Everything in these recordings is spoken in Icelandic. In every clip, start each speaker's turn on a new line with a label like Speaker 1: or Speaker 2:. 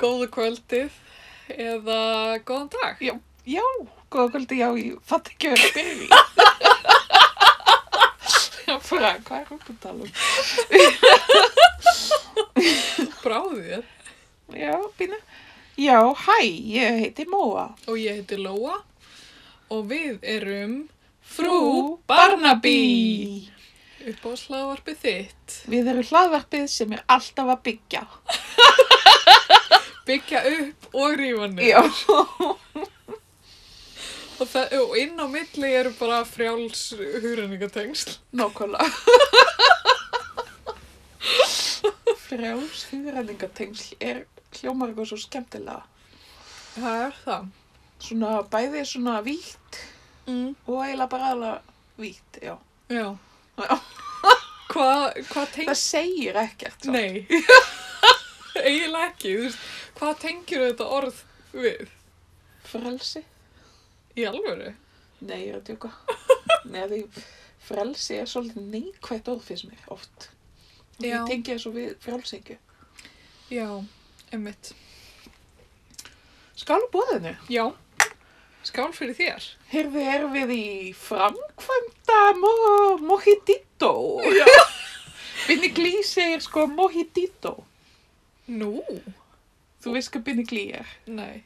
Speaker 1: góðu kvöldið eða góðan dag.
Speaker 2: Já, já, góða kvöldi, já, ég fatt ekki að vera byrði. Bara, hvað er okkur að tala um?
Speaker 1: Bráðið
Speaker 2: Já, býna. Já, hæ, ég heiti Móa.
Speaker 1: og ég heiti Lóa og við erum
Speaker 2: Frú
Speaker 1: Frú Barnaby upp á slávarpið þitt.
Speaker 2: Við erum hlaðvarpið sem er alltaf að byggja.
Speaker 1: Byggja upp og rífa niður.
Speaker 2: Já.
Speaker 1: Og, það, og inn á milli eru bara frjáls hugrenningatengsl.
Speaker 2: Nókvæmlega. Frjáls hugræningatengsl er hljómar eitthvað svo skemmtilega.
Speaker 1: Það er það.
Speaker 2: Svona bæði svona vítt
Speaker 1: Mm.
Speaker 2: og eiginlega bara aðlega vítt, já.
Speaker 1: Já.
Speaker 2: Já.
Speaker 1: Hvað hva tengir?
Speaker 2: Það segir ekkert. samt.
Speaker 1: Nei. Eiginlega ekki. Þú veist, hvað tengir þetta orð við?
Speaker 2: Frelsi?
Speaker 1: Í alvöru?
Speaker 2: Nei, ég er að djóka. Nei, því frelsi er svolítið neikvægt orð fyrir mig oft.
Speaker 1: Já.
Speaker 2: Ég tengi þessu við frelsingju.
Speaker 1: Já, emmitt.
Speaker 2: Skála búðinu.
Speaker 1: Já, skál fyrir þér.
Speaker 2: Heyrðu, erum við í framkvæmda mo mojitito.
Speaker 1: Já.
Speaker 2: Binni Glý segir sko mojitito.
Speaker 1: Nú?
Speaker 2: Þú veist hvað Binni Glý er.
Speaker 1: Nei.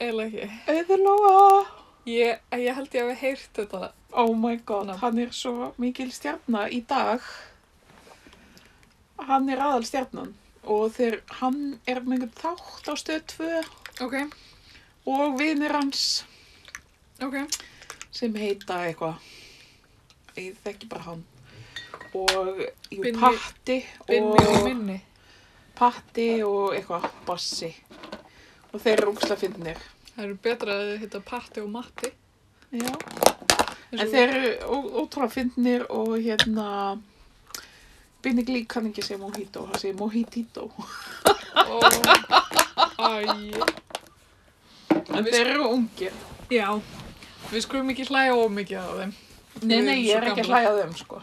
Speaker 1: Eða ekki.
Speaker 2: Auðurlóa.
Speaker 1: Ég, ég held ég hafi heyrt þetta.
Speaker 2: Oh my god,
Speaker 1: Ná.
Speaker 2: hann er svo mikil stjarnar í dag. Hann er aðal stjarnan og þegar hann er með einhvern þátt á stöð 2
Speaker 1: Ok,
Speaker 2: og vinir hans
Speaker 1: ok.
Speaker 2: sem heita eitthvað ég þekki bara hann og jú,
Speaker 1: Binni-
Speaker 2: patti
Speaker 1: Binni og
Speaker 2: og
Speaker 1: minni.
Speaker 2: patti og eitthvað bassi og þeir eru úksla fyndnir
Speaker 1: Það eru betra að þetta patti og matti.
Speaker 2: Já.
Speaker 1: eins
Speaker 2: en
Speaker 1: og-
Speaker 2: þeir eru ó- ótrúlega fyndnir og hérna Binni Glík kann ekki segja mojito, hann segir mojitito.
Speaker 1: Ó, Æ.
Speaker 2: En
Speaker 1: við-
Speaker 2: þeir eru ungir.
Speaker 1: Já. Við skulum ekki hlæja of mikið á þeim.
Speaker 2: Nei, nei, ég er ekki að hlæja að þeim, sko.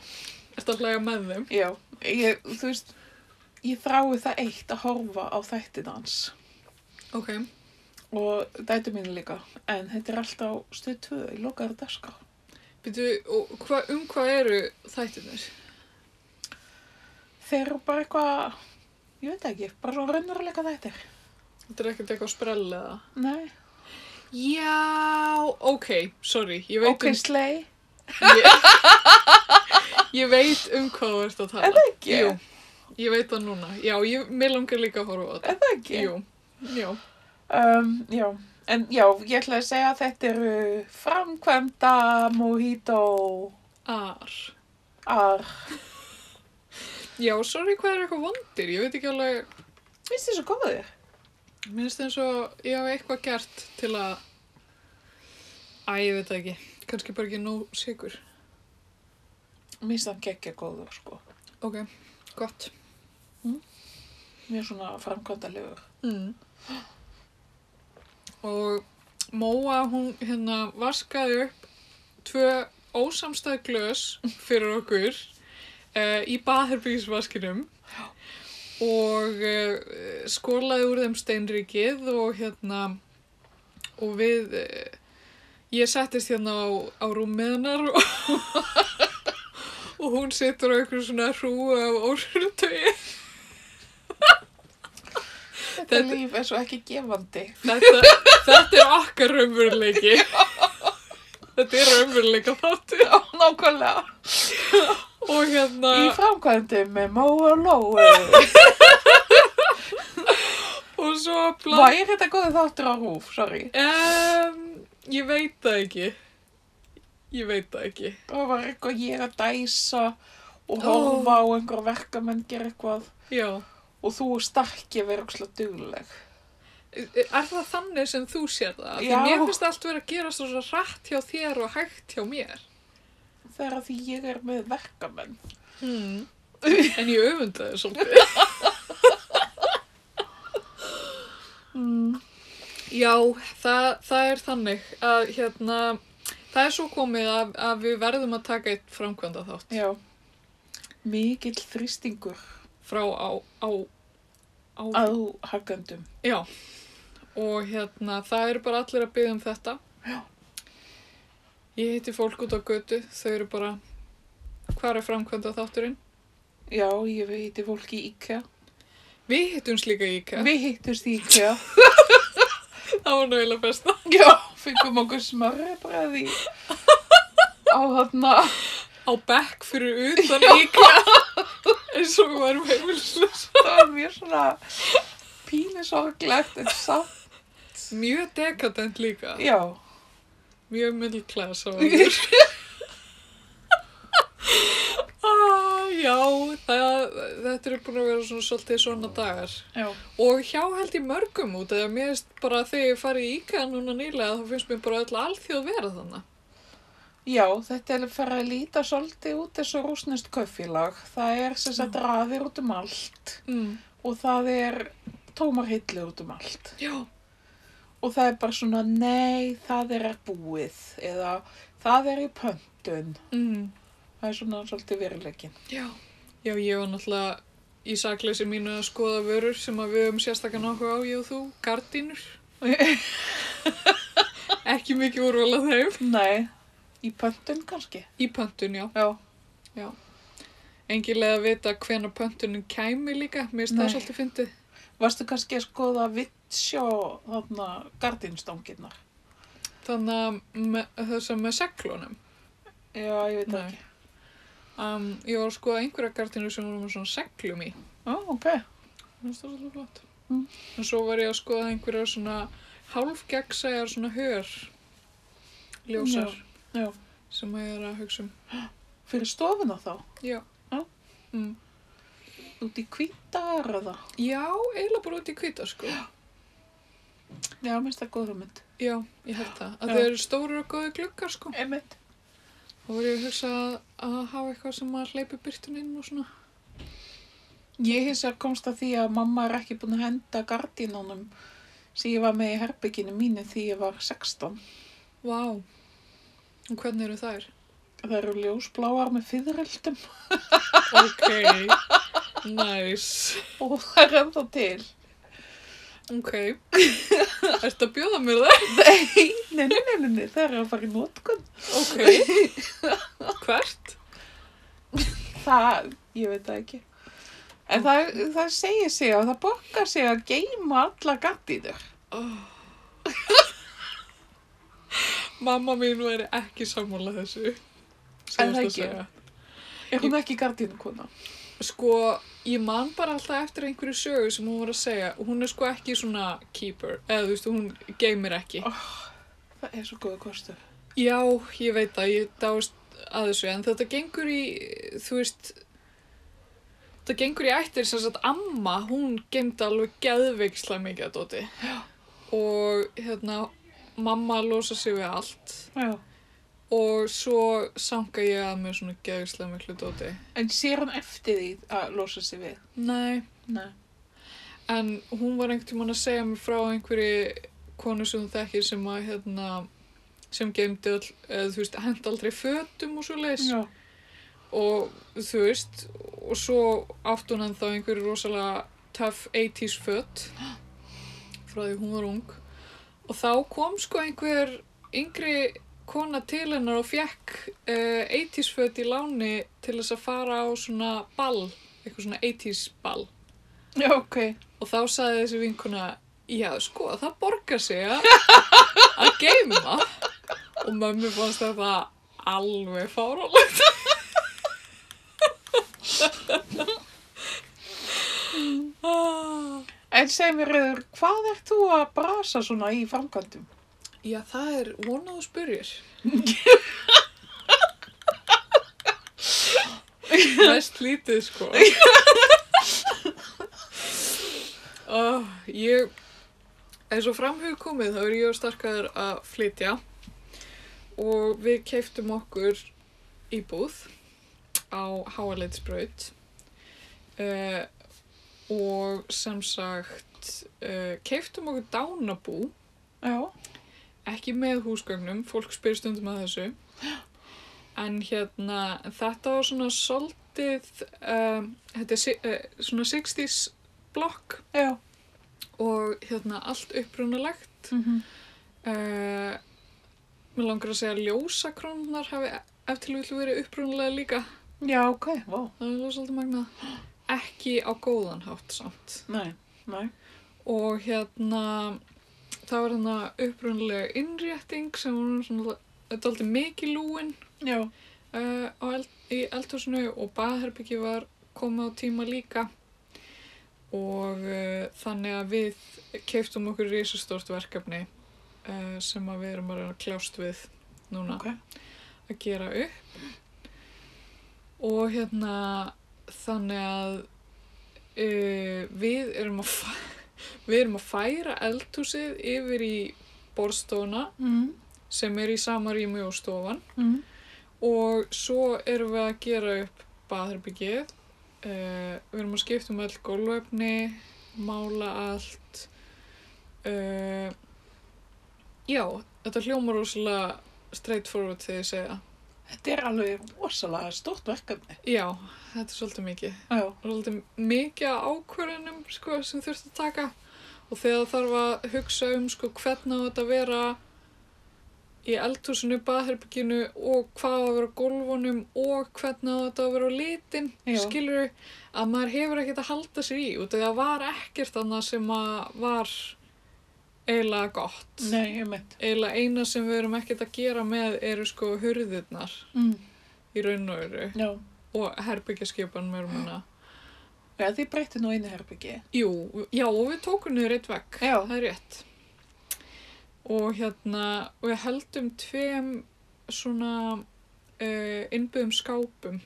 Speaker 1: Ertu að hlæja með þeim?
Speaker 2: Já, ég, þú veist, ég þrái það eitt að horfa á þættin hans
Speaker 1: Ok.
Speaker 2: og dætu mínu líka. En þetta er alltaf stöð 2 í lokaður dagskrá.
Speaker 1: Býtu, og hva, um hvað eru þættinir?
Speaker 2: Þeir eru bara eitthvað, ég veit ekki, bara svo raunveruleika þættir.
Speaker 1: Þetta er ekkert eitthvað sprell eða?
Speaker 2: Nei,
Speaker 1: Já, ok, sorry, ég veit um
Speaker 2: ok, slei.
Speaker 1: ég, ég veit um hvað þú ert að tala.
Speaker 2: Er það ekki?
Speaker 1: Jú, ég veit það núna. Já, ég, mér langar líka að horfa á þetta.
Speaker 2: Er það ekki?
Speaker 1: Jú, já.
Speaker 2: Um, já, en já, ég ætla að segja að þetta eru framkvæmda mojito
Speaker 1: Ar.
Speaker 2: ar.
Speaker 1: Já, sorry, hvað er eitthvað vondir? Ég veit ekki alveg,
Speaker 2: Finnst þið svo góðir?
Speaker 1: minnst eins og ég hafi eitthvað gert til að... Æ, ég veit það ekki. Kanski bara ekki nóg sigur.
Speaker 2: Minnst það geggja góður, sko.
Speaker 1: Ok, gott.
Speaker 2: Mér svona framkvæmda
Speaker 1: Mm. Og Móa, hún hérna vaskaði upp tvö ósamstæð glös fyrir okkur uh, í baðherbyggisvaskinum og uh, skólaði úr þeim steinrikið og hérna og við uh, ég settist hérna á, á rúmið hennar og, og hún situr á einhverju svona hrúu af ósrutögi
Speaker 2: Þetta
Speaker 1: Þetta-
Speaker 2: líf er svo ekki gefandi.
Speaker 1: Þetta, þetta er okkar raunveruleiki. Þetta er raunveruleika þáttur.
Speaker 2: Já, nákvæmlega.
Speaker 1: Og hérna,
Speaker 2: Í framkvæmdi með Móa og Lói.
Speaker 1: og svo bland...
Speaker 2: Væri þetta góðið þáttur á rúf, sorry.
Speaker 1: Um, ég veit það ekki. Ég veit það ekki.
Speaker 2: Það var eitthvað ég er að dæsa og
Speaker 1: Ó.
Speaker 2: horfa á einhver verkamenn gera eitthvað.
Speaker 1: Já.
Speaker 2: Og þú starki að vera ókslega dugleg.
Speaker 1: Er það þannig sem þú sér það? Já.
Speaker 2: Já.
Speaker 1: Mér finnst allt vera að gera svo rætt hjá þér og hægt hjá mér.
Speaker 2: Það er að því ég er með verkamenn.
Speaker 1: Hmm. En ég öfunda þér svolítið.
Speaker 2: Mm.
Speaker 1: Já, það, það er þannig að hérna, það er svo komið að, að við verðum að taka eitt framkvæmda þátt.
Speaker 2: Já. Mikill þrýstingur.
Speaker 1: frá á, á, á á
Speaker 2: áhagandum.
Speaker 1: Já, og hérna, það eru bara allir að byggja um þetta. Ég hitti fólk út á götu, þau eru bara, hvað er framkvæmda þátturinn?
Speaker 2: Já, ég heiti fólki í IKEA.
Speaker 1: Við hittumst líka í IKEA,
Speaker 2: Við hittumst í IKEA.
Speaker 1: það var náðilega besta.
Speaker 2: Já, fengum okkur smörri bræði á þarna.
Speaker 1: Á bekk fyrir utan IKEA, eins og við varum heimilslis.
Speaker 2: Það var mjög svona pínusorglegt en samt.
Speaker 1: Mjög dekadent líka,
Speaker 2: Já,
Speaker 1: mjög middle class á okkur. Ah, já, það, þetta er búin að vera svona svolítið svona dagar.
Speaker 2: já.
Speaker 1: Og hjá held ég mörgum út, eða mér finnst bara þegar ég farið í IKEA núna nýlega þá finnst mér bara öll alþjóð vera þannig.
Speaker 2: Já, þetta er að fara að líta svolítið út þessu rúsnest kaufélag. Það er sem sagt raðir út um allt
Speaker 1: Mm.
Speaker 2: og það er tómar hillu út um allt.
Speaker 1: Já.
Speaker 2: Og það er bara svona, nei, það er búið eða það er í pöntun.
Speaker 1: Mm.
Speaker 2: Það er svona svolítið veruleikin.
Speaker 1: Já. Já, ég var náttúrulega í sakleysi mínu að skoða vörur sem að við höfum sérstakann áhuga á, ég og þú, gardínur. Ekki mikið úrvala þeim.
Speaker 2: Nei, í pöntun kannski.
Speaker 1: Í pöntun, já.
Speaker 2: Já.
Speaker 1: Engin leið að vita hvena pöntunin kæmi líka, mér finnst það
Speaker 2: Nei.
Speaker 1: svolítið fyndið.
Speaker 2: Varstu kannski að skoða vitsjó þarna gardinstanginnar?
Speaker 1: Þannig að með- þess að með seglunum.
Speaker 2: Já, ég veit það
Speaker 1: Nei.
Speaker 2: ekki.
Speaker 1: Um, ég var að skoða einhverja gardínur sem voru með svona seglum í.
Speaker 2: Ó, ok.
Speaker 1: Mér finnst það svolítið flott.
Speaker 2: Mm.
Speaker 1: En svo var ég að skoða einhverjar svona hálfgeggsæjar svona hör ljósar
Speaker 2: Já, já.
Speaker 1: sem að ég er að hugsa um.
Speaker 2: Fyrir stofuna þá?
Speaker 1: Já.
Speaker 2: Já.
Speaker 1: Mm.
Speaker 2: Út í kvítar eða?
Speaker 1: Já, eiginlega bara út í kvita sko.
Speaker 2: Já, minnst það góð hugmynd.
Speaker 1: Já, ég held það. Að
Speaker 2: Já.
Speaker 1: þau eru stórir og góði gluggar sko.
Speaker 2: Einmitt.
Speaker 1: Og var ég að hugsa að, að hafa eitthvað sem að hleypi byrtun inn og svona.
Speaker 2: Ég hins vegar komst að því að mamma er ekki búin að henda gardínunum sem ég var með í herbygginu mínu því ég var 16.
Speaker 1: Vá. Og hvernig eru þær?
Speaker 2: Það eru ljósbláar með fyriröldum
Speaker 1: Ok. Nice.
Speaker 2: og það er ennþá til.
Speaker 1: Ok. Ertu að bjóða mér það?
Speaker 2: Nei, nei, nei, nei, nei, það eru að fara í nótkun.
Speaker 1: Ok. Hvert?
Speaker 2: Það, ég veit það ekki. En það, það segir sig að það borgar sig að geyma alla gattínur.
Speaker 1: Mamma mín væri ekki sammála þessu.
Speaker 2: Er það
Speaker 1: sem þú ert að
Speaker 2: ekki?
Speaker 1: segja.
Speaker 2: Er hún ekki gattínukona?
Speaker 1: Sko, ég man bara alltaf eftir einhverju sögu sem hún var að segja. Hún er sko ekki svona keeper, eða þú veist, hún geymir ekki.
Speaker 2: Það er svo góða kostur.
Speaker 1: Já, ég veit að ég dáist að þessu, en þetta gengur í, þú veist, þetta gengur í ættir sem sagt amma, hún geymdi alveg geðveiksla mikið að dóti. Og hérna, mamma losa sig við allt.
Speaker 2: Já.
Speaker 1: Og svo sanga ég að mér svona geðislega miklu dóti.
Speaker 2: En sér hún eftir því að losa sig við?
Speaker 1: Nei.
Speaker 2: Nei.
Speaker 1: En hún var einhvern tímann að segja mér frá einhverju konu sem hún þekkir sem að hérna sem geymdi all, eða þú veist, hend aldrei fötum og svo leis.
Speaker 2: Já.
Speaker 1: Og þú veist, og svo átt hún ennþá einhverju rosalega tough 80s föt frá því hún var ung. Og þá kom sko einhver yngri kona til hennar og fekk uh, 80s föt í láni til þess að fara á svona ball, eitthvað svona 80s ball.
Speaker 2: Já, ok.
Speaker 1: Og þá sagði þessi vinkuna, já sko, það borgar sig að að geyma. Og mömmu fannst þetta alveg fárálegt. Ah,
Speaker 2: En segir mér, Rauður, hvað ert þú að brasa svona í framkvæmdum?
Speaker 1: já, það er vonað og spyrjir. Mest lítið, sko. Oh, ég, eins og fram hefur komið, þá er ég og starkaður að flytja og við keiftum okkur íbúð á Háaleitsbraut uh, og sem sagt uh, keiftum okkur dánabú
Speaker 2: Já.
Speaker 1: ekki með húsgögnum, fólk spyr stundum að þessu. En hérna, ehm, þetta var svona svolítið, um, þetta er si- eh, svona 60s blokk
Speaker 2: já.
Speaker 1: og hérna allt upprunalegt.
Speaker 2: Mm -hmm.
Speaker 1: Uh, mér langar að segja að ljósakrónar hafi ef til vill verið upprunalega líka.
Speaker 2: Já, ok, vá.
Speaker 1: Það er svolítið magnað. Ekki á góðan hátt samt.
Speaker 2: Nei, nei.
Speaker 1: Og hérna, það var hérna upprunalega innrétting sem var svona, þetta er aldrei mikið lúin
Speaker 2: Já,
Speaker 1: uh, á eld, í eldhúsinu og baðherbyggi var komið á tíma líka og uh, þannig að við keiftum okkur risastórt verkefni uh, sem að við erum að reyna að kljást við núna
Speaker 2: ok.
Speaker 1: að gera upp og hérna þannig að uh, við erum að fæ- við erum að færa eldhúsið yfir í borðstofuna
Speaker 2: Mm,
Speaker 1: sem er í sama rými og stofan
Speaker 2: mm,
Speaker 1: Og svo erum við að gera upp baðherbyggið. Uh, við erum að skipta um öll gólvefni, mála allt. Uh, já, þetta hljómar rosalega straightforward þegar ég segja.
Speaker 2: Þetta er alveg rosalega stort verkefni.
Speaker 1: Já, þetta er svolítið mikið.
Speaker 2: Já,
Speaker 1: Svolítið mikið af ákvörðunum sko, sem þurft að taka. Og þegar þarf að hugsa um sko, hvernig á þetta að vera í eldhúsinu, baðherbygginu og hvað á að vera á gólfunum og hvernig á þetta að vera á litin
Speaker 2: Já.
Speaker 1: skilur að maður hefur ekkert að halda sér í út af því að var ekkert annað sem að var eiginlega gott
Speaker 2: nei, ég meint.
Speaker 1: eiginlega eina sem við erum ekkert að gera með eru sko hurðirnar
Speaker 2: Mm,
Speaker 1: í raun og veru
Speaker 2: já.
Speaker 1: og herbyggjaskipan með rúmuna
Speaker 2: Já, þið breytti nú einu herbyggi.
Speaker 1: Jú, já og við tókum niður eitt vegg,
Speaker 2: Já.
Speaker 1: það er rétt. Og hérna, við heldum tveim svona uh, innbyggum skápum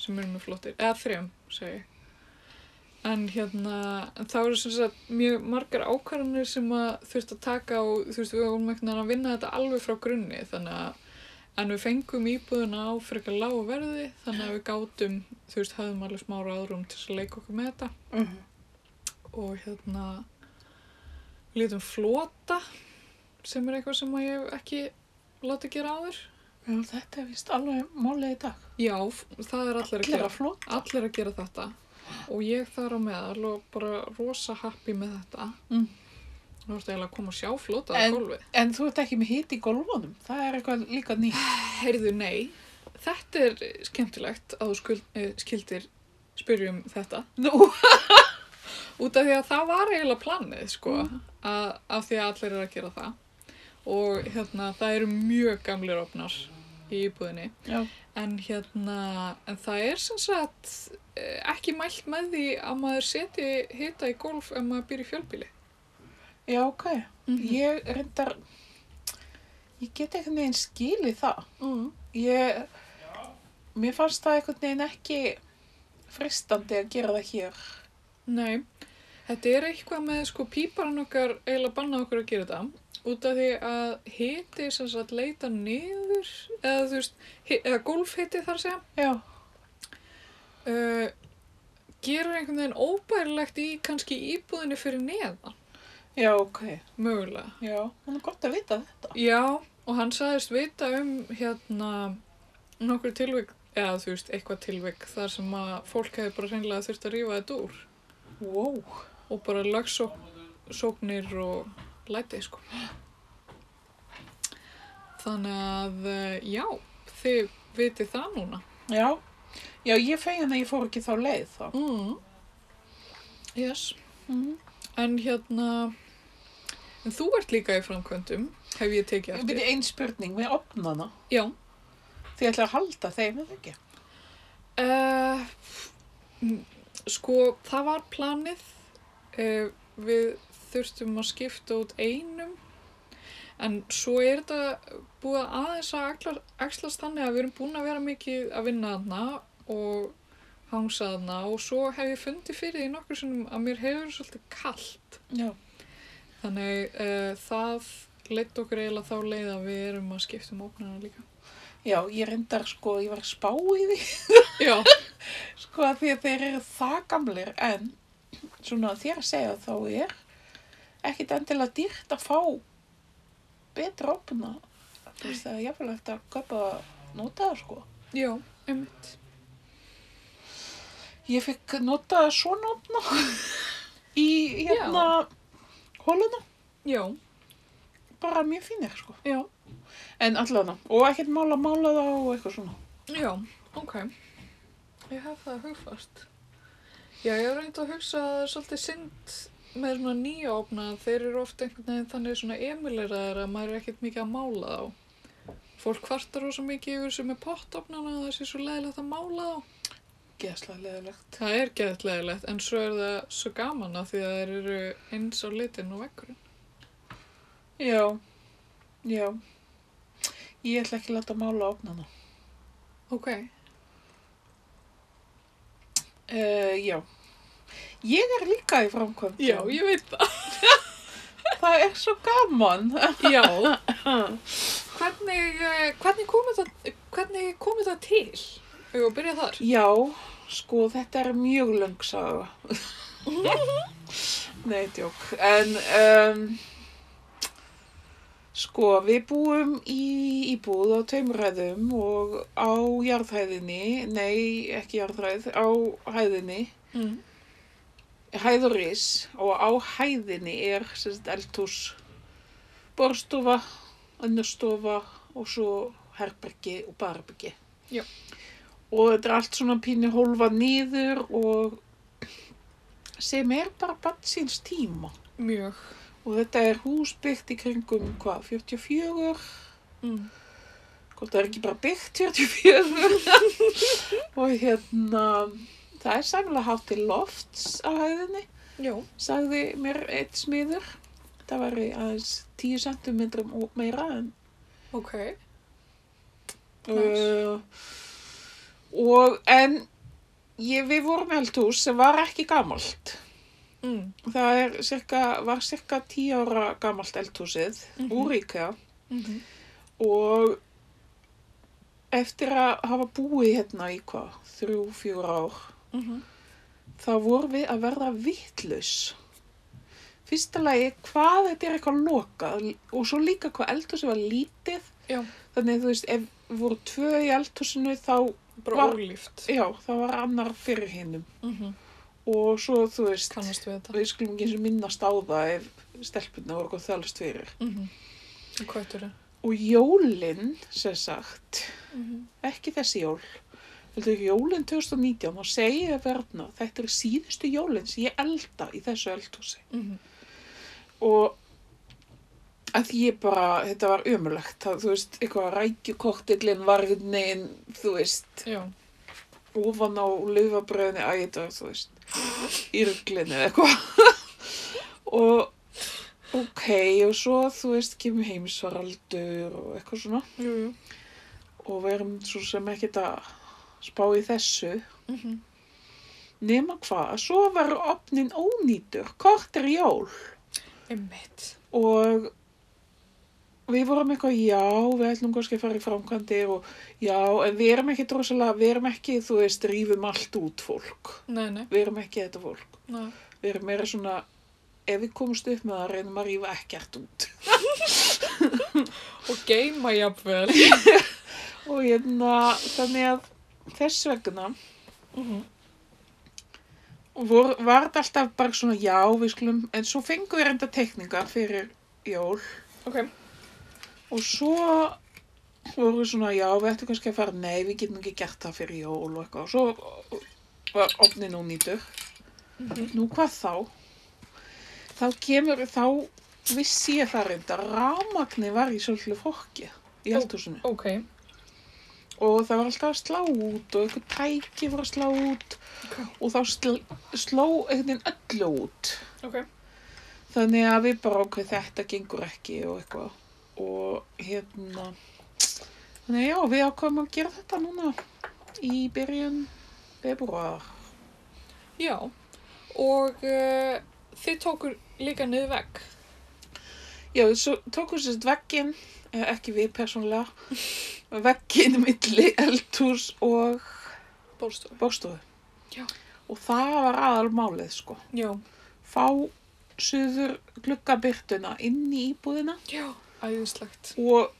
Speaker 1: sem eru mjög flottir, eða þrejum, segi ég. En hérna, en það voru sem sagt mjög margar ákvarðanir sem að þurfti að taka og þú veist, við vorum ekkert að vinna þetta alveg frá grunni, þannig að En við fengum íbúðuna á frekar lágu verði, þannig að við gátum, þú veist, höfðum alveg smá ráðrúm til þess að leika okkur með þetta
Speaker 2: Mm
Speaker 1: og hérna við lítum flota sem er eitthvað sem að ég hef ekki látið gera áður
Speaker 2: Já, þetta er vist alveg málið í dag.
Speaker 1: já, f- það er allir að
Speaker 2: Allir
Speaker 1: gera
Speaker 2: að flót.
Speaker 1: allir að gera þetta og ég þar á meðal og bara rosa happy með þetta
Speaker 2: Mm.
Speaker 1: þú veist eiginlega að koma og sjá flota á
Speaker 2: En-
Speaker 1: gólfi
Speaker 2: En þú ert ekki með hít í gólfunum. Það er eitthvað líka nýtt.
Speaker 1: heyrðu nei, þetta er skemmtilegt að þú skuld, eh, skildir spyrjum þetta
Speaker 2: Nú,
Speaker 1: Út af því að það var eiginlega planið, sko, að, af því að allir eru að gera það. Og hérna, það eru mjög gamlir ofnar í íbúðinni.
Speaker 2: já,
Speaker 1: En hérna, en það er sem sagt eh, ekki mælt með því að maður seti hita í golf ef maður býr í fjölbíli.
Speaker 2: já, ok. Ég reyndar, ég get einhvern veginn skilið það.
Speaker 1: Mm.
Speaker 2: Ég, mér fannst það einhvern veginn ekki fristandi að gera það hér.
Speaker 1: Nei, þetta er eitthvað með sko píparinn okkar eiginlega bannað okkur að gera þetta út af því að hiti sem sagt leita niður eða þú veist, hi- eða golfhiti þar að segja
Speaker 2: Já,
Speaker 1: uh, gerur einhvern veginn óbærilegt í kannski íbúðinni fyrir neðan,
Speaker 2: já, ok.
Speaker 1: mögulega.
Speaker 2: Já, hann er gott að vita þetta.
Speaker 1: Já, og hann sagðist vita um hérna nokkur tilvik, eða þú veist, eitthvað tilvik þar sem að fólk hefði bara reynilega þurft að rífa þetta úr
Speaker 2: Wow.
Speaker 1: og bara lagsóknir og læti, sko. Þannig að, eh, já, þið vitið það núna.
Speaker 2: Já, já, ég fegin að ég fór ekki þá leið þá.
Speaker 1: Mm. Yes.
Speaker 2: Mm.
Speaker 1: En hérna, en þú ert líka í framkvæmdum, hef ég tekið
Speaker 2: Ég
Speaker 1: eftir.
Speaker 2: byrja einn spurning með opnana.
Speaker 1: Já.
Speaker 2: Þið ætla að halda þeim, eða ekki?
Speaker 1: Uh, sko, það var planið. Uh, við þurftum að skipta út einum. En svo er þetta búið aðeins að axla- axlast þannig að við erum búin að vera mikið að vinna þarna og hangsa þarna og svo hef ég fundið fyrir því nokkur sinnum að mér hefur svolítið kallt.
Speaker 2: Já.
Speaker 1: Þannig uh, það leitt okkur eiginlega þá leið að við erum að skipta um óknarna líka.
Speaker 2: Já, ég reyndar sko, ég var að spá í því,
Speaker 1: Já,
Speaker 2: sko, af því að þeir eru það gamlir, en svona þér að segja þá er ekkit endilega dýrt að fá betra opna. Þú veist, það er jafnvel eftir að kaupa notaða, sko.
Speaker 1: já, einmitt.
Speaker 2: Ég fekk notaða svona opna. hérna hóluna,
Speaker 1: já,
Speaker 2: bara mjög fínir sko.
Speaker 1: já,
Speaker 2: En allavega, og ekkert mála mála þá og eitthvað svona.
Speaker 1: já, ok. Ég hef það hugfast. Já, ég hef reynd að hugsa að það er svolítið synd með svona nýja ofna að þeir eru oft einhvern veginn þannig svona emuleraðar að maður er ekkert mikið að mála þá. Fólk kvartar rosa mikið yfir sem er pottofnana að það sé svo leiðilegt að mála þá.
Speaker 2: Geðslega leðilegt.
Speaker 1: Það er geðleilegt en svo er það svo gaman að því að þeir eru eins á litin og vekkurinn.
Speaker 2: Já, já. Ég ætla ekki að láta mála ofnana.
Speaker 1: Ok,
Speaker 2: Uh, já. Ég er líka í framkvæmd.
Speaker 1: já, ég veit það.
Speaker 2: Það er svo gaman.
Speaker 1: Já, hvernig, eh, hvernig kom þetta, hvernig kom þetta til? Við erum að byrja þar.
Speaker 2: Já, sko, þetta er mjög löng saga. Nei, djók. En, um, sko, við búum í íbúð á taumræðum og á jarðhæðinni, nei, ekki jarðhæð, á hæðinni,
Speaker 1: Mm.
Speaker 2: hæðuris og á hæðinni er, sem sagt, eldhús, borstofa, önnurstofa og svo herbergi og barbergi.
Speaker 1: Já.
Speaker 2: Og þetta er allt svona pínu hólfa niður og sem er bara bannsins tíma.
Speaker 1: Mjög.
Speaker 2: Og þetta er hús byggt í kringum, hvað, 44?
Speaker 1: Mm.
Speaker 2: Hvort það er ekki bara byggt 44? og hérna, það er sæmlega hátt til lofts á hæðinni,
Speaker 1: Já.
Speaker 2: sagði mér eitt smiður. Það var aðeins 10 cm og meira en
Speaker 1: Ok.
Speaker 2: Uh, og en ég, við vorum með eldhús sem var ekki gamalt.
Speaker 1: Mm.
Speaker 2: Það er cirka, var cirka 10 ára gamalt eldhúsið
Speaker 1: Mhm.
Speaker 2: úr IKEA
Speaker 1: Mm
Speaker 2: og eftir að hafa búið hérna í hvað, þrjú, fjúr ár,
Speaker 1: Mhm.
Speaker 2: þá vorum við að verða vittlaus. Fyrsta lagi hvað þetta er eitthvað lokað og svo líka hvað eldhúsið var lítið.
Speaker 1: Já.
Speaker 2: Þannig að þú veist, ef voru tvö í eldhúsinu þá
Speaker 1: Bara
Speaker 2: Var-
Speaker 1: ólíft.
Speaker 2: Já, það var annar fyrir hinnum
Speaker 1: Mm
Speaker 2: og svo þú veist,
Speaker 1: Kannast við þetta.
Speaker 2: við skulum ekki eins og minnast á það ef stelpunna voru eitthvað þjálfst fyrir.
Speaker 1: Mm -hmm. Hvað er þetta?
Speaker 2: Og jólin, sem sagt,
Speaker 1: Mm -hmm.
Speaker 2: ekki þessi jól, heldur jólin 2019, þá segi ég verðna, þetta er síðustu jólin sem ég elda í þessu eldhúsi.
Speaker 1: Mhm.
Speaker 2: Og að því ég bara, þetta var ömulegt, það, þú veist, eitthvað rækjukoktilinn, varnin, þú veist,
Speaker 1: Já.
Speaker 2: ofan á laufabröðinni að þetta, var, þú veist, í rugglinni eða eitthvað. og ok, og svo, þú veist, kemur heimsvaraldur og eitthvað svona.
Speaker 1: Jú, jú.
Speaker 2: Og við erum svo sem ekkert að spá í þessu.
Speaker 1: Mm -hmm.
Speaker 2: Nema hvað, svo var opnin ónýtur, kort er jól.
Speaker 1: Einmitt.
Speaker 2: Og við vorum eitthvað, já, við ætlum kannski að fara í framkvæmdir og já, en við erum ekki drosalega, við erum ekki, þú veist, rífum allt út fólk.
Speaker 1: Nei, nei.
Speaker 2: Við erum ekki þetta fólk.
Speaker 1: nei.
Speaker 2: Við erum meira svona, ef við komumst upp með það, reynum að rífa ekkert út.
Speaker 1: Og geima jafnvel.
Speaker 2: Og hérna, þannig að þess vegna
Speaker 1: mm -hmm.
Speaker 2: vor, var þetta alltaf bara svona, já, við skulum, en svo fengum við reynda tekningar fyrir jól.
Speaker 1: Ok.
Speaker 2: Og svo vorum við svona, já, við ættum kannski að fara, nei, við getum ekki gert það fyrir jól og eitthvað. Og svo var opnin og nýtur.
Speaker 1: Mhm.
Speaker 2: Nú hvað þá? Þá kemur, þá vissi ég það reynda, rafmagni var í svolítið fólki í
Speaker 1: Ó.
Speaker 2: eldhúsinu.
Speaker 1: Ok.
Speaker 2: og það var alltaf að slá út og einhver tæki var að slá út
Speaker 1: Ok.
Speaker 2: og þá sl sló einhvern veginn öllu út
Speaker 1: Ok.
Speaker 2: þannig að við bara okkur þetta gengur ekki og eitthvað og hérna þannig að já, við ákvæmum að gera þetta núna í byrjun februar
Speaker 1: Já. Og uh, þið tókur líka niður vegg.
Speaker 2: já, svo tókum sérst vegginn eh, ekki við persónulega vegginn milli eldhús og
Speaker 1: Bólstofu.
Speaker 2: bókstofu
Speaker 1: Já.
Speaker 2: og það var aðal málið sko
Speaker 1: Já.
Speaker 2: fá suður gluggabyrtuna inn í íbúðina
Speaker 1: Já. Æðislegt.
Speaker 2: og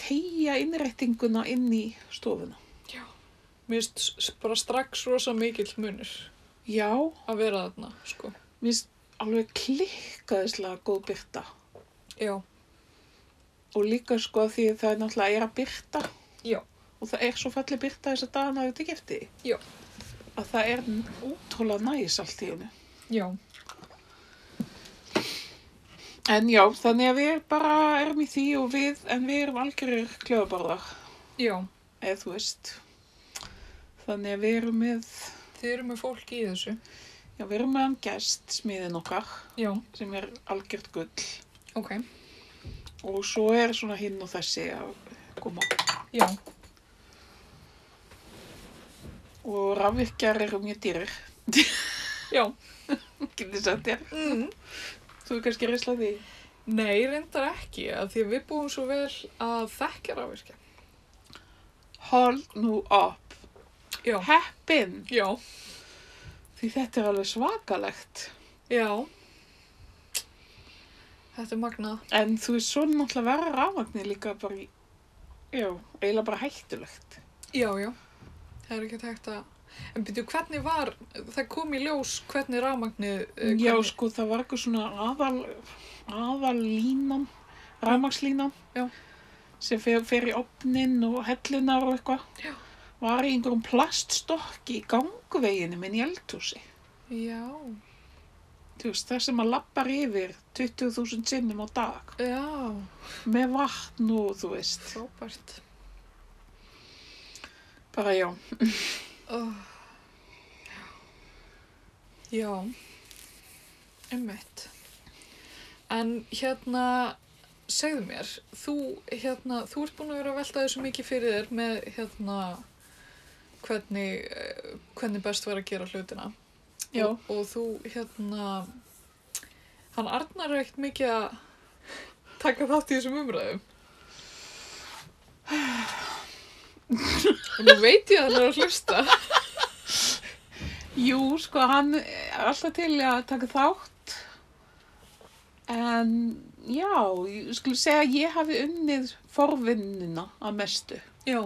Speaker 2: tegja innréttinguna inn í stofuna.
Speaker 1: Mér finnst s- bara strax rosa mikill munur
Speaker 2: Já,
Speaker 1: að vera þarna, sko.
Speaker 2: minnst alveg klikkaðislega góð byrta.
Speaker 1: Já.
Speaker 2: Og líka sko því það er náttúrulega er að byrta
Speaker 1: Já.
Speaker 2: og það er svo falleg byrta þess að dagana þetta gefti.
Speaker 1: Já.
Speaker 2: Að það er útrúlega næs allt í hennu.
Speaker 1: Já.
Speaker 2: En já, þannig að við bara erum í því og við, en við erum algjörir kljóðaborðar,
Speaker 1: Já.
Speaker 2: eða þú veist. Þannig að við erum með,
Speaker 1: Þið eru með fólk í þessu.
Speaker 2: já, við erum með hann gest smiðin okkar,
Speaker 1: Já.
Speaker 2: sem er algjört gull.
Speaker 1: Ok.
Speaker 2: Og svo er svona hinn og þessi að koma.
Speaker 1: Já.
Speaker 2: Og rafvirkjar eru mjög dýrir,
Speaker 1: Já.
Speaker 2: getur sagt þér.
Speaker 1: Mm.
Speaker 2: Þú er kannski reysla því.
Speaker 1: Nei, reyndar ekki, að því að við búum svo vel að þekkja rafvirkja.
Speaker 2: Hold nú upp.
Speaker 1: Já.
Speaker 2: Heppin.
Speaker 1: Já.
Speaker 2: Því þetta er alveg svakalegt.
Speaker 1: Já. Þetta er magnað.
Speaker 2: En þú veist, svona náttúrulega vera rafvagnir líka bara, í- já, eiginlega bara hættulegt.
Speaker 1: Já, já. Það er ekki hægt að... En byrju, hvernig var, það kom í ljós hvernig rafmagnið... eh,
Speaker 2: Já,
Speaker 1: hvernig-
Speaker 2: sko, það var eitthvað svona aðal, aðal línan, rafmagslínan,
Speaker 1: Já.
Speaker 2: sem fer, fer í opnin og hellunar og eitthvað.
Speaker 1: Já.
Speaker 2: Var í einhverjum plaststokki í gangveginu minn í eldhúsi.
Speaker 1: Já.
Speaker 2: Þú veist, það sem að lappar yfir 20.000 sinnum á dag
Speaker 1: Já,
Speaker 2: með vatn og þú veist,
Speaker 1: frábært.
Speaker 2: bara já.
Speaker 1: Oh. Já, einmitt. En hérna, segðu mér, þú, hérna, þú ert búin að vera að velta þessu mikið fyrir þér með hérna, hvernig, eh, hvernig best var að gera hlutina. Og, og þú, hérna, hann Arnar er ekkert mikið að taka þátt í þessum umræðum. Og nú veit ég að hann er að hlusta.
Speaker 2: Jú, sko, hann er alltaf til í að taka þátt. En já, ég skulle segja að ég hafi unnið forvinnina að mestu.
Speaker 1: Já,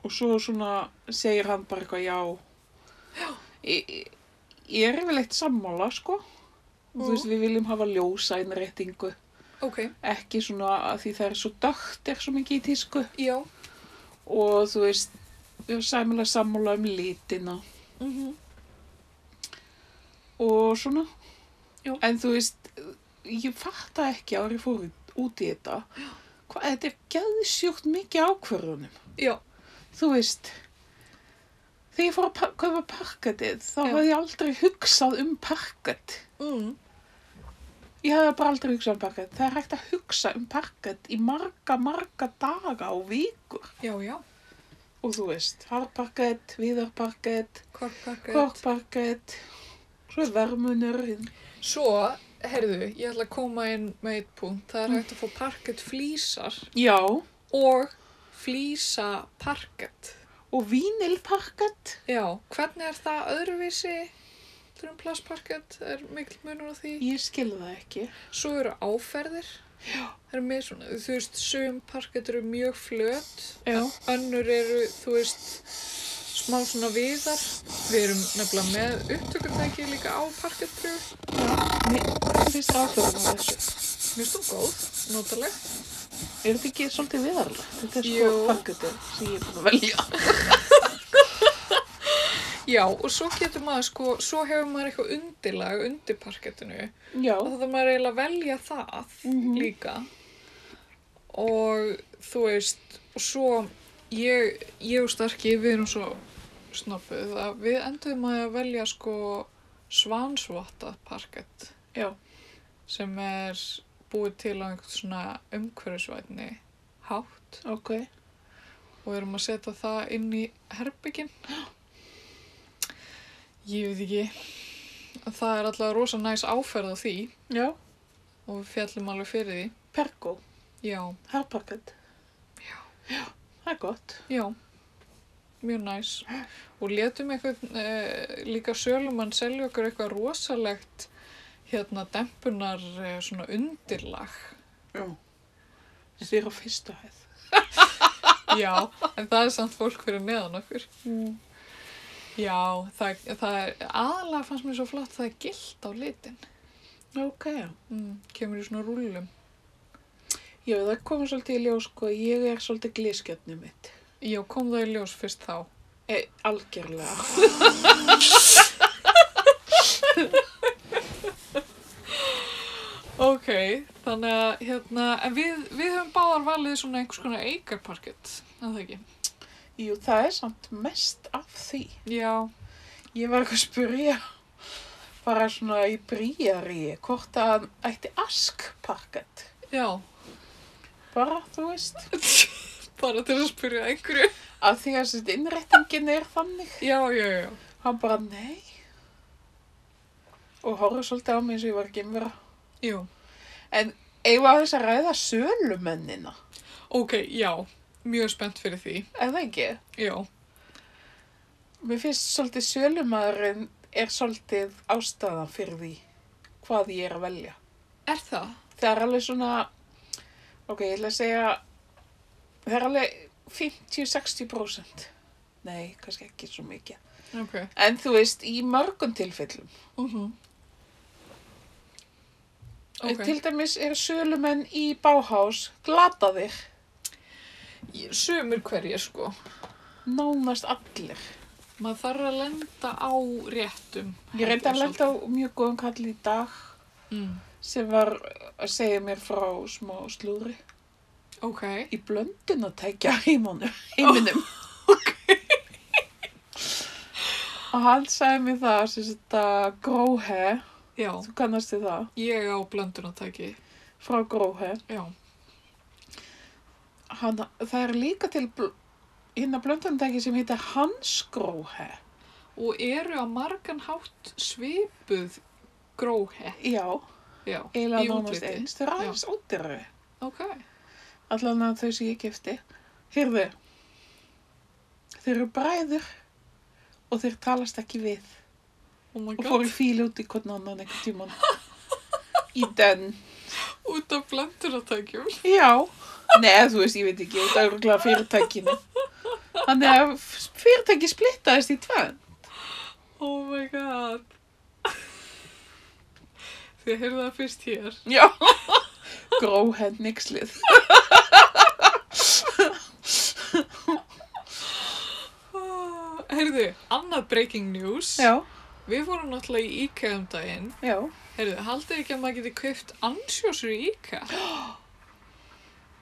Speaker 2: Og svo svona segir hann bara eitthvað já. Ég, ég er yfirleitt sammála, sko. Þú
Speaker 1: Mhm.
Speaker 2: veist, við viljum hafa ljósa innréttingu.
Speaker 1: ok,
Speaker 2: Ekki svona að því það er svo dögt er svo mikið í tísku.
Speaker 1: já.
Speaker 2: Og þú veist, við erum sæmilega sammála um litina.
Speaker 1: Mm
Speaker 2: og svona.
Speaker 1: Já.
Speaker 2: En þú veist, ég fatta ekki ári fór út í þetta. Hvað, þetta er geðsjúkt mikið ákvörðunum.
Speaker 1: Já,
Speaker 2: Þú veist, þegar ég fór að pa- kaupa parkettið, þá
Speaker 1: Já.
Speaker 2: hafði ég aldrei hugsað um parkett.
Speaker 1: mm.
Speaker 2: Ég hafði bara aldrei hugsað um parkett. Það er hægt að hugsa um parkett í marga, marga daga og vikur.
Speaker 1: já, já,
Speaker 2: Og þú veist, harparkett, viðarparkett,
Speaker 1: korkparkett.
Speaker 2: korparkett, svo er vermunurinn.
Speaker 1: Svo, heyrðu, ég ætla að koma inn með eitt punkt. Það er hægt að fá parkett flísar
Speaker 2: Já,
Speaker 1: og flísa parkett.
Speaker 2: og vínilparkett.
Speaker 1: Já, hvernig er það öðruvísi? Drumplassparkett er mikil munur á því.
Speaker 2: Ég skil það ekki.
Speaker 1: Svo eru áferðir. Já. Það eru með svona, þú veist, sum parkett eru mjög flöt.
Speaker 2: Já.
Speaker 1: Önnur eru, þú veist, smá svona viðar. Við erum nefnilega með upptökutæki líka á parkettpröfu.
Speaker 2: Hvað finnst það ákveðum á þessu?
Speaker 1: Mér finnst þú góð, notaleg.
Speaker 2: Er þetta ekki svolítið viðarlega? Þetta er sko
Speaker 1: Jú.
Speaker 2: parkettið sem ég er búin að velja.
Speaker 1: Já, og svo getur maður sko, svo hefur maður eitthvað undirlag undir parkettinu
Speaker 2: Já.
Speaker 1: og það maður eiginlega að velja það
Speaker 2: Mhm.
Speaker 1: líka. Og þú veist, og svo ég, ég og Starki, við erum svo snoppuð að við endum að velja sko svansvotta parkett
Speaker 2: Já.
Speaker 1: sem er búið til á einhvern svona umhverfisvætni hátt
Speaker 2: Ok.
Speaker 1: og erum að setja það inn í herbyggin ég veit ekki það er alltaf rosa næs áferð á því
Speaker 2: Já.
Speaker 1: og við fjallum alveg fyrir því
Speaker 2: Pergo.
Speaker 1: já,
Speaker 2: Herparkett.
Speaker 1: Já.
Speaker 2: Það er gott.
Speaker 1: já mjög næs og letum eitthvað e, líka sölumann selja okkur eitthvað rosalegt hérna dempunar e, svona undirlag
Speaker 2: Já. Þið eru á fyrstu hæð.
Speaker 1: já, en það er samt fólk fyrir neðan okkur
Speaker 2: Mm.
Speaker 1: Já, það, það er aðalega fannst mér svo flott það er gilt á litin.
Speaker 2: Ok.
Speaker 1: Mm, kemur í svona rúlum.
Speaker 2: Já, það komur svolítið í ljós, sko, ég er svolítið glískjötnið mitt.
Speaker 1: Já, kom það í ljós fyrst þá.
Speaker 2: E, algjörlega.
Speaker 1: Ok, þannig að hérna, en við, við höfum báðar valið svona einhvers konar eikarparkett, en það ekki.
Speaker 2: Jú, það er samt mest af því.
Speaker 1: Já,
Speaker 2: Ég var eitthvað að spyrja bara svona í brýjari hvort að ætti askparkett.
Speaker 1: já,
Speaker 2: Bara, þú veist,
Speaker 1: bara til að spyrja einhverju.
Speaker 2: að því að þessi innrettingin er þannig.
Speaker 1: Já, já, já.
Speaker 2: Hann bara, nei. Og horfði svolítið á mig eins og ég var ekki umvera.
Speaker 1: Jú,
Speaker 2: Eða þess að ræða sölumennina,
Speaker 1: ok, já, mjög spennt fyrir því.
Speaker 2: eða ekki?
Speaker 1: Já,
Speaker 2: Mér finnst svolítið sölumæðurinn er svolítið ástæðan fyrir því hvað ég er að velja.
Speaker 1: er það?
Speaker 2: Það er alveg svona, ok, ég ætla að segja, það er alveg 50-60%. Nei, kannski ekki svo mikið.
Speaker 1: Ok.
Speaker 2: En þú veist, í mörgum tilfellum.
Speaker 1: Uh -huh. Ok,
Speaker 2: Til dæmis Mhm. er sölumenn í báhás glataðir,
Speaker 1: Ég- sumir hverjir sko.
Speaker 2: nánast allir.
Speaker 1: Maður þarf að lenda á réttum.
Speaker 2: Ég reyndi að lenda á mjög góðan kall í dag
Speaker 1: Mm.
Speaker 2: sem var að segja mér frá smá slúðri.
Speaker 1: Ok,
Speaker 2: í blöndun að tækja heimanum, heiminum.
Speaker 1: Oh.
Speaker 2: og hann sagði mér það, sem þetta gróhe,
Speaker 1: já,
Speaker 2: þú kannast þið það,
Speaker 1: ég á blöndunartæki,
Speaker 2: frá gróhe.
Speaker 1: já.
Speaker 2: Hann, það er líka til bl hérna blöndunatæki sem heitir hans gróhe.
Speaker 1: Og eru á margan hátt svipuð gróhe,
Speaker 2: Já,
Speaker 1: já.
Speaker 2: eiginlega
Speaker 1: Í
Speaker 2: nánast
Speaker 1: útliti.
Speaker 2: eins, þau eru aðeins ódýrari.
Speaker 1: Ok,
Speaker 2: Allan að þau sem ég gifti. Hérðu, þau eru bræður og þeir talast ekki við.
Speaker 1: oh my
Speaker 2: og fór í
Speaker 1: god,
Speaker 2: fíli út í hvern annan einhvern tíman í den
Speaker 1: út af blöndunartækjum.
Speaker 2: já, neða þú veist, ég veit ekki út af fyrirtækinu þannig að fyrirtæki splittaðist í tvenn
Speaker 1: Oh my god. Þið heyrðu það fyrst hér.
Speaker 2: já gróhend nixlið
Speaker 1: Ah, Heyrðu, annað breaking news.
Speaker 2: já,
Speaker 1: Við fórum náttúrulega í IKEA um daginn.
Speaker 2: já,
Speaker 1: Heyrðu, haldið ekki að maður geti kaupt ansjósur í IKEA?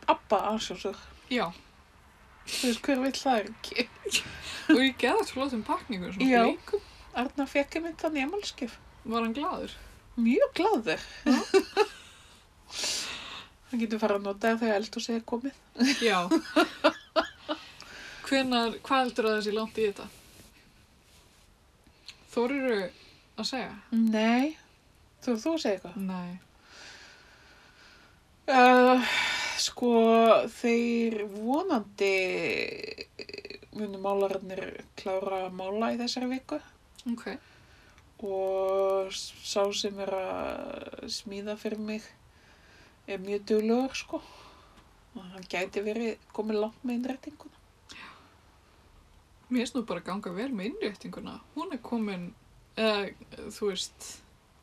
Speaker 2: abba ansjósur
Speaker 1: Já,
Speaker 2: þú veist hver vill það er ekki
Speaker 1: og ég geða þetta flottum pakningu, svona
Speaker 2: Já.
Speaker 1: bleikum.
Speaker 2: Arna fekk ég mynd þannig emalskif
Speaker 1: Var hann gladur?
Speaker 2: mjög glaður hann getur fara að nota það þegar eldur segja komið
Speaker 1: Já. Hvenar, hvað heldur að þessi langt í þetta? Þóriru að segja?
Speaker 2: nei, þú, þú segja eitthvað
Speaker 1: Nei.
Speaker 2: Uh, sko, þeir vonandi eh, munu málararnir klára að mála í þessari viku
Speaker 1: Ok.
Speaker 2: og s- sá sem er að smíða fyrir mig er mjög duglegur, sko. Og hann gæti verið komið langt með innrætinguna.
Speaker 1: Mér finnst nú bara að ganga vel með innréttinguna. Hún er komin, eða, þú veist,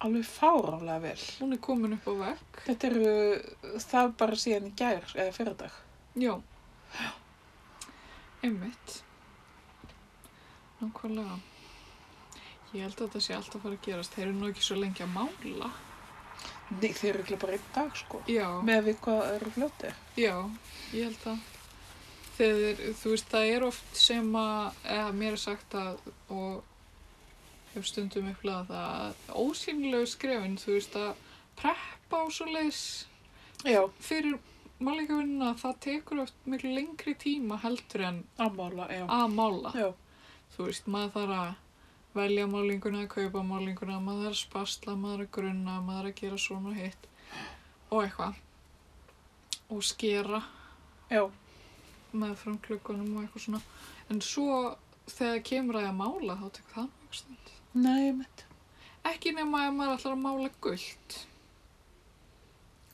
Speaker 2: Alveg fáránlega vel.
Speaker 1: hún er komin upp á vekk.
Speaker 2: Þetta eru það bara síðan í gær, eða fyrirdag.
Speaker 1: Já. Einmitt. Nákvæmlega. Ég held að þetta sé alltaf að fara að gerast. Þeir eru nú ekki svo lengi að mála.
Speaker 2: Nei, þeir eru ekki bara einn dag, sko.
Speaker 1: Já,
Speaker 2: Með við hvað eru fljótið.
Speaker 1: já, ég held að. Þegar, þú veist, það er oft sem að, eða mér er sagt að, og hef stundum upplegað það, að ósýnilegu skrefin, þú veist, að preppa á svo leis
Speaker 2: Já,
Speaker 1: fyrir málingavinnuna, það tekur oft miklu lengri tíma heldur en
Speaker 2: að mála, já.
Speaker 1: að mála.
Speaker 2: Já.
Speaker 1: þú veist, maður þarf að velja málinguna, kaupa málinguna, maður þarf að spasla, maður þarf að grunna, maður þarf að gera svona og hitt og eitthvað. Og skera
Speaker 2: Já.
Speaker 1: með framklukkunum og eitthvað svona. En svo þegar kemur að ég að mála, þá tekur það mjög stund.
Speaker 2: Nei, mitt.
Speaker 1: Ekki nema að maður ætlar að mála gullt.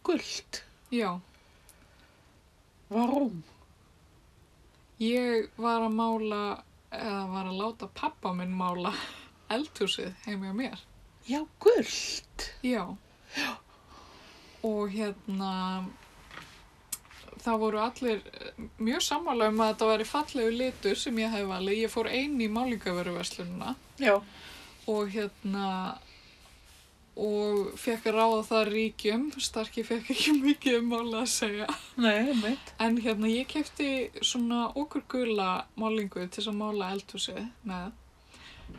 Speaker 2: Gullt.
Speaker 1: Já,
Speaker 2: Varum?
Speaker 1: ég var að mála eða var að láta pappa minn mála eldhúsið heim hjá mér.
Speaker 2: Já, gullt.
Speaker 1: Já. Og hérna, það voru allir eh, mjög sammála um að þetta væri fallegu litur sem ég hef valið. Ég fór einn í málingavöruverslununa
Speaker 2: Já.
Speaker 1: og hérna, og fekk að ráða það ríkjum. Starki fekk ekki mikið um mála að segja.
Speaker 2: Nei, mitt.
Speaker 1: En hérna, ég kefti svona okkur gula málingu til þess að mála eldhúsið með,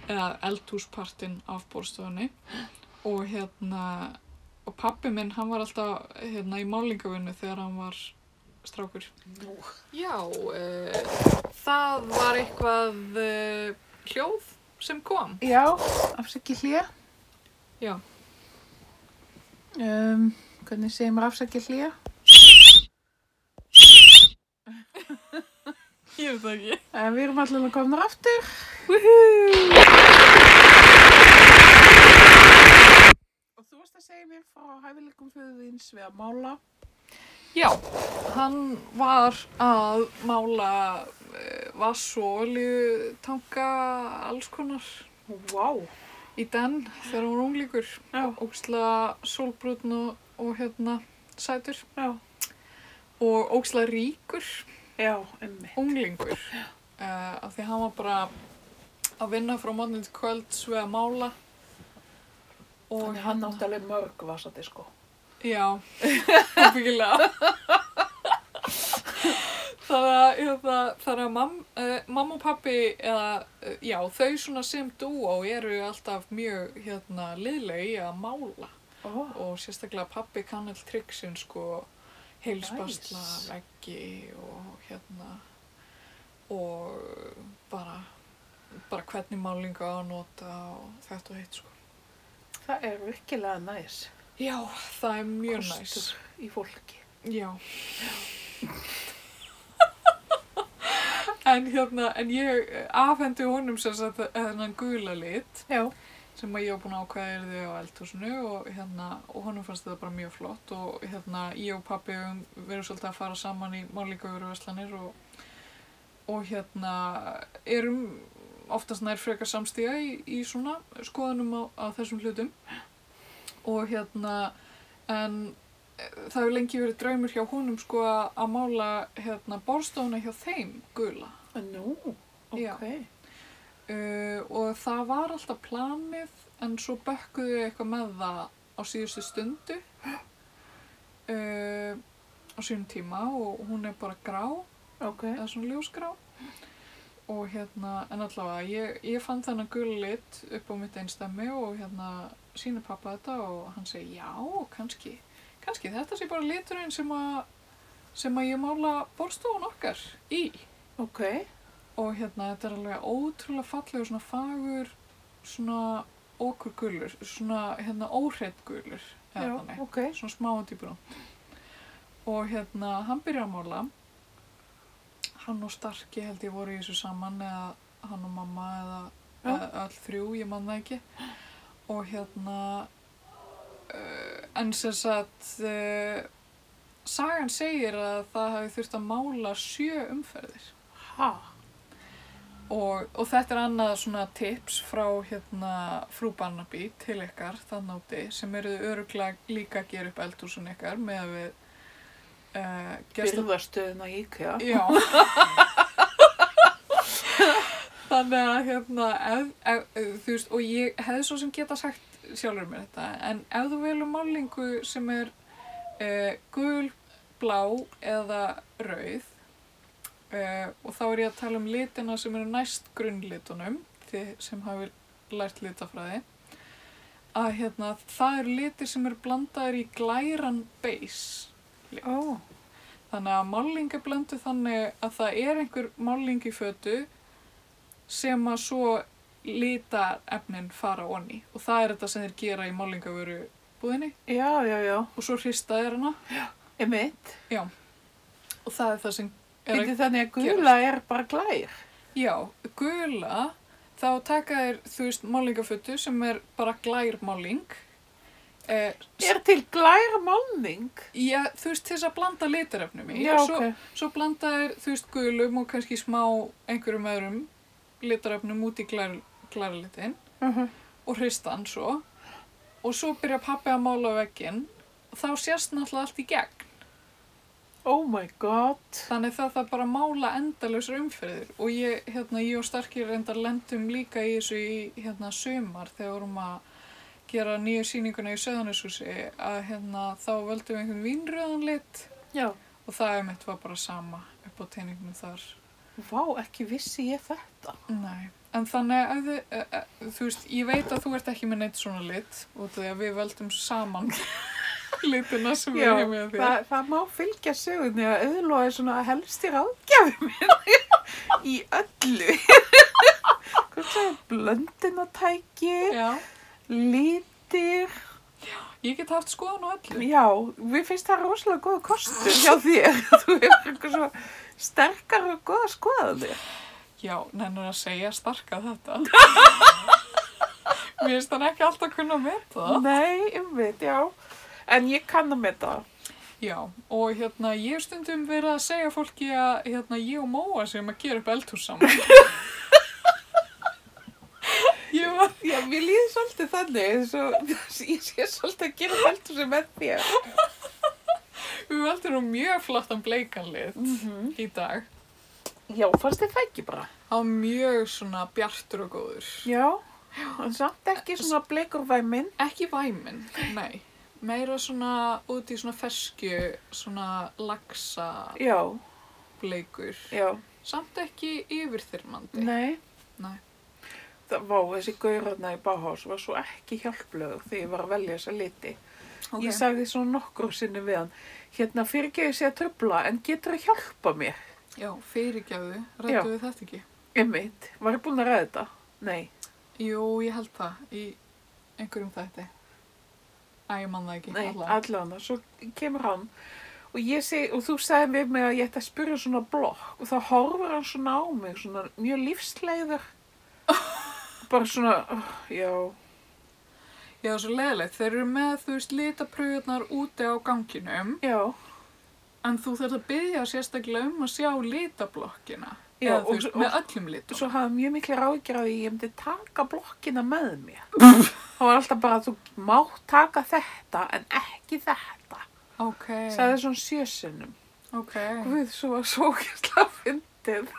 Speaker 1: eða eldhúspartin af bórstofunni og hérna, og pappi minn, hann var alltaf hérna í málingavinnu þegar hann var strákur.
Speaker 2: Nú.
Speaker 1: Já, eh, það var eitthvað eh, hljóð sem kom.
Speaker 2: Já, afsaki hlýja.
Speaker 1: Já.
Speaker 2: Um, hvernig segir maður afsaki hlýja?
Speaker 1: Ég veit það ekki.
Speaker 2: En við erum allavega komnar aftur. Og þú varst að segja mér frá hæfileikum föðuðins við að mála.
Speaker 1: Já, hann var að mála eh, vass og oljutanka alls konar
Speaker 2: Vá. Wow.
Speaker 1: í den þegar hann var unglíkur.
Speaker 2: Já.
Speaker 1: Óksla sólbrotn og, og hérna sætur
Speaker 2: Já.
Speaker 1: og óksla ríkur
Speaker 2: Já, emmi.
Speaker 1: unglingur. Uh, af því hann var bara að vinna frá morgun til kvölds við að mála. Og
Speaker 2: Þannig hann átti alveg mörg sko. vasadisko.
Speaker 1: Já, ábyggilega. Þannig að, hérna, þannig að mam, uh, mamma og pappi, eða, uh, já, þau svona sem dúó eru alltaf mjög, hérna, liðlega í að mála.
Speaker 2: Ó,
Speaker 1: Og sérstaklega pappi kann all triksin, sko, heilsbastla,
Speaker 2: Nice.
Speaker 1: veggi og, hérna, og bara, bara hvernig málinga á að nota og þetta og hitt, sko.
Speaker 2: það er virkilega næs.
Speaker 1: Já, það er mjög næst.
Speaker 2: Kostur Í fólki.
Speaker 1: Já. en hérna, en ég afhendi honum sem sagt þennan gula lit
Speaker 2: Já.
Speaker 1: sem að ég var búin að ákveða er þau á eldhúsinu og hérna, og honum fannst þetta bara mjög flott og hérna, ég og pappi höfum verið svolítið að fara saman í málíkaugurveslanir og, og hérna, erum oftast nær frekar samstíga í, í svona skoðanum á, á þessum hlutum og hérna, en eh, það hefur lengi verið draumur hjá honum sko að að mála hérna borstofuna hjá þeim gula
Speaker 2: Nú, ok.
Speaker 1: Já. uh, og það var alltaf planið en svo bökkuðu þau eitthvað með það á síðustu stundu uh, á sínum tíma og hún er bara grá
Speaker 2: Ok.
Speaker 1: eða svona ljósgrá og hérna, en allavega ég, ég fann þennan gula lit upp á mitt einstæmi og hérna sína pappa þetta og hann segi já, kannski kannski þetta sé bara liturinn sem að sem að ég mála borstofun okkar í
Speaker 2: Ok.
Speaker 1: og hérna þetta er alveg ótrúlega fallegur svona fagur svona okurgulur svona hérna óhreitt gulur eða
Speaker 2: Já,
Speaker 1: þannig
Speaker 2: ok.
Speaker 1: svona smá og dýbrúnt og hérna hann byrjar að mála hann og Starki held ég voru í þessu saman eða hann og mamma eða,
Speaker 2: Já.
Speaker 1: eða öll þrjú, ég man það ekki og hérna uh, en sem sagt uh, sagan segir að það hafi þurft að mála sjö umferðir
Speaker 2: Ha.
Speaker 1: Og, og þetta er annað svona tips frá hérna frú Barnaby til ykkar þann úti sem eru öruglega líka að gera upp eldhúsin ykkar með að við uh, gesta...
Speaker 2: Byrðastöðuna í IKEA.
Speaker 1: Já. Þannig að hérna, ef, ef, þú veist, og ég hefði svo sem geta sagt sjálfur mér þetta, en ef þú velur málingu sem er uh, gul, blá eða rauð, uh, og þá er ég að tala um litina sem eru næst grunnlitunum, þið sem hafið lært litafræði, að hérna, það eru litir sem eru blandaðir í glæran beis.
Speaker 2: Ó.
Speaker 1: Þannig að málinga blöndu þannig að það er einhver máling í fötu sem að svo lita efnin fara onni og það er þetta sem þeir gera í málingavöru búðinni
Speaker 2: Já, já, já.
Speaker 1: og svo hrista þeir hana
Speaker 2: Emmitt.
Speaker 1: og það er það sem er
Speaker 2: Þetta þannig að gula er bara glær.
Speaker 1: Já, gula þá taka þeir, þú veist, málingafötu sem er bara glærmáling eh,
Speaker 2: Er til glær málning?
Speaker 1: já, þú veist, til þess að blanda litarefnum í
Speaker 2: Já,
Speaker 1: og svo,
Speaker 2: ok.
Speaker 1: Svo blanda þeir, þú veist, gulum og kannski smá einhverjum öðrum litarefnum út í glær, glærlitin
Speaker 2: Mhm.
Speaker 1: og hrista hann svo og svo byrja pappi að mála vegginn og þá sést náttúrulega allt í gegn
Speaker 2: Oh my god.
Speaker 1: þannig það það bara að mála endalausar umferðir og ég, hérna, ég og Starki reyndar lendum líka í þessu í hérna sömar þegar vorum að gera nýju sýninguna í Söðanishúsi að hérna þá völdum við einhvern vínröðan lit
Speaker 2: Já.
Speaker 1: og það er mitt var bara sama upp á teiningnum þar
Speaker 2: Vá, ekki vissi ég þetta.
Speaker 1: Nei, en þannig að þið, eh, eh, þú veist, ég veit að þú ert ekki með neitt svona lit út af því að við veldum saman litina sem við hefum með þér.
Speaker 2: það, það má fylgja sögunni að auðlóa er svona helsti ráðgjafi minn í öllu. Hvort það er blöndinatæki,
Speaker 1: Já,
Speaker 2: lítir.
Speaker 1: ég get haft skoðan á öllu.
Speaker 2: Já, mér finnst það rosalega góða kostur hjá þér. Þú hefur eitthvað svo sterkar og góða skoðanir.
Speaker 1: Já, nennur að segja starka þetta. Mér finnst þannig ekki alltaf kunna að meta það.
Speaker 2: Nei, umveit, já. En ég kann að meta það.
Speaker 1: Já, og hérna, ég hef stundum verið að segja fólki að hérna, ég og Móa sem að gera upp eldhús saman. ég var
Speaker 2: Já, mér líður svolítið þannig eins og ég sé svolítið að gera heldur sem með þér.
Speaker 1: Við veldum nú mjög flottan bleikan lit
Speaker 2: Mm.
Speaker 1: í dag.
Speaker 2: Mhm. Já, fannst þið það ekki bara?
Speaker 1: Það var mjög svona bjartur og góður.
Speaker 2: Já, en samt ekki svona bleikur væminn.
Speaker 1: Ekki væminn, nei. Meira svona út í svona fersku, svona laxa
Speaker 2: Já,
Speaker 1: bleikur.
Speaker 2: já,
Speaker 1: Samt ekki yfirþyrmandi.
Speaker 2: nei.
Speaker 1: Nei.
Speaker 2: Það vá, þessi gaurarna í Báhás var svo ekki hjálplegur þegar ég var að velja þessa liti.
Speaker 1: Ok.
Speaker 2: Ég sagði svona nokkur sinni við hann, hérna fyrirgeðu sé að tröfla en getur að hjálpa mér.
Speaker 1: Já, fyrirgefðu,
Speaker 2: Já.
Speaker 1: rættu við þetta ekki.
Speaker 2: Einmitt, var ég búin að ræða þetta? Nei.
Speaker 1: Jú, ég held það í einhverjum þætti. Æ, ég man það ekki.
Speaker 2: Nei,
Speaker 1: alla.
Speaker 2: allan, svo kemur hann og, ég seg, og þú sagði við mig að ég ætti að spyrja svona blokk og þá horfur hann svona á mig, svona mjög lífsleiður bara svona, oh, já
Speaker 1: Já, svo leðilegt. Þeir eru með, þú veist, litapröðunar úti á ganginum.
Speaker 2: já,
Speaker 1: En þú þarf að byggja sérstaklega um að sjá litablokkina.
Speaker 2: Já,
Speaker 1: Eða, þú
Speaker 2: og-
Speaker 1: veist,
Speaker 2: og-
Speaker 1: með öllum litum.
Speaker 2: svo hafði hann mjög miklu ráðgjur að ég myndi taka blokkina með mér þá var alltaf bara þú mátt taka þetta en ekki þetta
Speaker 1: Ok,
Speaker 2: sagði svona sjösinnum
Speaker 1: ok.
Speaker 2: Guð, svo var svo ógæslega fyndið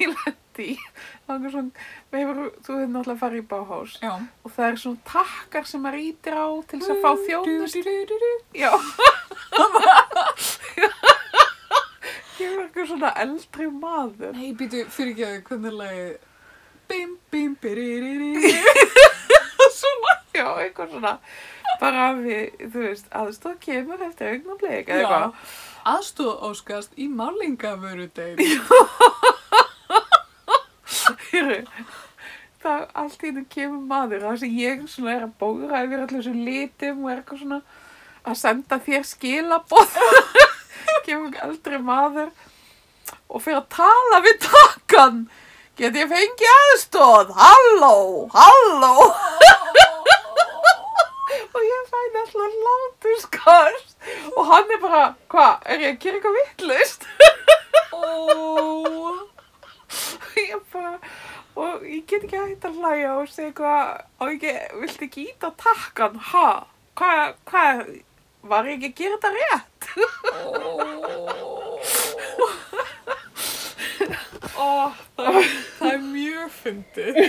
Speaker 2: ég lendi í það er svona, hefur, þú hefur náttúrulega farið í Bauhaus
Speaker 1: Já.
Speaker 2: og það er svona takkar sem maður ítir á til þess að fá þjónust
Speaker 1: þjónustu.
Speaker 2: já ég var eitthvað svona eldri maður
Speaker 1: Nei, býtu, fyrir ekki að hvernig lagið. Bim, bim, biririri.
Speaker 2: svona, já, eitthvað svona bara við, þú veist, aðstóð kemur eftir augnablik eða
Speaker 1: Já.
Speaker 2: eitthvað
Speaker 1: Aðstóð óskast í málingavörudegi.
Speaker 2: Heyrðu, það allt í hennu kemur maður það sem ég svona er að bóra yfir allir þessum litum og er eitthvað svona að senda þér skilaboð kemur aldrei maður og fyrir að tala við takkan get ég fengið aðstóð halló, halló og ég fæði alltaf látuskast og hann er bara hvað, er ég að gera eitthvað vittlust
Speaker 1: Ó.
Speaker 2: ég bara, og ég get ekki hægt að hlæja og segja eitthvað, og ég get- viltu ekki íta takkan, ha, hvað, hvað, var ég ekki að gera þetta rétt?
Speaker 1: Ó, það, það er mjög fyndið.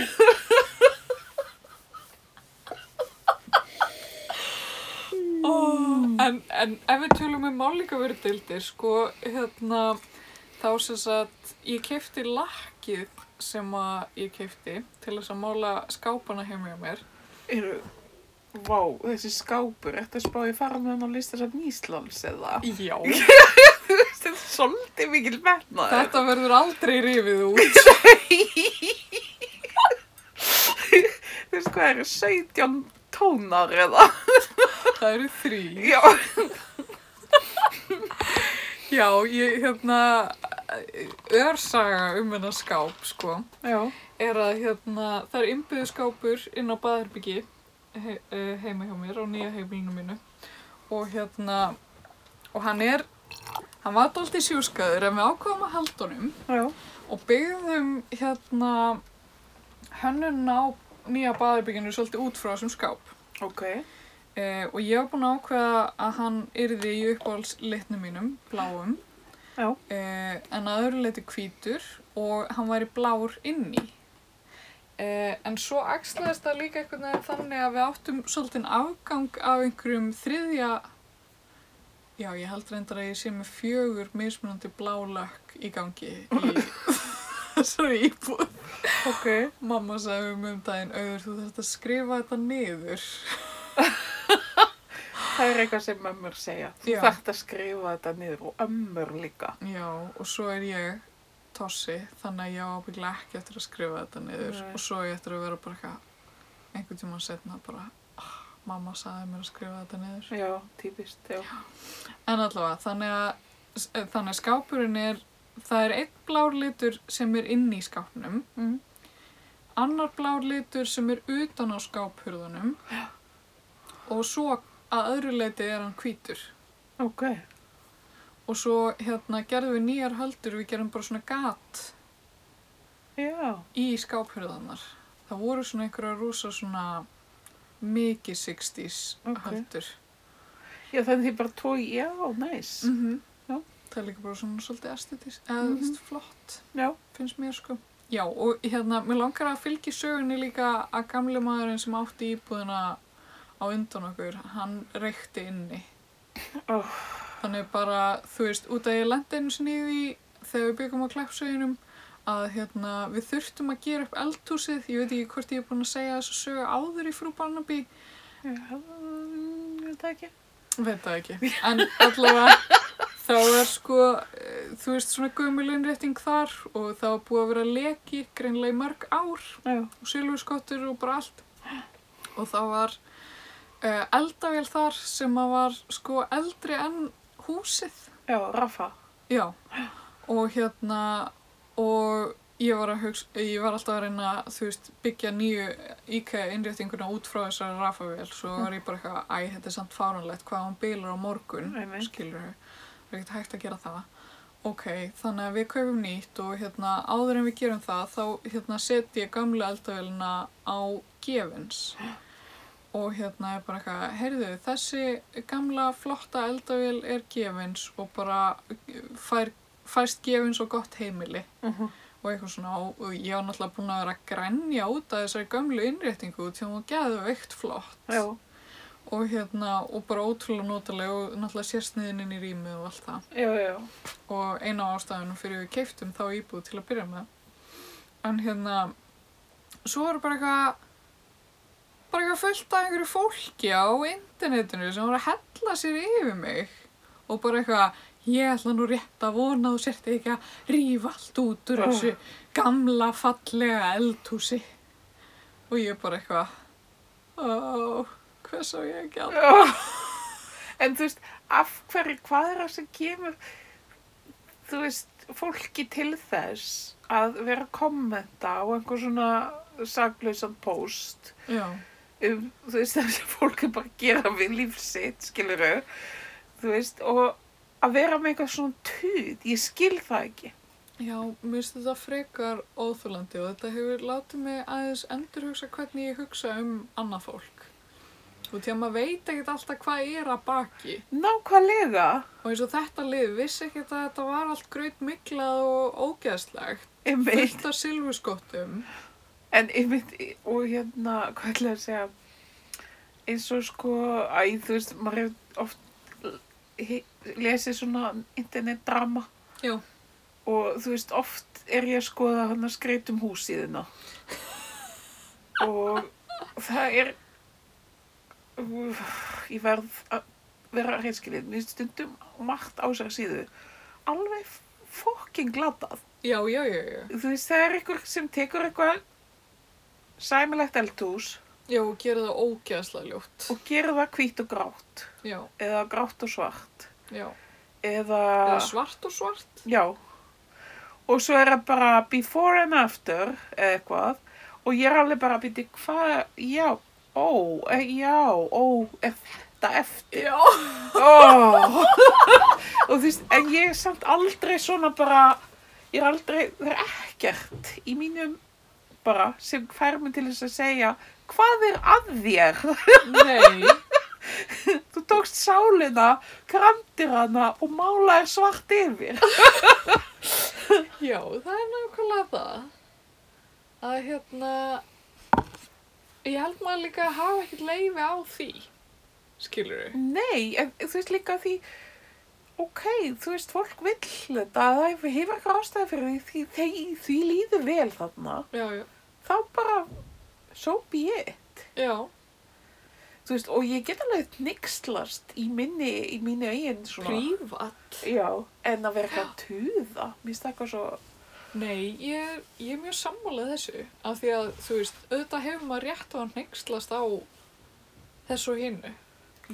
Speaker 1: Ó, en, en ef við tölum um málíkaverudeildir, sko, hérna, þá sem sagt, ég kefti lakkið sem að ég kefti til þess að mála skápana heim hjá mér.
Speaker 2: Eru, vá, þessi skápur, eftir að spá ég fara með hann á listasafn Íslands eða?
Speaker 1: Já,
Speaker 2: Þú veist, þetta er svolítið mikil metnaður.
Speaker 1: þetta verður aldrei rifið út.
Speaker 2: Þú veist hvað eru, 17 tónar eða?
Speaker 1: Það eru þrý.
Speaker 2: Já,
Speaker 1: Já, ég, hérna, örsaga um hennar skáp, sko.
Speaker 2: já,
Speaker 1: er að hérna, það er innbyggðskápur inn á baðherbyggi he eh, heima hjá mér á nýja heimilinu mínu og hérna og hann er hann var dálítið sjúskaður en við ákváðum að halda honum
Speaker 2: já,
Speaker 1: og byggðum hérna hönnun á nýja baðherbygginu svolítið út frá þessum skáp.
Speaker 2: Ok.
Speaker 1: Eh, og ég var búin að ákveða að hann yrði í uppáhaldslitnum mínum, bláum,
Speaker 2: Já.
Speaker 1: eh, en að öðru leiti hvítur og hann væri blár inni. Eh, en svo axlaðist það líka einhvern veginn þannig að við áttum svolítinn afgang af einhverjum þriðja, já ég held reyndar að ég sé með fjögur mismunandi blálökk í gangi í þessari íbúð.
Speaker 2: Ok.
Speaker 1: Mamma sagði um um daginn, auður þú þarfst að skrifa þetta niður.
Speaker 2: Það er eitthvað sem ömmur segja. Þú
Speaker 1: Já.
Speaker 2: þarft að skrifa þetta niður og ömmur líka.
Speaker 1: Já, og svo er ég tossi, þannig að ég á ábygglega ekki eftir að skrifa þetta niður
Speaker 2: Nei.
Speaker 1: og svo á ég eftir að vera bara eitthvað einhvern tímann setna bara "Ah, mamma sagði mér að skrifa þetta niður.
Speaker 2: Já, típist, já.
Speaker 1: En allavega, þannig að eh, þannig að skápurinn er það er einn blár litur sem er inn í skápnum,
Speaker 2: Mm.
Speaker 1: annar blár litur sem er utan á skáphurðunum og svo að öðru leiti er hann hvítur.
Speaker 2: Ok.
Speaker 1: Og svo hérna gerðum við nýjar höldur, við gerum bara svona gat
Speaker 2: Já.
Speaker 1: í skáphörðanar. Það voru svona einhverja rosa svona mikið 60s
Speaker 2: Ok.
Speaker 1: höldur.
Speaker 2: Já, þannig því bara tói, já, næs.
Speaker 1: Mm
Speaker 2: Mhm, Já.
Speaker 1: Það er líka bara svona svolítið estetist, eða
Speaker 2: Mhm.
Speaker 1: mm flott,
Speaker 2: Já.
Speaker 1: finnst mér sko. Já, og hérna, mér langar að fylgi sögunni líka að gamli maðurinn sem átti íbúðina á undan okkur, hann reykti inni.
Speaker 2: Ó.
Speaker 1: Þannig bara, þú veist, út að ég lendi einu sinni í því þegar við byggum á kleppsöginum að hérna, við þurftum að gera upp eldhúsið, ég veit ekki hvort ég er búin að segja þess að sögu áður í frú Barnaby,
Speaker 2: Já, mm, ég veit það ekki.
Speaker 1: veit það ekki, en allavega þá er sko, eh, þú veist, svona gömulunrétting þar og það var búið að vera leki greinlega í mörg ár
Speaker 2: Já.
Speaker 1: og silfurskottur og bara allt og þá var uh, eldavél þar sem að var sko eldri en húsið
Speaker 2: Já, Rafa.
Speaker 1: Já, og hérna, og ég var, að hugsa, ég var alltaf að reyna, þú veist, byggja nýju IKEA-innréttinguna út frá þessari rafavél, svo var ég bara eitthvað, æ, þetta er samt fáranlegt, hvað hún bílar á morgun,
Speaker 2: Einmitt.
Speaker 1: skilur þau, það er ekkert hægt að gera það. Ok, þannig að við kaupum nýtt og hérna, áður en við gerum það, þá hérna set ég gamla eldavélina á gefins. Og hérna er bara eitthvað, heyrðu, þessi gamla flotta eldavél er gefins og bara fær, fæst gefins og gott heimili
Speaker 2: Uh -huh.
Speaker 1: og eitthvað svona og og ég var náttúrulega búin að vera að grænja út af þessari gömlu innréttingu því að hún var geðveikt flott
Speaker 2: Já.
Speaker 1: og hérna og bara ótrúlega notaleg og náttúrulega sérsniðin inn í rýmið og allt það
Speaker 2: Já, já,
Speaker 1: og eina af ástæðunum fyrir við keiftum þá íbúð til að byrja með en hérna svo var bara eitthvað bara eitthvað fullt af einhverju fólki á internetinu sem var að hella sér yfir mig og bara eitthvað ég ætla nú rétt að vona að þú sért ekki að rífa allt út úr
Speaker 2: Oh.
Speaker 1: þessu gamla fallega eldhúsi og ég bara eitthvað ó, hvers á ég að gera
Speaker 2: já. Oh. En þú veist, af hverju, hvað er það sem kemur, þú veist, fólki til þess að vera að kommenta á einhver svona saglausan post
Speaker 1: já,
Speaker 2: um, þú veist, það sem fólk er bara að gera við lífsitt, skilur þau, þú veist, og að vera með eitthvað svona tuð, ég skil það ekki.
Speaker 1: Já, mér finnst þetta frekar óþúlandi og þetta hefur látið mig aðeins endurhugsa hvernig ég hugsa um annað fólk. Og því að maður veit ekkert alltaf hvað er að baki.
Speaker 2: Nákvæmlega,
Speaker 1: Og eins og þetta lið vissi ekkert að þetta var allt gröyt miklað og ógeðslegt.
Speaker 2: einmitt.
Speaker 1: Fullt af silfurskottum.
Speaker 2: En einmitt, og hérna, hvað ætla ég að segja, eins og sko, æ, þú veist, maður hefur oft hi- lesið svona internetdrama
Speaker 1: Já.
Speaker 2: og þú veist, oft er ég að skoða hann að skreitum húsíðina og það er, Úff, ég verð að vera reynskilið, mér finnst stundum margt á sér síðu, alveg fokking glatað
Speaker 1: Já, já, já, já.
Speaker 2: þú veist, það er einhver sem tekur eitthvað sæmilegt eldhús
Speaker 1: Já, og gera það ógeðslega ljótt.
Speaker 2: og gerir það hvít og grátt
Speaker 1: Já,
Speaker 2: eða grátt og svart
Speaker 1: já.
Speaker 2: eða,
Speaker 1: Eða svart og svart.
Speaker 2: já og svo er það bara before and after eða eitthvað og ég er alveg bara að byrja hvað, já, ó, e, já, ó, er þetta eftir
Speaker 1: Já.
Speaker 2: oh. og þú veist, en ég er samt aldrei svona bara, ég er aldrei, það er ekkert í mínum bara sem fær mig til þess að segja hvað er að þér?
Speaker 1: Nei,
Speaker 2: Þú tókst sálina, kramdir hana og málaðir svart yfir.
Speaker 1: já, það er nákvæmlega það að hérna ég held maður líka að hafa ekkert leifi á því skilur við
Speaker 2: Nei, en þú veist líka því, ok, þú veist, fólk vill þetta, það hefur hefur ekki ástæði fyrir því, því, því, því líður vel þarna.
Speaker 1: Já, já,
Speaker 2: Þá bara, so be it.
Speaker 1: já,
Speaker 2: Þú veist, og ég get alveg nixlast í minni, í minni eigin svona.
Speaker 1: prívat
Speaker 2: Já, en að vera eitthvað að tuða, mér finnst það eitthvað svo,
Speaker 1: Nei, ég er, ég er mjög sammálað þessu af því að, þú veist, auðvitað hefur maður rétt á að hneykslast á þessu og hinnu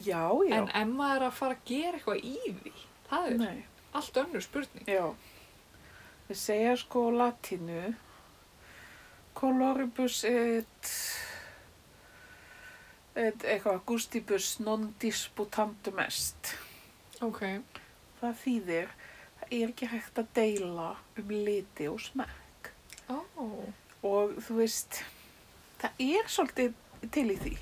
Speaker 2: já, já.
Speaker 1: en ef maður er að fara að gera eitthvað í því það er
Speaker 2: Nei,
Speaker 1: allt önnur spurning
Speaker 2: já. Við segja sko á latinu, coloribus et, et eitthvað, gustibus non disputantum est.
Speaker 1: Ok,
Speaker 2: Það þýðir, það er ekki hægt að deila um liti og smekk.
Speaker 1: ó,
Speaker 2: Og þú veist, það er svolítið til í því.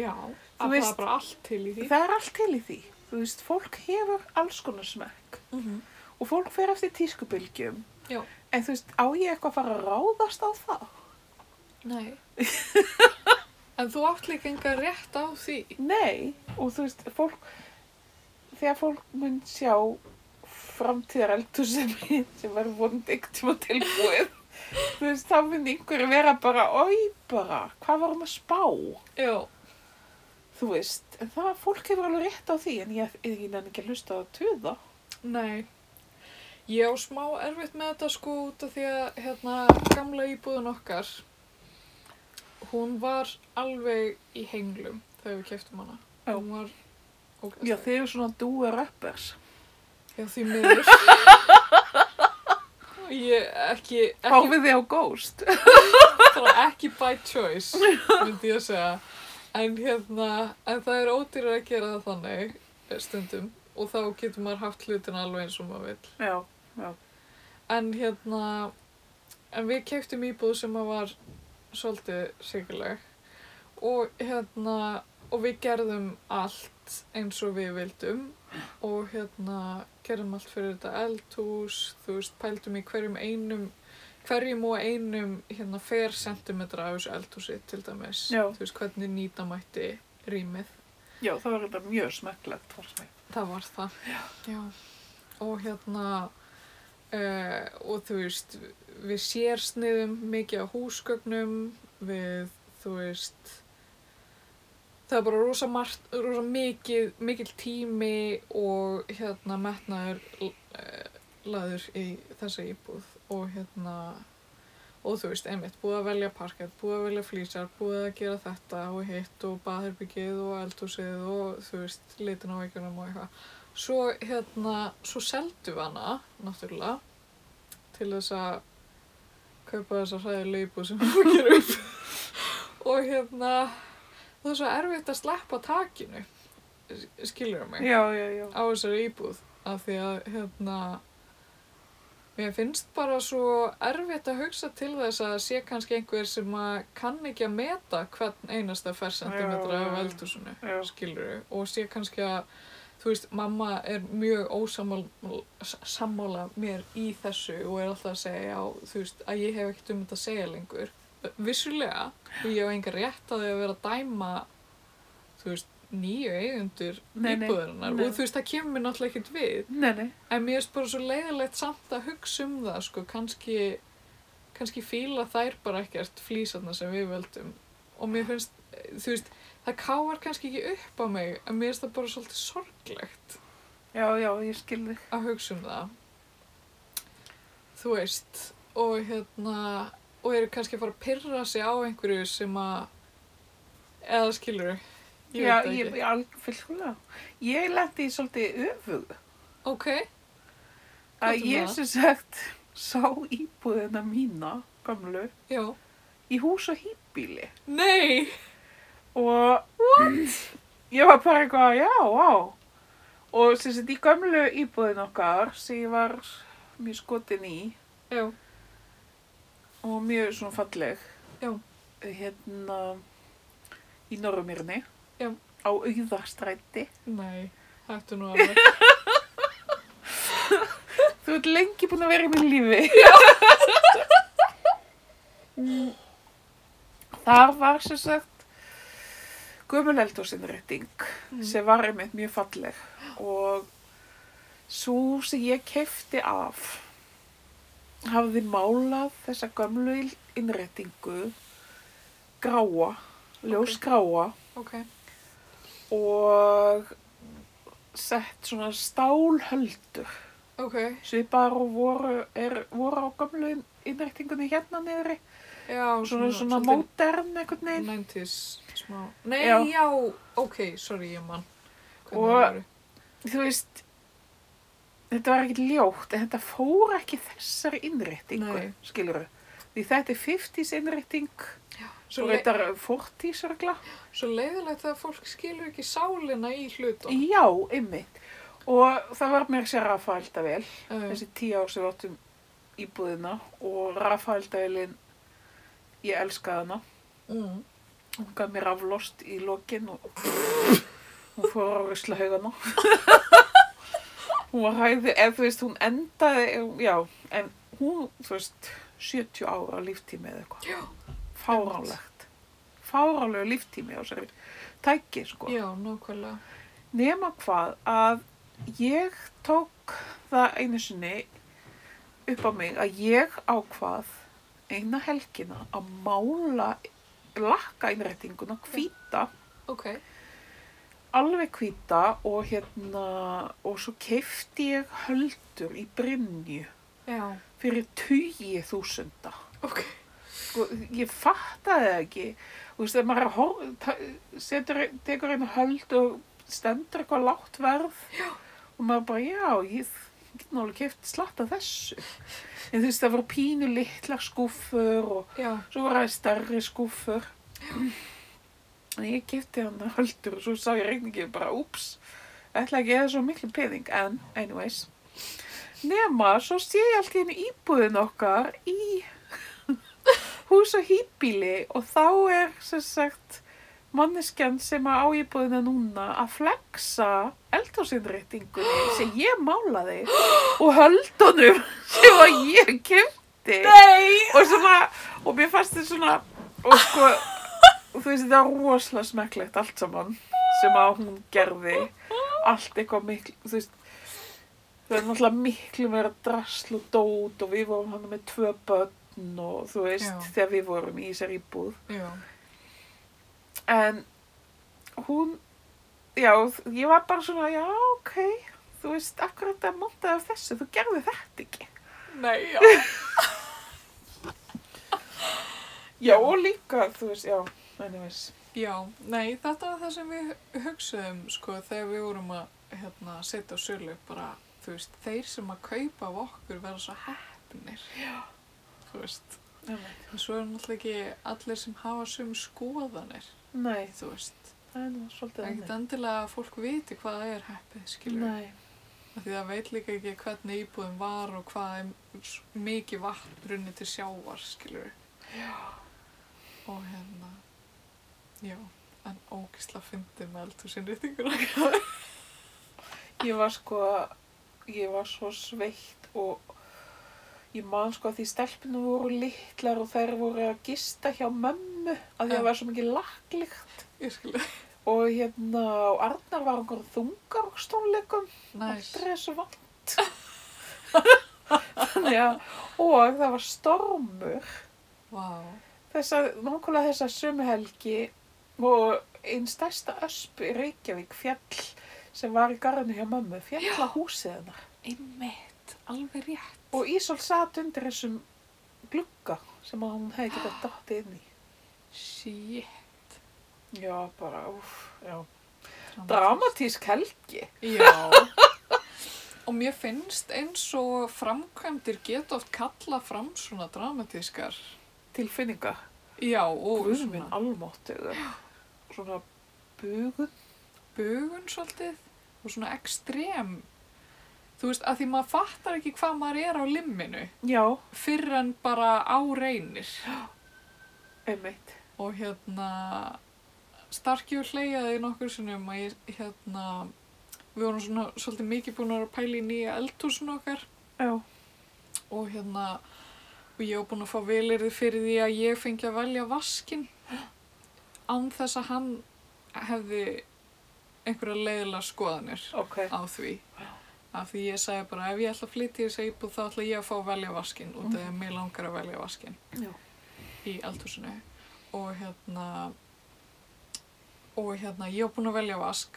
Speaker 1: já að það
Speaker 2: veist-
Speaker 1: er bara allt til í því
Speaker 2: Það er allt til í því. Þú veist, fólk hefur alls konar smekk
Speaker 1: mm -hmm.
Speaker 2: og fólk fer eftir tískubylgjum.
Speaker 1: Já.
Speaker 2: En þú veist, á ég eitthvað að fara að ráðast á það?
Speaker 1: Nei En þú átt líka enga rétt á því
Speaker 2: Nei. Og þú veist, fólk, þegar fólk mun sjá framtíðar eldur sem, sem er vond yktum og tilbúið, þú veist, þá mun einhver vera bara, oi bara, hvað varum að spá?
Speaker 1: Já,
Speaker 2: Þú veist, en það, fólk hefur alveg rétt á því, en ég, ég nenni ekki að hlusta á tuða.
Speaker 1: nei Ég á smá erfitt með þetta sko út af því að hérna gamla íbúðin okkar hún var alveg í henglum þegar við keftum hana
Speaker 2: Já.
Speaker 1: Hún var ógeðsleg.
Speaker 2: Já, þið eru svona dúa-rappers.
Speaker 1: Já, því miður Ég ekki, ekki
Speaker 2: Fáfið þið á Ghost?
Speaker 1: bara ekki by choice myndi ég að segja en hérna, en það er ódýrar að gera það þannig eh, stundum og þá getur maður haft hlutin alveg eins og maður vill
Speaker 2: Já,
Speaker 1: en hérna en við keftum íbúð sem að var svolítið sikileg og hérna og við gerðum allt eins og við vildum og hérna gerðum allt fyrir þetta eldhús þú veist, pældum í hverjum einum hverjum og einum hérna fer sentimetra af þessu eldhúsi til dæmis,
Speaker 2: Já.
Speaker 1: þú veist hvernig nýta mætti rýmið,
Speaker 2: já, það var þetta mjög smekklegt, fannst mér.
Speaker 1: það var það Já. og hérna uh, og þú veist við sérsniðum mikið á húsgögnum við þú veist það er bara rosa, margt, rosa mikið mikil tími og hérna metnaður uh, laður í þessa íbúð og hérna og þú veist, einmitt, búið að velja parkett, búið að velja flýsar, búið að gera þetta og hitt og baðherbyggið og eldhúsið og þú veist, litin á veikunum og eitthvað. Svo hérna, svo seldum við hana, náttúrulega, til þess að kaupa þessa hræðilegu íbúð sem hún ger upp. og hérna, það er svo erfitt að sleppa takinu, skilur mig
Speaker 2: Já, já, já.
Speaker 1: á þessari íbúð af því að hérna mér finnst bara svo erfitt að hugsa til þess að sé kannski einhver sem að kann ekki að meta hvern einasta fersentimetra
Speaker 2: Já, já,
Speaker 1: af
Speaker 2: já.
Speaker 1: eldhúsinu
Speaker 2: Já.
Speaker 1: skilur og sé kannski að þú veist, mamma er mjög ósammála mér í þessu og er alltaf að segja á, þú veist, að ég hef ekkert um þetta að segja lengur vissulega, og ég hef engar rétt að því að vera að dæma þú veist, nýju eigundur
Speaker 2: Nei, nei,
Speaker 1: íbúðarinnar
Speaker 2: nei.
Speaker 1: og þú veist, það kemur mér náttúrulega ekkert við
Speaker 2: Nei, nei.
Speaker 1: en mér er bara svo leiðilegt samt að hugsa um það sko, kannski kannski fíla þær bara ekkert flýsarna sem við völdum og mér finnst, þú veist, það káar kannski ekki upp á mig, en mér finnst það bara svolítið sorglegt
Speaker 2: Já, já, ég skil þig.
Speaker 1: að hugsa um það þú veist og hérna og eru kannski að fara að pyrra sig á einhverju sem að eða skilur ég
Speaker 2: já,
Speaker 1: veit það
Speaker 2: ég
Speaker 1: ekki
Speaker 2: er alveg fylgulega. Ég lendi í svolítið öfugu.
Speaker 1: ok,
Speaker 2: Að
Speaker 1: Hvað er
Speaker 2: ég
Speaker 1: það?
Speaker 2: sem sagt sá íbúðina mína, gamlu,
Speaker 1: já,
Speaker 2: í hús og hýbíli.
Speaker 1: nei
Speaker 2: Og ég var bara eitthvað, já, vá. Og sem sagt í gamlu íbúðin okkar sem ég var mjög skotin í
Speaker 1: já,
Speaker 2: og mjög svona falleg.
Speaker 1: Já.
Speaker 2: hérna í Norðumýrni
Speaker 1: Já.
Speaker 2: á auðarstræti
Speaker 1: Nei, hættu nú alveg.
Speaker 2: þú ert lengi búin að vera hérna í mínu lífi Mm. þar var sem sagt gömul eldhúsinnrétting sem var einmitt mjög falleg og svo sem ég kefti af hafði málað þessa gömlu innréttingu gráa, ljósgráa
Speaker 1: Ok.
Speaker 2: og sett svona stálhöldur
Speaker 1: Ok,
Speaker 2: svipar og voru, er, voru á gamlu innræktingunni hérna niðri
Speaker 1: já.
Speaker 2: og svona, svona
Speaker 1: svolítið
Speaker 2: mótern einhvern veginn
Speaker 1: 90s, smá. Nei,
Speaker 2: Já.
Speaker 1: já. ok, sorry, ég mann. Hvernig
Speaker 2: Og-
Speaker 1: það voru?
Speaker 2: þú veist þetta var ekkert ljótt en þetta fór ekki þessari innræktingu
Speaker 1: Nei.
Speaker 2: skilur því þetta er 50s innrækting
Speaker 1: Svo,
Speaker 2: og
Speaker 1: le
Speaker 2: þetta er 40s örgla
Speaker 1: svo leiðilegt að fólk skilur ekki sálina í hlutum.
Speaker 2: já, einmitt og það var mér sér Rafa Eldavel
Speaker 1: Uh,
Speaker 2: þessi tíu ár sem við áttum íbúðina og Rafa Eldavelin ég elskaði hana
Speaker 1: mm.
Speaker 2: Hún gaf mér aflost í lokin og hún fór á rusla haugana. hún var hæði, eða þú veist, hún endaði, já, en hún, þú veist, 70 ára líftími eða eitthvað.
Speaker 1: Já.
Speaker 2: Fáránlegt. Fáránlegu líftími á sér tæki, sko.
Speaker 1: Já, nákvæmlega.
Speaker 2: Nema hvað að ég tók það einu sinni upp á mig að ég ákvað eina helgina að mála blakka innrættinguna, hvíta,
Speaker 1: Ok,
Speaker 2: alveg hvíta og hérna og svo keifti ég höldur í Brynju
Speaker 1: já,
Speaker 2: fyrir tugi þúsunda.
Speaker 1: ok.
Speaker 2: Sko, ég fattaði það ekki. Þú veist, þegar maður er að hor- ta- setur, tekur einu höld og stendur eitthvað lágt verð já. og maður bara, já, ég get nálega keft slatta þessu. En þú veist, það voru pínu litlar skúfur og
Speaker 1: Já,
Speaker 2: svo voru það stærri skúfur. En ég kefti hann að höldur og svo sá ég reyningið bara, úps, ætla ekki eða svo miklu pening. En, anyways, nema, svo sé ég allt í hennu íbúðin okkar í hús og hýbíli og þá er, sem sagt, manneskjan sem að á íbúðina núna að flexa eldhúsinnréttingunni sem ég málaði og höldunum sem að ég kemdi.
Speaker 1: Nei!
Speaker 2: og svona, og mér fannst þetta svona og sko og þú veist þetta er rosalega smekklegt allt saman sem að hún gerði allt eitthvað miklu þú veist það er náttúrulega miklu meira drasl og dót og við vorum hann með tvö börn og þú veist
Speaker 1: Já.
Speaker 2: þegar við vorum í þessari íbúð
Speaker 1: Já,
Speaker 2: en hún já, ég var bara svona já, ok, þú veist akkurat það montaði af þessu, þú gerði þetta ekki
Speaker 1: nei, já.
Speaker 2: já, og líka, þú veist, já anyways,
Speaker 1: Já, nei, þetta var það sem við hugsuðum, sko, þegar við vorum að hérna, setja á sölu, bara, þú veist, þeir sem að kaupa af okkur verða svo hefnir. Já. Þú veist,
Speaker 2: Einmitt.
Speaker 1: en svo er náttúrulega ekki allir sem hafa sömu skoðanir,
Speaker 2: nei
Speaker 1: þú veist.
Speaker 2: Það er nú svolítið
Speaker 1: Það er ekkert endilega að fólk viti hvað það er heppið, skilur.
Speaker 2: Nei,
Speaker 1: Því það veit líka ekki hvernig íbúðin var og hvað er s- mikið vatn brunni til sjávar, skilur. Já. Og hérna, já, en ógisla fyndið með eldhúsinréttinguna.
Speaker 2: ég var sko, ég var svo sveitt og ég man sko að því stelpinu voru litlar og þær voru að gista hjá mömmu að því
Speaker 1: Já.
Speaker 2: að var svo mikið laklíkt
Speaker 1: Ég skilur.
Speaker 2: og hérna, og Arnar var einhver þungar og stónleikum,
Speaker 1: Næs.
Speaker 2: aldrei þessu vant. Þannig að, og það var stormur
Speaker 1: Vá.
Speaker 2: þessa, nákvæmlega þessa sumhelgi og einn stærsta ösp í Reykjavík fjall sem var í garðinu hjá mömmu, fjall á húsið hennar.
Speaker 1: Einmitt, alveg rétt.
Speaker 2: Og Ísól sat undir þessum glugga sem að hún hefði getað dottið inn í.
Speaker 1: Shit.
Speaker 2: Já, bara, úff, já.
Speaker 1: Dram-
Speaker 2: Dramatísk helgi.
Speaker 1: Já. Og mér finnst eins og framkvæmdir geta oft kalla fram svona dramatískar.
Speaker 2: Tilfinningar.
Speaker 1: Já, og
Speaker 2: Guð minn almáttugur. Svona bugun.
Speaker 1: bugun svolítið og svona ekstrem þú veist, að því maður fattar ekki hvað maður er á limminu
Speaker 2: Já,
Speaker 1: fyrr en bara á reynir
Speaker 2: einmitt.
Speaker 1: og hérna starki og hleyjaði nokkur sinnum að ég hérna við vorum svona svolítið mikið búin að vera að pæla í nýja eldhúsin okkar
Speaker 2: Já.
Speaker 1: og hérna og ég var búin að fá velirði fyrir því að ég fengi að velja vaskin án þess að hann hefði einhverja leiðilega skoðanir
Speaker 2: Ok.
Speaker 1: á því af því ég sagði bara ef ég ætla að flytja í þessu íbúð þá ætla ég að fá að velja vaskin út af því að mér langar að velja vaskin
Speaker 2: Já.
Speaker 1: í eldhúsinu og hérna og hérna ég var búin að velja vask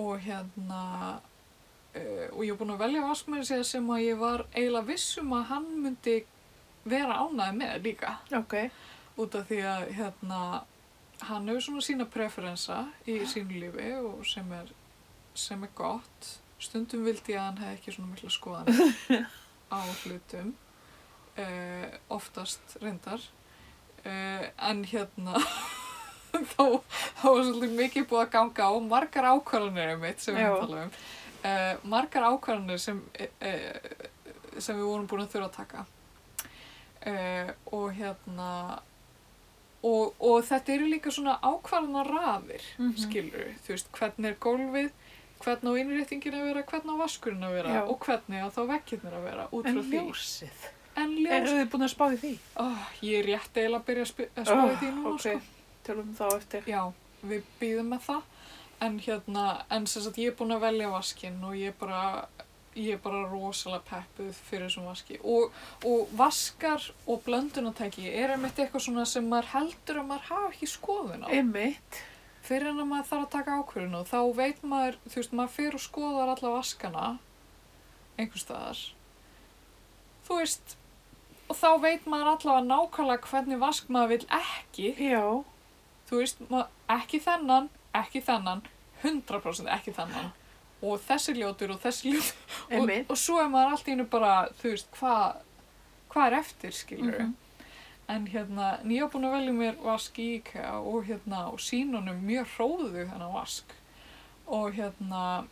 Speaker 1: og hérna uh, og ég var búin að velja vask með þess að sem að ég var eiginlega viss um að hann myndi vera ánæði með líka
Speaker 2: Ok.
Speaker 1: út af því að hérna, hann hefur svona sína preferensa í sínu lífi og sem er, sem er gott. Stundum vildi ég að hann hefði ekki svona mikla skoðan á hlutum, uh, oftast reyndar, uh, en hérna þá, þá var svolítið mikið búið að ganga á margar ákvarðanir um mitt sem við
Speaker 2: Já.
Speaker 1: erum að tala um. Uh, margar ákvarðanir sem, uh, sem við vorum búin að þurfa að taka. Uh, og hérna, og, og þetta eru líka svona ákvarðana rafir,
Speaker 2: Mhm.
Speaker 1: skilur þú veist, hvernig er gólfið, hvernig á innréttingin að vera, hvernig á vaskurinn að vera
Speaker 2: Já.
Speaker 1: og hvernig á þá vekkirnir að vera út frá
Speaker 2: En
Speaker 1: því.
Speaker 2: ljósið.
Speaker 1: En
Speaker 2: Eru
Speaker 1: ljós.
Speaker 2: þið búin að spá í því?
Speaker 1: Oh, ég er rétt eiginlega að byrja að sp- að spáði því núna, sko.
Speaker 2: sko. Ah, Tölum þá eftir.
Speaker 1: Já, við býðum með það en hérna, en sem sagt ég er búin að velja vaskinn og ég er bara ég er bara rosalega peppuð fyrir þessum vaski og, og vaskar og blöndunatæki er einmitt eitthvað svona sem maður heldur að maður hafa ekki skoðun á
Speaker 2: Einmitt.
Speaker 1: fyrir en að maður þarf að taka ákvörðun og þá veit maður, þú veist, maður fyrir og skoðar alla vaskana einhvers staðar þú veist og þá veit maður allavega nákvæmlega hvernig vask maður vil ekki
Speaker 2: Já.
Speaker 1: þú veist, ma- ekki þennan, ekki þennan, 100% ekki þennan og þessi ljótur og þessi ljótur og,
Speaker 2: Einmitt.
Speaker 1: og svo er maður allt í einu bara, þú veist, hvað hva er eftir, skilur
Speaker 2: Mhm.
Speaker 1: en hérna, en ég var búin að velja mér vask í IKEA og hérna, og sínunum mjög hróðu þennan vask og hérna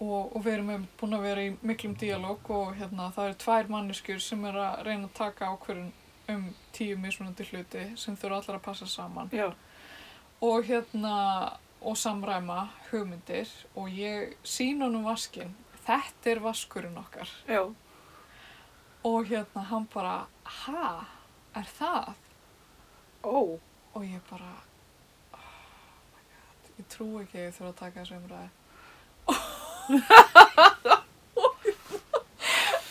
Speaker 1: og, og við erum einmitt búin að vera í miklum díalóg og hérna, það eru tvær manneskjur sem er að reyna að taka ákvörðun um tíu mismunandi hluti sem þurfa allar að passa saman
Speaker 2: Já.
Speaker 1: og hérna og samræma hugmyndir og ég sín honum vaskinn þetta er vaskurinn okkar
Speaker 2: Já.
Speaker 1: og hérna hann bara ha, er það?
Speaker 2: Ó.
Speaker 1: og ég bara oh my god, ég trú ekki að ég þurfa að taka þessu umræði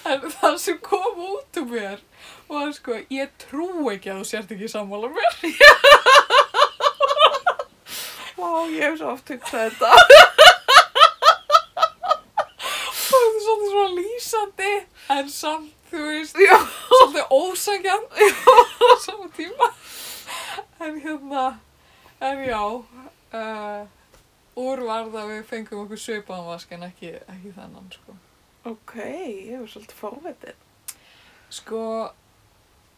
Speaker 1: en það sem kom út úr mér var sko, ég trú ekki að þú sért ekki sammála mér
Speaker 2: Vá, ég hef svo oft hugsað þetta.
Speaker 1: og þetta er svolítið svona lýsandi en samt, þú veist
Speaker 2: Já.
Speaker 1: svolítið ósækjan á sama tíma en hérna en já uh, úr varð að við fengum okkur svipaðan vask en ekki, ekki þennan sko
Speaker 2: Ok, ég hef svolítið forvetið.
Speaker 1: sko,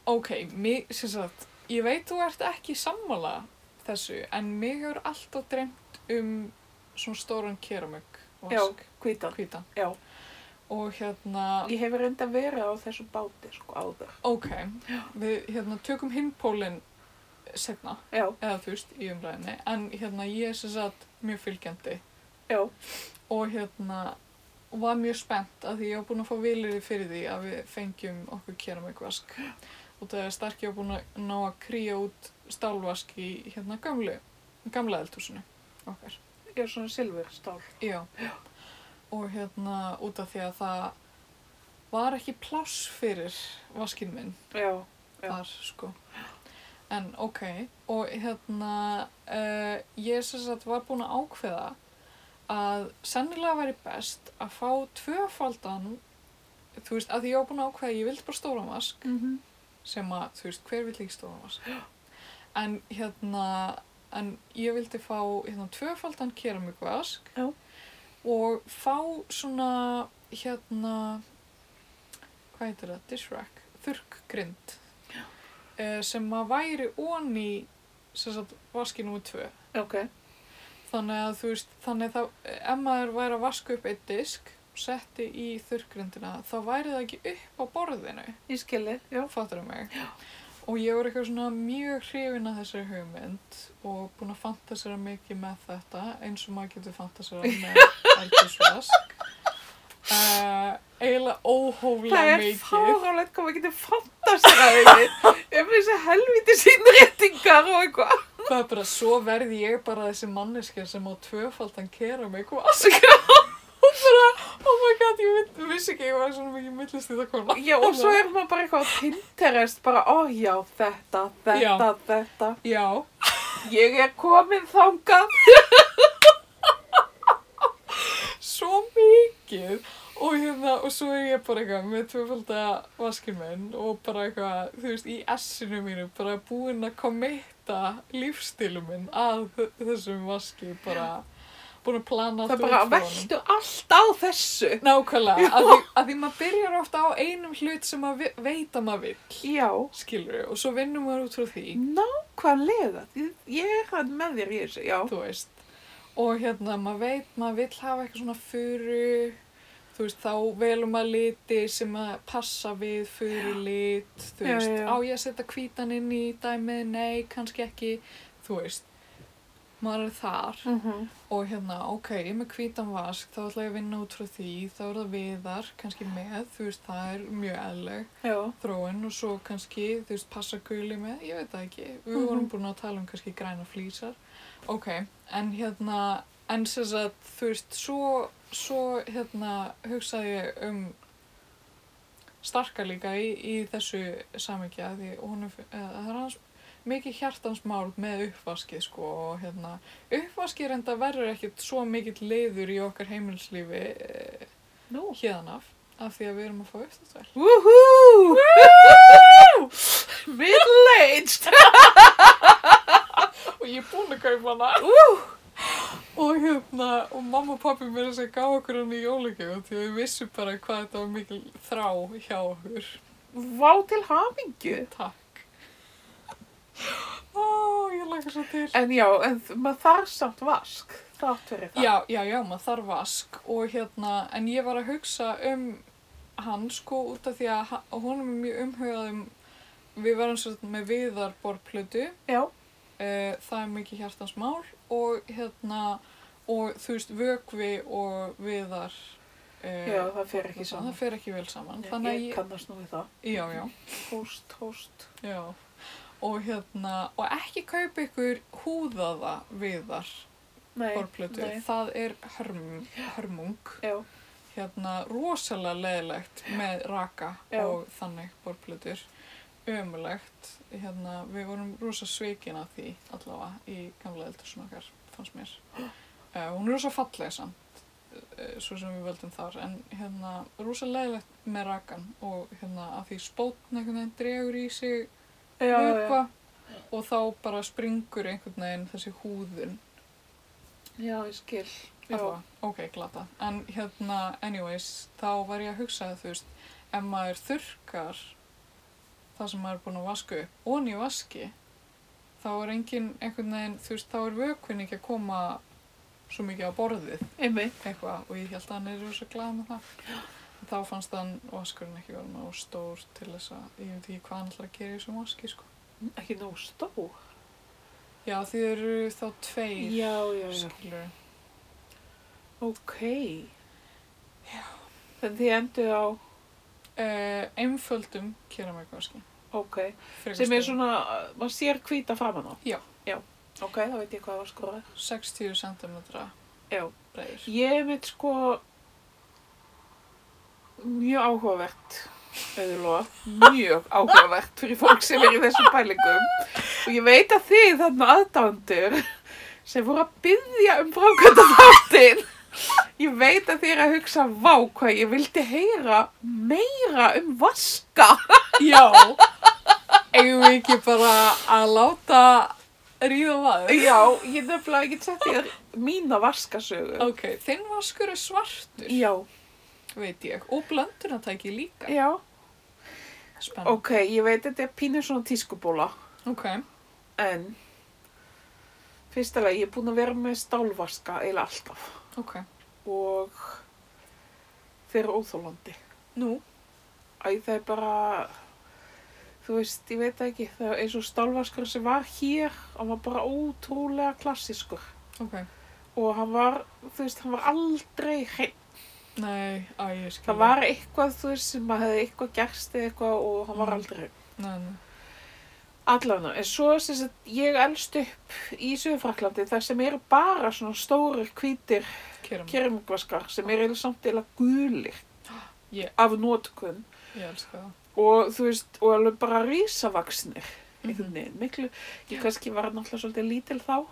Speaker 1: ok mig, sem sagt, ég veit þú ert ekki sammála þessu en mig hefur alltaf dreymt um svona stóran keramögg
Speaker 2: Já,
Speaker 1: vask,
Speaker 2: hvítan.
Speaker 1: hvítan
Speaker 2: Já.
Speaker 1: og hérna
Speaker 2: Ég hef reynda verið á þessu báti, sko, áður.
Speaker 1: Ok, við hérna, tökum hinn pólinn setna,
Speaker 2: Já.
Speaker 1: eða þú veist, í umræðinni, en hérna, ég er sem sagt mjög fylgjandi
Speaker 2: Já.
Speaker 1: og hérna, var mjög spennt að því ég var búin að fá vilirði fyrir því að við fengjum okkur keramikvask og það er starki að búin að ná að kríja út stálvask í hérna gamlu, gamla eldhúsinu okkar.
Speaker 2: Ég er svona silfurstál.
Speaker 1: Já. Og hérna, út af því að það var ekki pláss fyrir vaskinn minn
Speaker 2: Já. Já.
Speaker 1: þar sko en ok og hérna uh, ég sem sagt var búin að ákveða að sennilega væri best að fá tvöfaldan þú veist að því ég var búin að ákveða að ég vildi bara stóran vask
Speaker 2: Mm -hmm.
Speaker 1: sem að þú veist hver vill ekki stóran vask en hérna en ég vildi fá hérna tvöfaldan keramikvask
Speaker 2: Já.
Speaker 1: og fá svona hérna hvað heitir það, dishrack, þurrkgrind eh, sem að væri onni sem sagt vaski nr. 2
Speaker 2: Ok.
Speaker 1: þannig að þú veist, þannig að það, ef maður væri að vaska upp eitt disk og setti í þurrgrindina þá væri það ekki upp á borðinu
Speaker 2: Ég skilði. Já.
Speaker 1: fattur um mig Og ég var eitthvað svona mjög hrifin að þessari hugmynd og búin að fantasera mikið með þetta eins og maður getur fantasera með eldhúsvask. Uh, eiginlega
Speaker 2: Það
Speaker 1: óhóflega
Speaker 2: er
Speaker 1: mikið.
Speaker 2: fáránlegt hvað maður getur fantaseraðið. Ég með þessi helviti sínréttingar og eitthvað.
Speaker 1: Það er bara, svo verði ég bara þessi manneskja sem á tvöfaldan kera mig og alls Og bara, oh my god, ég veit, vissi ekki, ég var svona mikið millist í það kona.
Speaker 2: Já, og svo er maður bara eitthvað á Pinterest, bara, ó já, þetta, þetta,
Speaker 1: Já.
Speaker 2: þetta.
Speaker 1: Já,
Speaker 2: Ég er komin þangað.
Speaker 1: svo mikið. Og hérna, og svo er ég bara eitthvað með tvöfalda vaskinn minn og bara eitthvað, þú veist, í essinu mínu, bara búin að kommitta lífstílu minn að þ- þessum vaski, bara búin að plana
Speaker 2: Það er
Speaker 1: allt
Speaker 2: bara,
Speaker 1: út frá honum.
Speaker 2: veltu allt á þessu.
Speaker 1: Nákvæmlega, að því, að því maður byrjar ofta á einum hlut sem maður vi- veit að maður vill,
Speaker 2: Já,
Speaker 1: skilur við, og svo vinnum maður út frá því,
Speaker 2: nákvæmlega. Ég- Ég er hann með þér í þessu, já.
Speaker 1: þú veist. Og hérna, maður veit, maður vill hafa eitthvað svona furu, þú veist, þá velum maður liti sem að passa við furu lit, þú
Speaker 2: Já,
Speaker 1: veist,
Speaker 2: já, já.
Speaker 1: á ég að setja hvítan inn í dæmið, nei, kannski ekki, þú veist, maður er þar.
Speaker 2: Mm -hmm.
Speaker 1: Og hérna, ok, ég er með hvítan vask, þá ætla ég að vinna út frá því, þá er það viðar, kannski með, þú veist, það er mjög eðleg.
Speaker 2: Já.
Speaker 1: þróun og svo kannski, þú veist, passa guli með, ég veit það ekki, við
Speaker 2: Mhm.
Speaker 1: vorum búin að tala um kannski græna flýsar, ok, en hérna, en sem sagt, þú veist, svo, svo hérna, hugsaði ég um starka líka í, í þessu samhengi að því hún er, eða, það er hans mikið hjartansmál með uppvaskið sko og hérna, uppvaskið reynda verður ekkert svo mikill leiður í okkar heimilslífi eh,
Speaker 2: Nú.
Speaker 1: hérnaf af því að við erum að fá uppstæðsvæl.
Speaker 2: Woohoo! Middle-aged!
Speaker 1: og ég er búin að kaupa hana og hérna og mamma og pappi mér þess að gá okkur hann í jólugjöf því að við vissum bara hvað þetta var mikil þrá hjá okkur
Speaker 2: Vá til hamingju.
Speaker 1: takk ó, ég laka svo til
Speaker 2: En já, en þ- maður þarf samt vask. Þátt fyrir það.
Speaker 1: já, já, já, maður þarf vask og hérna, en ég var að hugsa um hann sko út af því að ha- honum er mjög umhugað um við verðum svolítið með viðarborplötu
Speaker 2: Já.
Speaker 1: uh, það er mikið hjartans mál og hérna og þú veist vökvi og viðar uh,
Speaker 2: Já, það fer ekki
Speaker 1: það
Speaker 2: saman.
Speaker 1: fer ekki vel saman
Speaker 2: Ég,
Speaker 1: þannig að
Speaker 2: ég
Speaker 1: ég,
Speaker 2: kannast nú við það.
Speaker 1: já, já,
Speaker 2: Hóst, hóst.
Speaker 1: já og hérna, og ekki kaupa ykkur húðaða viðar
Speaker 2: Nei.
Speaker 1: borplötu,
Speaker 2: nei.
Speaker 1: það er hörm, hörmung
Speaker 2: Já.
Speaker 1: hérna rosalega leðilegt með raka
Speaker 2: Já.
Speaker 1: og þannig borplötur ömulegt, hérna við vorum rosa sveikin af því allavega í gamla eldursun okkar fannst mér uh, hún er rosa falleg samt uh, svo sem við völdum þar en hérna rosa leðilegt með rakan og hérna af því spótn einhvern veginn dregur í sig
Speaker 2: Já, já.
Speaker 1: vökva og þá bara springur einhvern veginn þessi húðun
Speaker 2: Já, ég skil. Já.
Speaker 1: Alla, ok, glata. En hérna, anyways, þá var ég að hugsa að þú veist, ef maður þurkar það sem maður er búin að vaska upp og í vaski, þá er engin einhvern veginn, þú veist, þá er vökvinn ekki að koma svo mikið á borðið
Speaker 2: Einmitt.
Speaker 1: eitthvað og ég held að hann er rosa glað með það. En Þá fannst hann vaskurinn ekki vera nóg stór til þess að, ég veit ekki hvað hann ætlar að gera í þessum vaski, sko.
Speaker 2: Ekki nóg stór.
Speaker 1: Já, þið eru þá tveir,
Speaker 2: Já, já, já.
Speaker 1: skilur.
Speaker 2: Ok. Já. Þannig þið endur á,
Speaker 1: Uh, einföldum keramikvaski.
Speaker 2: ok.
Speaker 1: frekar
Speaker 2: Sem er
Speaker 1: stórum.
Speaker 2: svona, uh, maður sér hvíta framan á.
Speaker 1: Já.
Speaker 2: Já. Ok, þá veit ég hvað var skorað.
Speaker 1: 60 cm
Speaker 2: Já.
Speaker 1: breiður.
Speaker 2: Ég er mitt sko mjög áhugavert auðvitað, mjög áhugavert fyrir fólk sem er í þessum pælingum og ég veit að þið þarna aðdándur sem voru að byggja um frákvæmda þáttinn ég veit að þið er að hugsa vá hvað ég vildi heyra meira um vaska
Speaker 1: Já, eigum við ekki bara að láta ríða vaður?
Speaker 2: Já, ég nefnilega ekki sett þér mína vaskasögu
Speaker 1: Ok, þinn vaskur er svartur,
Speaker 2: Já,
Speaker 1: veit ég, og blöndunatæki líka.
Speaker 2: já,
Speaker 1: Spennandi.
Speaker 2: ok, ég veit að þetta er pínur svona tískubóla
Speaker 1: Ok,
Speaker 2: En fyrsta lagi, ég er búin að vera með stálvaska eila alltaf
Speaker 1: ok.
Speaker 2: og þeir eru óþólandi.
Speaker 1: Nú,
Speaker 2: Æ, það er bara, þú veist, ég veit það ekki, það er eins og stálvaskur sem var hér, hann var bara ótrúlega klassískur
Speaker 1: ok.
Speaker 2: og hann var, þú veist, hann var aldrei hreinn.
Speaker 1: Nei, að ég skilja.
Speaker 2: Það var eitthvað, þú veist, sem maður hefði eitthvað gerst eða eitthvað og hann var
Speaker 1: Mm.
Speaker 2: aldrei hreinn.
Speaker 1: Nei, nei.
Speaker 2: Allavega, en svo sem sagt, ég elst upp í Suðfraklandi þar sem eru bara svona stórir, hvítir
Speaker 1: Kerum.
Speaker 2: keramikvaskar sem eru eiginlega samt eða gulir
Speaker 1: Ég-
Speaker 2: af nótkun
Speaker 1: Ég elska það.
Speaker 2: og þú veist, og alveg bara rísavaksnir einhvern
Speaker 1: Mhm.
Speaker 2: veginn, miklu, ég kannski var náttúrulega svolítið lítil þá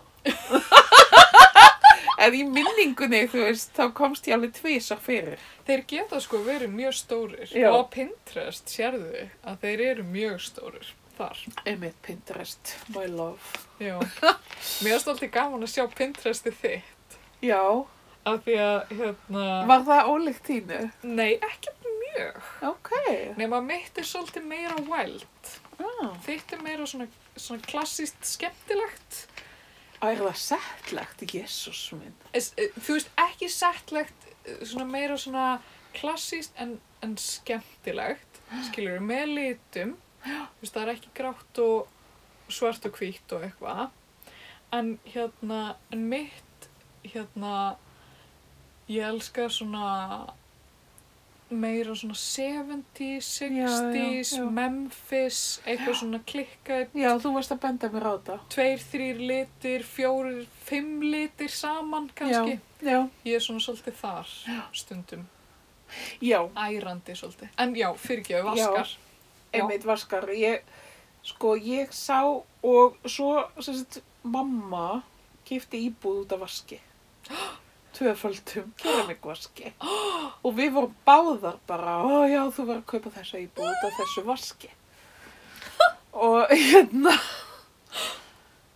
Speaker 2: en í minningunni, þú veist, þá komst ég alveg tvísar fyrir
Speaker 1: Þeir geta sko verið mjög stórir
Speaker 2: Já.
Speaker 1: og á Pinterest sérðu að þeir eru mjög stórir þar.
Speaker 2: einmitt Pinterest, my love
Speaker 1: Já. Mér er stoltið gaman að sjá Pinteresti þið.
Speaker 2: já,
Speaker 1: Af því að, hérna,
Speaker 2: var það ólíkt þínu?
Speaker 1: nei, ekkert mjög.
Speaker 2: ok,
Speaker 1: Nefn að mitt er svolítið meira wild.
Speaker 2: já,
Speaker 1: Þitt er meira svona, svona klassíst skemmtilegt.
Speaker 2: ah, er það settlegt, jésús minn
Speaker 1: Es, eh, þú veist, ekki settlegt, eh, svona meira svona klassíst en, en skemmtilegt, skilur við, með litum, þú veist, það er ekki grátt og svart og hvítt og eitthvað, en hérna, en mitt, hérna, ég elska svona meira svona 70s,
Speaker 2: Já, já,
Speaker 1: 60s,
Speaker 2: já.
Speaker 1: Memphis, eitthvað svona klikkað,
Speaker 2: já, þú varst að benda mér á þetta
Speaker 1: tveir, þrýr litir, fjórir, fimm litir saman kannski.
Speaker 2: já, já,
Speaker 1: Ég er svona svolítið þar stundum,
Speaker 2: já
Speaker 1: ærandi svolítið. En já, fyrirgjöðu vaskar. Já.
Speaker 2: einmitt vaskar ég, sko ég sá og svo sem sagt, mamma kifti íbúð út af vaski tvöföldum keramikvaski og við vorum báðar bara ó já þú var að kaupa þessa íbúð út af þessu vaski og hérna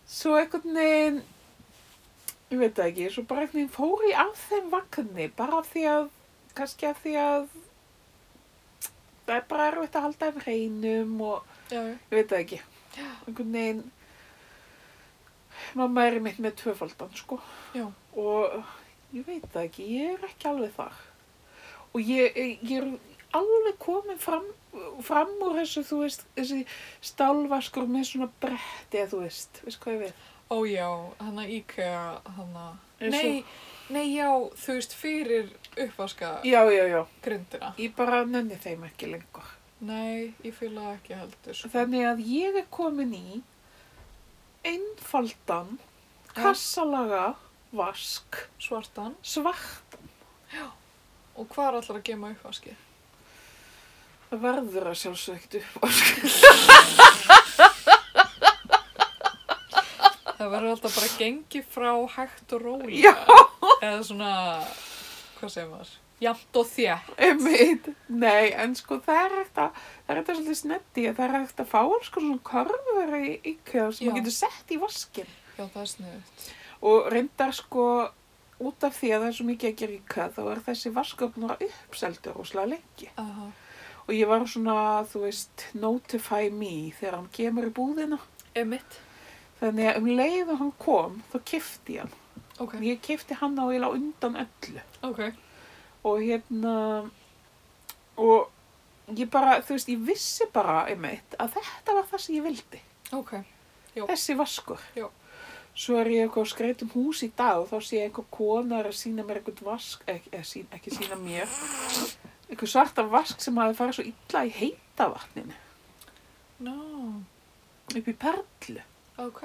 Speaker 2: svo einhvern veginn ég veit það ekki, svo bara einhvern veginn fór ég af þeim vagnni bara af því að kannski af því að það er bara erfitt að halda þeim hreinum og
Speaker 1: Já, já.
Speaker 2: ég veit það ekki einhvern veginn mamma er mitt með tvöfaldan sko
Speaker 1: Já.
Speaker 2: og ég veit það ekki, ég er ekki alveg þar og ég, ég er alveg komin fram, fram úr þessu, þú veist, þessi stálvaskur með svona bretti, þú veist, veist hvað ég við
Speaker 1: Ó já, hana IKEA, hana...
Speaker 2: Eins og-
Speaker 1: Nei, nei já, þú veist, fyrir uppvaska
Speaker 2: Já, já, já,
Speaker 1: grindina.
Speaker 2: ég bara nenni þeim ekki lengur.
Speaker 1: Nei, ég fýla það ekki heldur. sko.
Speaker 2: Þannig að ég er komin í einfaldan,
Speaker 1: Já.
Speaker 2: kassalaga, vask,
Speaker 1: Svartan.
Speaker 2: svart
Speaker 1: Og hvað er allar að gema uppvaski?
Speaker 2: verður að sjálfsögt upp vask.
Speaker 1: Það verður alltaf bara gengið frá hægt og rólega.
Speaker 2: Já.
Speaker 1: Eða svona, hvað segir maður? Jamt og þjætt.
Speaker 2: Einmitt. Nei, en sko það er hægt að, það er hægt að svolítið snetti að það er hægt að fá alls konar svona körfur í IKEA sem
Speaker 1: Já.
Speaker 2: maður getur sett í vaskin.
Speaker 1: Já, það er sniðut.
Speaker 2: Og reyndar sko út af því að það er svo mikið að gera í IKEA þá er þessi vasköpnur að uppseldu rosalega lengi.
Speaker 1: Aha.
Speaker 2: Og ég var svona, þú veist, notify me þegar hann kemur í búðina.
Speaker 1: Emitt.
Speaker 2: Þannig að um leið og hann kom, þá kifti ég hann.
Speaker 1: Ok,
Speaker 2: Ég kifti hann á ég lá undan öllu.
Speaker 1: ok.
Speaker 2: Og hérna, og ég bara, þú veist, ég vissi bara einmitt að þetta var það sem ég vildi.
Speaker 1: Ok, Já.
Speaker 2: Þessi vaskur.
Speaker 1: Já.
Speaker 2: Svo er ég eitthvað skreit um hús í dag og þá sé ég einhver konar að sína mér eitthvað vask, ekki, eh, sín, ekki sína mér, eitthvað svarta vask sem hafi farið svo illa í heita vatninu,
Speaker 1: no,
Speaker 2: upp í perlu.
Speaker 1: ok,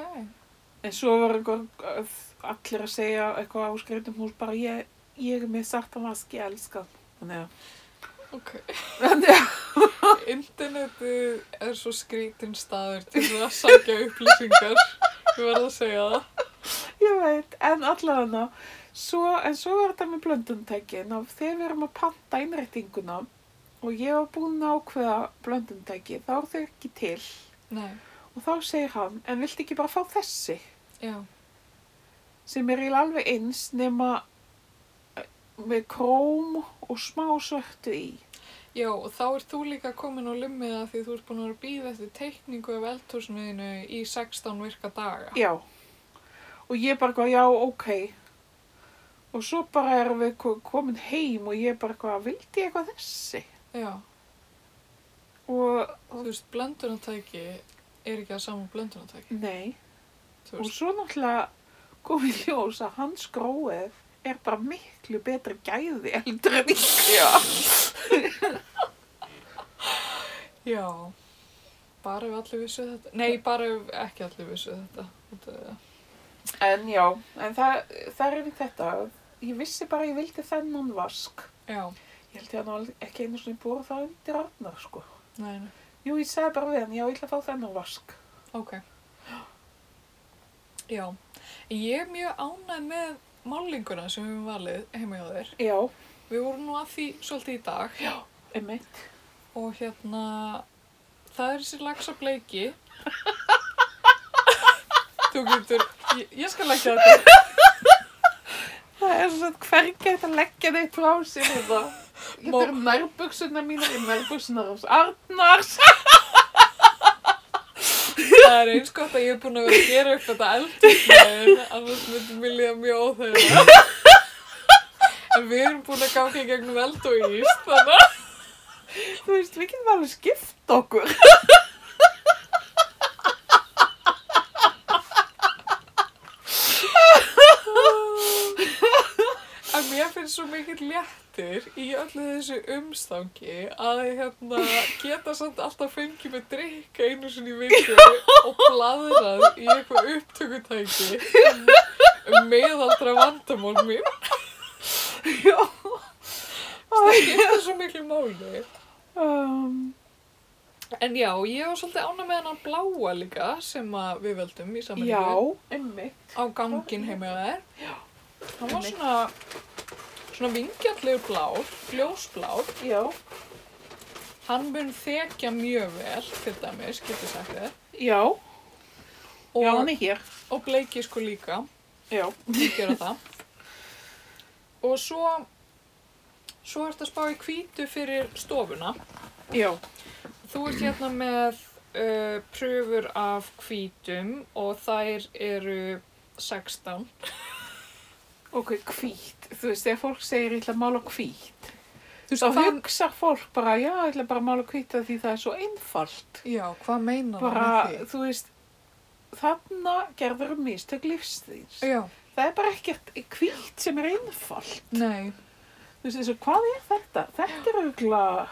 Speaker 2: En svo var einhver, eh, allir að segja eitthvað á skreitum hús, bara ég, ég er með sarta vask, ég elska. hann. Þannig að,
Speaker 1: ok.
Speaker 2: þannig að,
Speaker 1: Internetið er svo skrítinn staður til þess að sækja upplýsingar. Ég verð að segja það.
Speaker 2: ég veit, en allavega svo, en svo var þetta með blönduntekin og þegar við erum að panta innréttinguna og ég var búin að ákveða blönduntekið, þá er þau ekki til
Speaker 1: Nei,
Speaker 2: og þá segir hann, en viltu ekki bara fá þessi
Speaker 1: já,
Speaker 2: sem er eiginlega alveg eins nema eh, með króm og smá svörtu í.
Speaker 1: já, og þá er þú líka komin á limmiða því þú ert búin að vera að býða eftir teikningu af eldhúsmiðinu í 16 virka daga.
Speaker 2: Já. Og ég bara eitthvað, já, ok. Og svo bara erum við ko- komin heim og ég bara eitthvað, vildi ég eitthvað þessi?
Speaker 1: Já,
Speaker 2: og,
Speaker 1: Þú veist, blöndunartæki er ekki að saman blöndunartæki.
Speaker 2: nei,
Speaker 1: Þú
Speaker 2: og
Speaker 1: veist,
Speaker 2: svo náttúrulega komið í ljós að hans gróið er bara miklu betri gæði heldur en íkja.
Speaker 1: já, bara ef allir vissu þetta. Nei, bara ef ekki allir vissu þetta. þetta ja.
Speaker 2: En já, en það, það er við þetta, ég vissi bara að ég vildi þennan vask.
Speaker 1: Já,
Speaker 2: Ég held ég að hann hafi ekki einu svona búið það undir arnar, sko.
Speaker 1: nei, nei,
Speaker 2: Jú, ég sagði bara við hann, já, ég ætla að fá þennan vask.
Speaker 1: ok. Já, ég er mjög ánægð með málinguna sem við höfum valið heima hjá þér.
Speaker 2: Já,
Speaker 1: Við vorum nú að því svolítið í dag. Já.
Speaker 2: einmitt.
Speaker 1: Og hérna, það er þessi lagsa bleiki. Þú getur, ég, ég skal leggja þetta.
Speaker 2: Það er svona hvergi hægt að leggja þau frá sér þetta. Þetta
Speaker 1: Mó-
Speaker 2: eru nærbuksunar mínar í nærbuksunar hans Arnars.
Speaker 1: Það er eins gott að ég er búin að vera að gera upp þetta eldurnaður, annars myndum við líða mjög óþægilega. En við erum búin að ganga í gegnum eld og ís, þannig að...
Speaker 2: Þú veist, við getum alveg skipt okkur.
Speaker 1: En mér finnst svo mikill léttir í öllu þessu umstangi að hérna geta samt alltaf fengið með drikk einu sinni í viku og bladrað í eitthvað upptökutæki um meðaldra vandamál mín.
Speaker 2: Já.
Speaker 1: Það skiptir svo miklu máli.
Speaker 2: Um,
Speaker 1: En já, ég var svolítið ánum með hennan bláa líka sem að við völdum í
Speaker 2: já,
Speaker 1: samanlíku
Speaker 2: einmitt.
Speaker 1: á gangin heima hjá þær. Já. Það var
Speaker 2: Einmitt.
Speaker 1: svona, svona vingjallegur blár, ljósblár.
Speaker 2: Já,
Speaker 1: Hann mun þekja mjög vel, til dæmis, getur sagt þér.
Speaker 2: já, já, hann
Speaker 1: Og,
Speaker 2: er hér.
Speaker 1: og bleiki sko líka,
Speaker 2: Já,
Speaker 1: hún gera það. Og svo, svo ertu að spá í hvítu fyrir stofuna.
Speaker 2: já,
Speaker 1: Þú ert hérna með uh, pröfur af hvítum og þær eru 16.
Speaker 2: ok, hvít. Þú veist, þegar fólk segir, ég ætla að mála hvít,
Speaker 1: Þú hérna-
Speaker 2: þá hugsa fólk bara, já, ég ætla bara að mála hvít af því það er svo einfalt.
Speaker 1: Já, hvað meina
Speaker 2: Bara, þú veist, þarna gerður mistök lífstíns.
Speaker 1: Já,
Speaker 2: Það er bara ekkert hvítt sem er einfalt.
Speaker 1: nei.
Speaker 2: Þú veist, þessu, hvað er þetta? Þetta er auðvitað,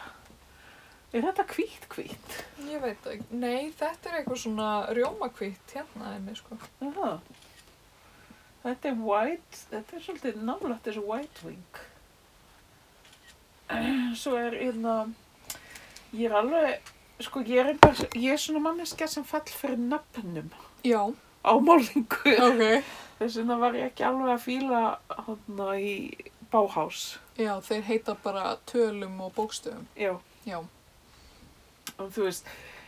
Speaker 2: er þetta hvítt hvítt?
Speaker 1: Ég veit ekki. Nei, þetta er eitthvað svona rjómakvitt hérna einni, sko.
Speaker 2: Já. Þetta er white, þetta er svolítið nálægt þessu white wing. Svo er einna, ég er alveg, sko, ég er, einbar, ég er svona manneska sem fall fyrir nöfnum
Speaker 1: Já,
Speaker 2: á málingu.
Speaker 1: ok.
Speaker 2: Þess vegna var ég ekki alveg að fíla hana í Bauhaus.
Speaker 1: Já, þeir heita bara tölum og bókstöfum.
Speaker 2: Já.
Speaker 1: Já.
Speaker 2: og þú veist,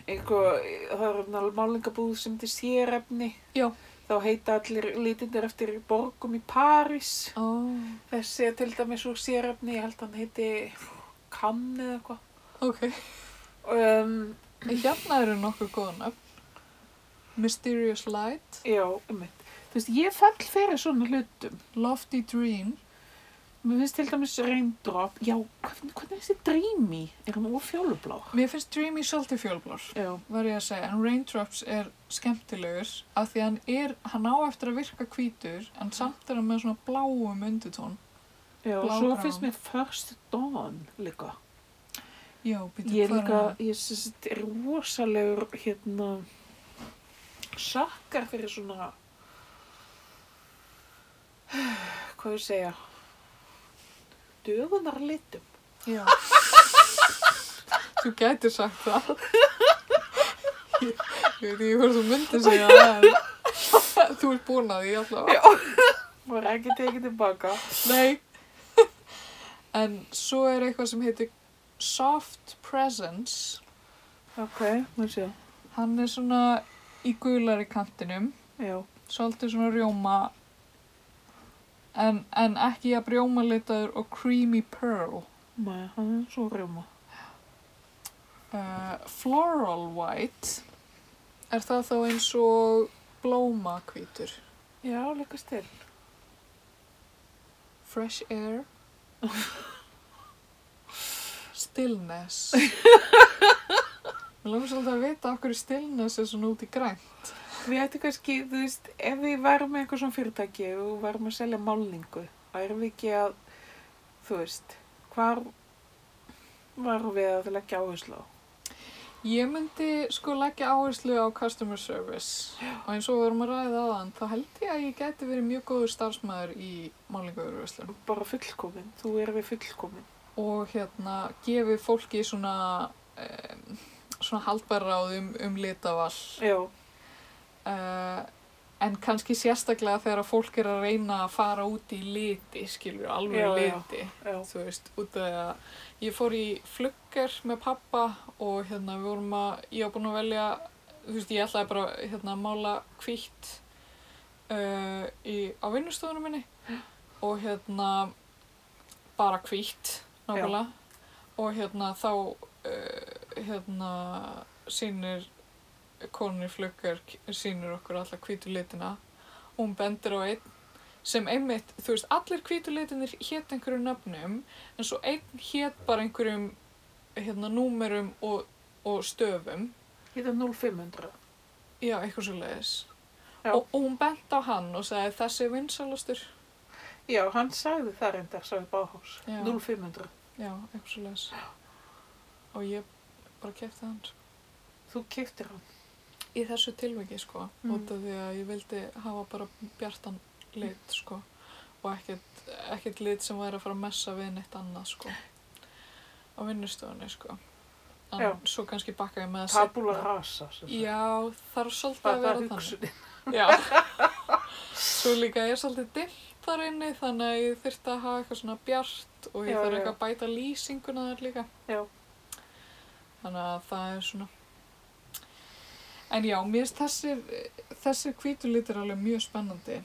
Speaker 2: einhver, það er náttúrulega málingabúð sem til sérefni.
Speaker 1: Já.
Speaker 2: Þá heita allir litindir eftir borgum í París.
Speaker 1: Ó,
Speaker 2: Þessi er til dæmis úr sérefni, ég held hann heiti Cannes eða eitthvað.
Speaker 1: ok.
Speaker 2: Um,
Speaker 1: En Hérna eru nokkuð góða nöfn. Mysterious Light,
Speaker 2: já, um Þú veist, ég fell fyrir svona hlutum.
Speaker 1: Lofty Dream.
Speaker 2: Mér finnst til dæmis Raindrop. Já, hvernig, hvernig er þessi Dreamy? Er hann úr fjólublá?
Speaker 1: Mér finnst Dreamy svolítið fjólblár.
Speaker 2: Já.
Speaker 1: var ég að segja, en Raindrops er skemmtilegur af því að hann er, hann á eftir að virka hvítur en samt er hann með svona bláum undutón.
Speaker 2: Já, og
Speaker 1: Blágrá.
Speaker 2: svo finnst mér First Dawn líka.
Speaker 1: Já, býtum
Speaker 2: Ég er líka, ég syns þetta er rosalegur, hérna, sakkar fyrir svona, hvað ég segja, dögunar litum.
Speaker 1: Já. þú gætir sagt það. Ég, ég veit ekki hvort þú myndir segja það en þú ert búin að því allavega.
Speaker 2: Var ekki tekið tilbaka.
Speaker 1: Nei. En svo er eitthvað sem heitir Soft Presence.
Speaker 2: Ok, maður sé.
Speaker 1: Hann er svona í gulari kantinum.
Speaker 2: Já,
Speaker 1: svolítið svona rjóma en, en ekki að rjóma litaður og creamy pearl
Speaker 2: maður, hann er svo rjóma.
Speaker 1: uh, floral white er það þá eins og blómakvítur
Speaker 2: Já, líka stil.
Speaker 1: fresh air stillness Mér langar svolítið að vita af hverju stillness er svona út í græn.
Speaker 2: Við ættum kannski, þú veist, ef við varum með eitthvað svona fyrirtæki og varum að selja málningu, værum við ekki að, þú veist, hvar varum við að leggja áherslu á?
Speaker 1: Ég myndi sko leggja áherslu á customer service og eins og við vorum að ræða aðan þá held ég að ég geti verið mjög góður starfsmæður í málingauðurverslun
Speaker 2: Bara fullkomin, þú erum við fullkomin.
Speaker 1: og hérna gefið fólki svona um, svona haldbæra ráð um, um litavall
Speaker 2: Já,
Speaker 1: uh, en kannski sérstaklega þegar að fólk er að reyna að fara út í liti skilur, alveg
Speaker 2: Já, já.
Speaker 1: liti
Speaker 2: já,
Speaker 1: þú veist, út af því að ég fór í flugger með pappa og hérna við vorum að, ég var búin að velja þú veist, ég ætlaði bara hérna að mála hvítt uh, í, á vinnustofunum minni og hérna bara hvítt, nákvæmlega og hérna þá uh, hérna sýnir konunni flugger sýnir okkur alla hvítu litina og hún bendir á einn sem einmitt, þú veist, allir hvítu litinir hétt einhverjum nöfnum en svo einn hétt bara einhverjum hérna númerum og, og stöfum
Speaker 2: ég er 0500.
Speaker 1: já, eitthvað svo leiðis
Speaker 2: Já.
Speaker 1: og, og hún bent á hann og sagði þessi er vinsalastur
Speaker 2: Já, hann sagði það reyndar, sagði Báhás,
Speaker 1: Já.
Speaker 2: 0500.
Speaker 1: já, eitthvað svo leiðis og ég bara kefti hann sko.
Speaker 2: Þú keftir hann.
Speaker 1: í þessu tilviki, sko
Speaker 2: Mm.
Speaker 1: út af því að ég vildi hafa bara bjartan lit, sko og ekkert, ekkert lit sem væri að fara að messa við neitt annað, sko á vinnustofunni, sko en
Speaker 2: Já.
Speaker 1: svo kannski bakka ég með að
Speaker 2: Tabula
Speaker 1: seinna.
Speaker 2: rasa, sem sagt.
Speaker 1: Já, þarf svolítið
Speaker 2: Það var
Speaker 1: að vera þannig.
Speaker 2: hugsunin.
Speaker 1: Já. Svo líka ég er svolítið dimmt þar inni þannig að ég þyrfti að hafa eitthvað svona bjart og ég
Speaker 2: Já,
Speaker 1: þarf
Speaker 2: já.
Speaker 1: eitthvað að bæta lýsinguna þar líka.
Speaker 2: Já,
Speaker 1: Þannig að það er svona. En já, mér finnst þessir, þessir hvítulitir alveg mjög spennandi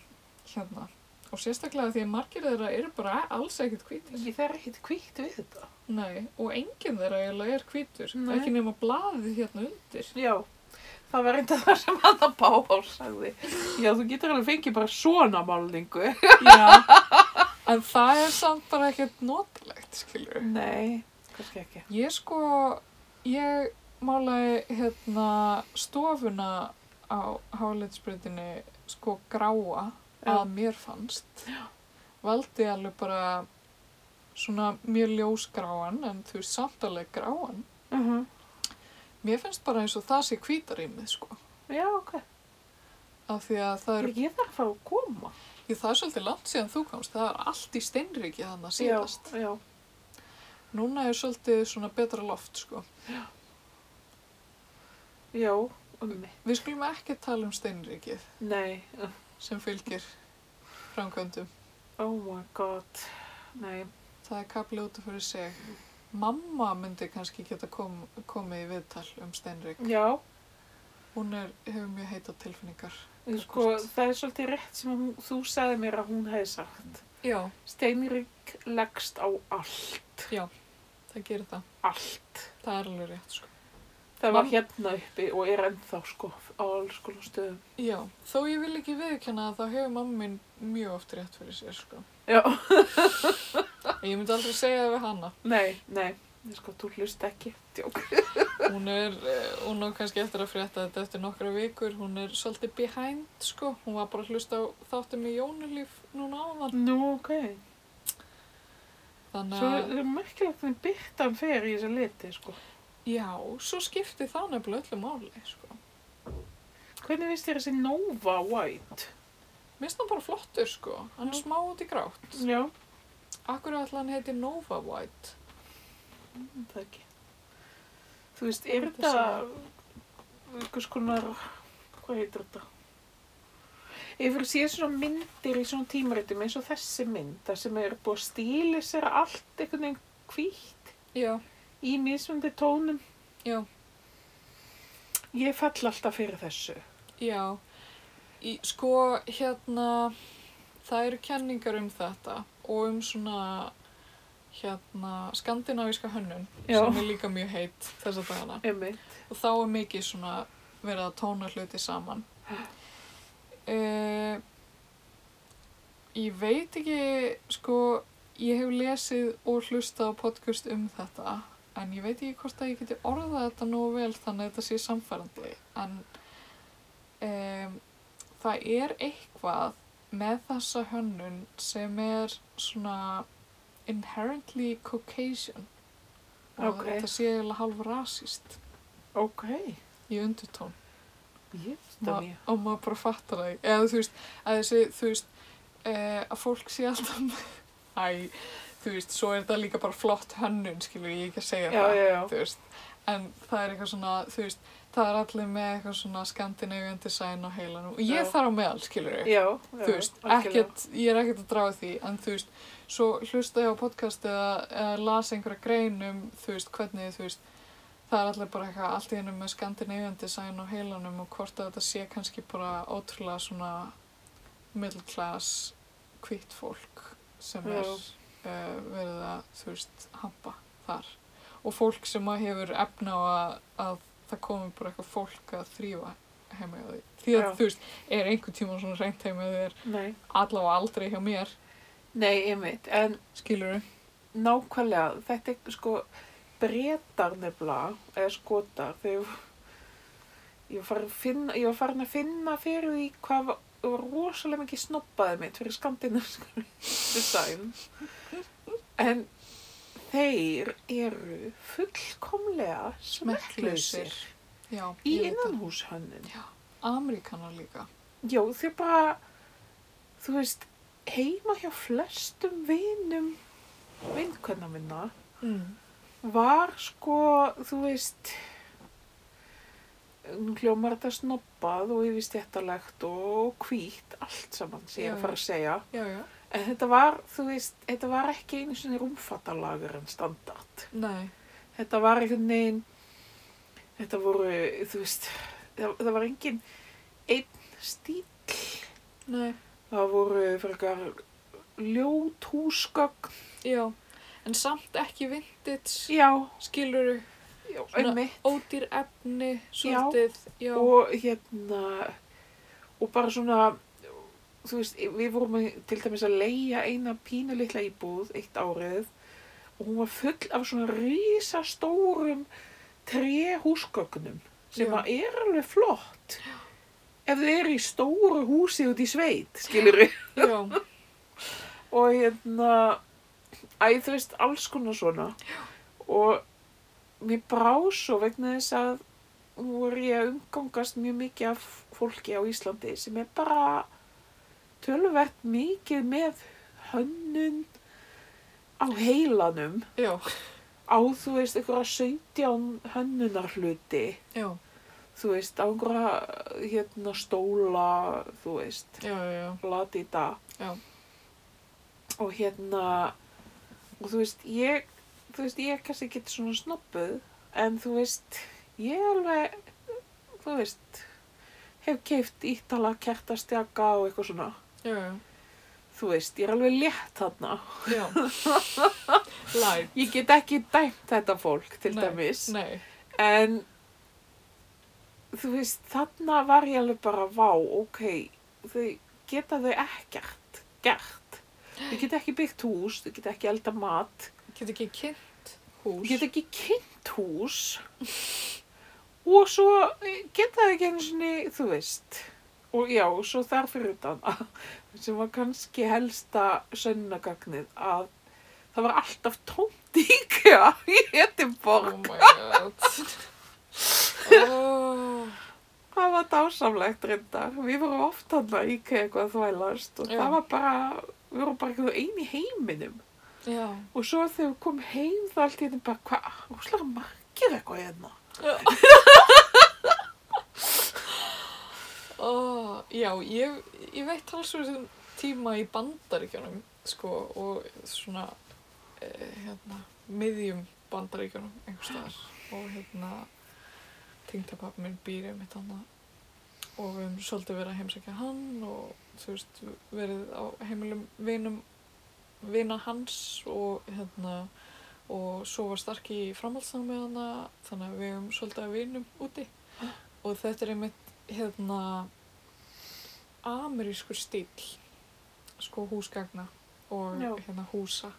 Speaker 1: hérna. Og sérstaklega því að margir þeirra eru bara alls ekkert hvítir.
Speaker 2: ég þarf ekkert kvíkt við þetta.
Speaker 1: Nei, og enginn þeirra eiginlega er hvítur.
Speaker 2: Nei.
Speaker 1: Ekki nema blaðið hérna undir.
Speaker 2: Já, það var reynda það sem hann að Báhás sagði. Já, þú getur alveg fengið bara svona málningu.
Speaker 1: Já, en það er samt bara ekkert notalegt, skilur.
Speaker 2: Nei, kannski ekki.
Speaker 1: Ég sko, ég málaði hérna stofuna á hálitsbreytinni sko gráa
Speaker 2: Já.
Speaker 1: að mér fannst. Valdi alveg bara svona mjög ljósgráan en þú veist samt alveg gráan.
Speaker 2: Uh -huh.
Speaker 1: Mér finnst bara eins og það sé hvítarýmið sko.
Speaker 2: Já, ok.
Speaker 1: Af því að það er,
Speaker 2: Ég þarf að fá að koma.
Speaker 1: ég, það er svolítið langt síðan þú komst, það er allt í steinriki þannig að síðast.
Speaker 2: Já, já.
Speaker 1: Núna er svolítið svona betra loft sko.
Speaker 2: Já, um mig.
Speaker 1: Við skulum ekki tala um steinrikið
Speaker 2: Nei, uh,
Speaker 1: sem fylgir framkvæmdum.
Speaker 2: oh my god. Nei,
Speaker 1: Það er kaplið út af fyrir sig. Mamma myndi kannski geta kom, komið í viðtal um Steinrik.
Speaker 2: já,
Speaker 1: Hún er, hefur mjög heita tilfinningar.
Speaker 2: sko, það er svolítið rétt sem hún, þú sagði mér að hún hefði sagt.
Speaker 1: Já.
Speaker 2: Steinrik leggst á allt,
Speaker 1: Það gerir það.
Speaker 2: allt.
Speaker 1: Það er alveg rétt, sko.
Speaker 2: Það var
Speaker 1: Mam-
Speaker 2: hérna uppi og er ennþá, sko, á alls konar stöðum.
Speaker 1: Já, þó ég vil ekki viðkjanna að þá hefur mamma mín mjög oft rétt fyrir sér, sko.
Speaker 2: Já,
Speaker 1: Ég myndi aldrei segja það við hana.
Speaker 2: nei, nei, sko, þú hlust ekki. Djók.
Speaker 1: Hún er, eh, hún á kannski eftir að frétta þetta eftir nokkra vikur. Hún er svolítið behind, sko. Hún var bara að hlusta á þáttum í Jónulíf núna áðan.
Speaker 2: Nú, ok.
Speaker 1: Þannig
Speaker 2: Svo
Speaker 1: að...
Speaker 2: er merkilegt að byrtan fer í þessu liti, sko.
Speaker 1: Já, svo skipti það nefnilega öllu máli, sko.
Speaker 2: Hvernig finnst þér þessi Nova White?
Speaker 1: Mér finnst hann bara flottur, sko. Hann er smá út í grátt.
Speaker 2: Já,
Speaker 1: Akkur er alltaf hann heiti Nova White.
Speaker 2: það ekki. Þú veist, er
Speaker 1: Þetta
Speaker 2: þetta einhvers konar, hvað heitir þetta? Ef við séð svona myndir í svona tímaritum eins og þessi mynd, það sem er búið að stíli sér allt einhvern veginn hvítt
Speaker 1: Já,
Speaker 2: í mismundi tónum,
Speaker 1: já,
Speaker 2: ég fall alltaf fyrir þessu.
Speaker 1: já. Í, sko, hérna, það eru kenningar um þetta og um svona, hérna, skandinavíska hönnun
Speaker 2: Já.
Speaker 1: sem er líka mjög heitt þessa dagana.
Speaker 2: Einmitt.
Speaker 1: og þá er mikið svona verið að tóna hluti saman uh, ég veit ekki sko, ég hef lesið og hlustað á podcast um þetta en ég veit ekki hvort að ég geti orðað þetta nógu vel þannig að þetta sé samfærandi en um, það er eitthvað með þessa hönnun sem er svona inherently Caucasian og
Speaker 2: Ok.
Speaker 1: þetta sé eiginlega hálf rasist
Speaker 2: Ok.
Speaker 1: í undurtón
Speaker 2: Ég
Speaker 1: Ma- og maður bara fattar það ekki. eða þú veist að þessi þú veist e, að fólk sé alltaf með- æ, þú veist, svo er það líka bara flott hönnun, skilur ég er ekki að segja
Speaker 2: Já,
Speaker 1: það
Speaker 2: já, já.
Speaker 1: þú veist, en það er eitthvað svona þú veist, það er allir með eitthvað svona skandinavian design á heilanum og ég
Speaker 2: Já.
Speaker 1: þarf á meðal, skilur ég
Speaker 2: Já,
Speaker 1: þú veist, ekkert, ég er ekkert að draga því en þú veist, svo hlusta ég á podcast eða, eða las einhverja grein um þú veist, hvernig, þú veist það er allir bara eitthvað, allt í hennu með Scandinavian design og heilanum og hvort að þetta sé kannski bara ótrúlega svona middle class hvitt fólk sem
Speaker 2: Já.
Speaker 1: er uh, verið að, þú veist, hampa þar og fólk sem að hefur efna á að, að það komi bara eitthvað fólk að þrýfa heima hjá því því að
Speaker 2: Já.
Speaker 1: þú veist, er einhvern tíma svona reynt heima hjá þér
Speaker 2: Nei.
Speaker 1: allavega aldrei hjá mér,
Speaker 2: Nei, einmitt. En
Speaker 1: skilur
Speaker 2: nákvæmlega, þetta er sko breytar nefnilega, eða skotar, þegar ég var farin að finna, ég var farin að finna fyrir því hvað var, ég var rosalega mikið snobbaði mitt fyrir skandinavísku design. En þeir eru fullkomlega smekklausir í
Speaker 1: Já, ég veit það.
Speaker 2: innanhúshönnun.
Speaker 1: Ameríkanar líka.
Speaker 2: Já, þau bara, þú veist, heima hjá flestum vinum vinkvæmna minna
Speaker 1: Mm.
Speaker 2: var sko, þú veist, nú hljómar þetta snobbað og yfirstjættalegt og hvít, allt saman sem ég er að fara að segja.
Speaker 1: Já, já.
Speaker 2: En þetta var, þú veist, þetta var ekki einu sinni rúmfattalagur en standart.
Speaker 1: Nei.
Speaker 2: Þetta var einhvern veginn, þetta voru, þú veist, það, það var engin einn stíl.
Speaker 1: Nei.
Speaker 2: Það voru frekar ljót húsgögn.
Speaker 1: Já. En samt ekki vintage,
Speaker 2: Já,
Speaker 1: skilur
Speaker 2: já,
Speaker 1: Svona-
Speaker 2: einmitt.
Speaker 1: ódýr efni, svolítið. Já.
Speaker 2: Og hérna, og bara svona, þú veist, við vorum að- til dæmis að leia eina pínu litla íbúð eitt árið og hún var full af svona rísastórum trehúsgögnum sem
Speaker 1: Já.
Speaker 2: að er alveg flott. Ef þau eru í stóru húsi út í sveit, skilur við.
Speaker 1: Já.
Speaker 2: og hérna æ, þú veist, alls konar svona og mér brá svo vegna þess að nú er ég að umgangast mjög mikið af fólki á Íslandi sem er bara tölvert mikið með hönnun á heilanum
Speaker 1: Já.
Speaker 2: á, þú veist, einhverja 17 hönnunarhluti
Speaker 1: Já.
Speaker 2: þú veist, á einhverja hérna stóla, þú veist
Speaker 1: Já, já, já.
Speaker 2: lati í dag
Speaker 1: Já.
Speaker 2: og hérna og þú veist ég þú veist ég er kannski ekki svona snobbuð en þú veist ég alveg þú veist hef keift ítala kertastjaka og eitthvað svona
Speaker 1: Já, já.
Speaker 2: þú veist ég er alveg létt þarna
Speaker 1: Já. Light.
Speaker 2: ég get ekki dæmt þetta fólk til
Speaker 1: Nei,
Speaker 2: dæmis
Speaker 1: Nei.
Speaker 2: en þú veist þarna var ég alveg bara vá ok þau geta þau ekkert gert þau geta ekki byggt hús þau geta ekki elda mat
Speaker 1: Get ekki kynnt hús.
Speaker 2: Ég get ekki kynnt hús og svo eh, geta það ekki einu sinni, þú veist. Og já, svo þar fyrir utan að, sem var kannski helsta sönnagagnið að það var alltaf tómt íkja í
Speaker 1: Oh
Speaker 2: Edinborg.
Speaker 1: my god. oh.
Speaker 2: Það var dásamlegt reyndar. Við vorum oft hann að íkja eitthvað að þvælast og
Speaker 1: Já.
Speaker 2: það var bara, við vorum bara eitthvað eini í heiminum.
Speaker 1: Já.
Speaker 2: Og svo þegar við komum heim þá allt í þetta bara, hvað, húslega margir eitthvað hérna.
Speaker 1: Oh, já, ég, ég veit talsverðum tíma í bandaríkjunum sko, og svona e, hérna, miðjum bandaríkjunum einhvers staðar og hérna tengdapappi minn býr ég mitt annað og við höfum svolítið verið að heimsækja hann og þú veist, verið á heimilum vinum vina hans og hérna og svo var starki í framhaldsnámi hana þannig að við höfum svolítið að vinum úti og þetta er einmitt hérna amerískur stíl sko húsgagna og
Speaker 2: Já.
Speaker 1: hérna húsa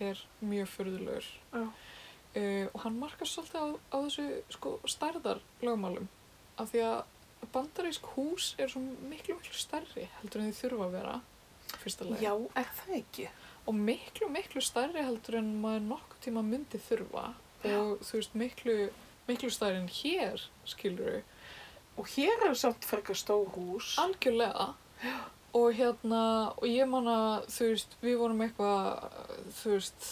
Speaker 1: er mjög fyrðulegur
Speaker 2: Já.
Speaker 1: Uh, og hann markast svolítið á, á þessu sko, stærðar lögmálum af því að bandarísk hús er svo miklu miklu stærri heldur en þau þurfa að vera í fyrsta lagi
Speaker 2: Já, er það ekki?
Speaker 1: og miklu miklu stærri heldur en maður nokkuð tíma myndi þurfa
Speaker 2: Já.
Speaker 1: og þú veist miklu miklu stærri en hér skilur við
Speaker 2: Og hér er samt frekar stór hús.
Speaker 1: algjörlega og hérna og ég man að þú veist við vorum eitthvað þú veist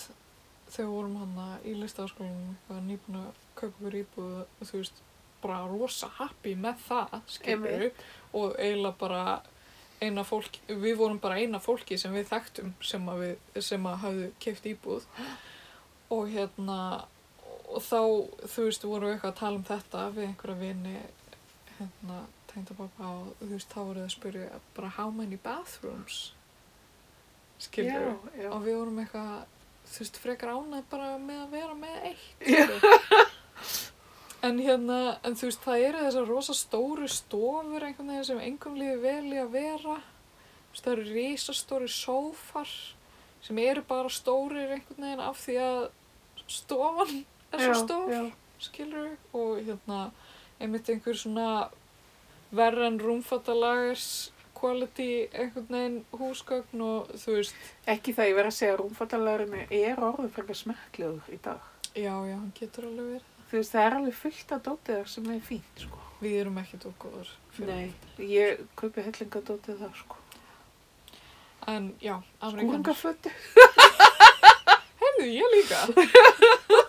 Speaker 1: þegar við vorum hana í listaskólanum eitthvað nýbúin að kaupa fyrir íbúð og þú veist bara rosa happy með það skilur
Speaker 2: Einmitt.
Speaker 1: við og eiginlega bara eina fólki, við vorum bara eina fólki sem við þekktum sem að, við, sem að hafðu keift íbúð og hérna og þá, þú veist, vorum við eitthvað að tala um þetta við einhverja vini hérna, tengdapappa og þú veist, þá voruð þið að spyrja bara how many bathrooms skilur við
Speaker 2: Já, já.
Speaker 1: og við vorum eitthvað, þú veist, frekar ánæð bara með að vera með eitt
Speaker 2: Já.
Speaker 1: skilurðu. en hérna, en þú veist, það eru þessar rosa stóru stofur einhvern veginn sem engum lífi vel í að vera Þú veist, það eru risastóri sófar sem eru bara stórir einhvern veginn af því að stofan er svo
Speaker 2: Já,
Speaker 1: stór
Speaker 2: já.
Speaker 1: skilur og hérna einmitt einhver svona verran rúmfattalagars quality einhvern veginn húsgögn og þú veist,
Speaker 2: Ekki það ég verið að segja að rúmfattalegurinn er orðið frekar smekklegur í dag.
Speaker 1: já, já, hann getur alveg verið.
Speaker 2: Þú veist, það er alveg fullt af dótið þar sem er fínt, sko.
Speaker 1: Við erum ekkert okkur.
Speaker 2: Nei, ég kaupi hellinga dótið þar, sko.
Speaker 1: En já, amerikanar.
Speaker 2: Skúringafötu.
Speaker 1: Herðu, ég líka.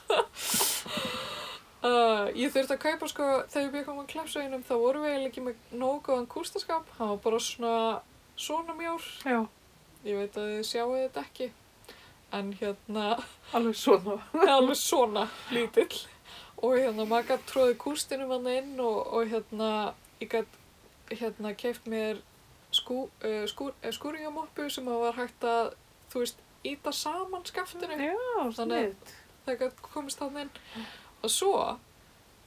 Speaker 1: uh, ég þurfti að kaupa sko, þegar við komum að klepsveginum, þá vorum við eiginlega ekki með nógu góðan kústaskap. Hann var bara svona, svona mjór.
Speaker 2: Já,
Speaker 1: Ég veit að þið sjáu þetta ekki. En hérna...
Speaker 2: alveg svona.
Speaker 1: Það er alveg svona lítill og hérna maður gætt tróði kústinum hann inn og, og hérna ég gætt hérna keift mér skú, uh, skúr, uh, skúringamoppu sem að var hægt að þú veist íta saman skaftinu
Speaker 2: Já,
Speaker 1: Þannig-
Speaker 2: snitt.
Speaker 1: þegar gætt komist hann inn og svo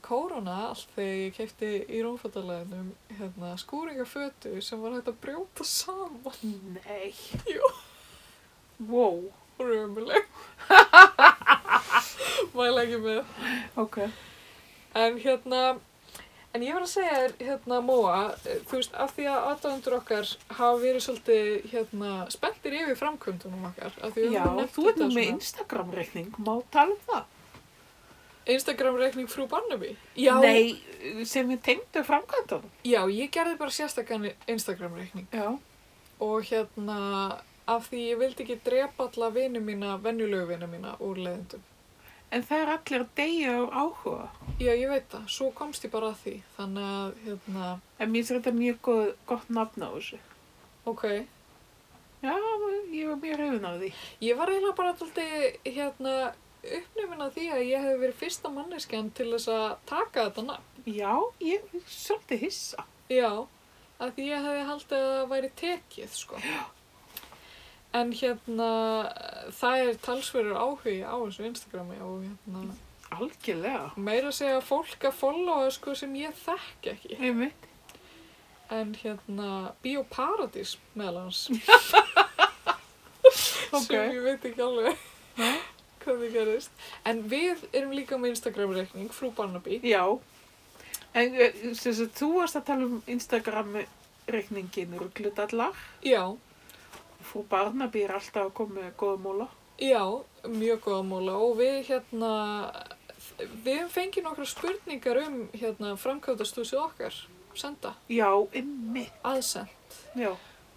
Speaker 1: kórona allt þegar ég keifti í rómfattaleginum hérna skúringafötu sem var hægt að brjóta saman
Speaker 2: Nei.
Speaker 1: Jú.
Speaker 2: Wow.
Speaker 1: römuleg mæla ekki með
Speaker 2: Ok.
Speaker 1: En hérna, en ég var að segja þér, hérna, Móa, eh, þú veist, af því að aðdáðundur okkar hafa verið svolítið, hérna, spenntir yfir framkvöndunum okkar. af því við
Speaker 2: Já,
Speaker 1: höfum nefnt
Speaker 2: þú ert
Speaker 1: þetta
Speaker 2: nú með
Speaker 1: svona.
Speaker 2: Instagram-reikning, má tala um það?
Speaker 1: Instagram-reikning frú Barnaby. Já,
Speaker 2: Nei, sem ég tengdu framkvæmdunum.
Speaker 1: já, ég gerði bara sérstakann Instagram-reikning
Speaker 2: Já.
Speaker 1: og hérna, af því ég vildi ekki drepa alla vini mína, venjulegu vini mína úr leðendum.
Speaker 2: En það er allir að deyja á áhuga.
Speaker 1: Já, ég veit það, svo komst ég bara að því, þannig að, hérna,
Speaker 2: En mér finnst þetta mjög góð, gott nafn á þessu.
Speaker 1: ok.
Speaker 2: Já, ég var mjög reyðin á því.
Speaker 1: Ég var eiginlega bara alltaf hérna, uppnefin að því að ég hef verið fyrsta manneskjan til þess að taka þetta nafn.
Speaker 2: Já, ég er svolítið hissa.
Speaker 1: Já, að því ég hefði haldið að það væri tekið, sko. En hérna, það er talsverður áhugi á þessu Instagrami og hérna,
Speaker 2: Algjörlega.
Speaker 1: meira að segja fólk að followa, sko, sem ég þekk ekki.
Speaker 2: Einmitt.
Speaker 1: En hérna, Bíóparadís meðal hans,
Speaker 2: Ok.
Speaker 1: sem ég veit ekki alveg
Speaker 2: Nei.
Speaker 1: hvað þið gerist. En við erum líka með Instagram-reikning, frú Barnaby.
Speaker 2: Já. En eh, sem sagt, þú varst að tala um Instagram-reikningin rugglutallar.
Speaker 1: Já,
Speaker 2: Frú Barnaby er alltaf að koma með góða móla.
Speaker 1: Já, mjög góða móla og við hérna, við höfum fengið nokkra spurningar um hérna framkvæmdastúsið okkar, senda,
Speaker 2: Já, einmitt.
Speaker 1: aðsend.
Speaker 2: Já.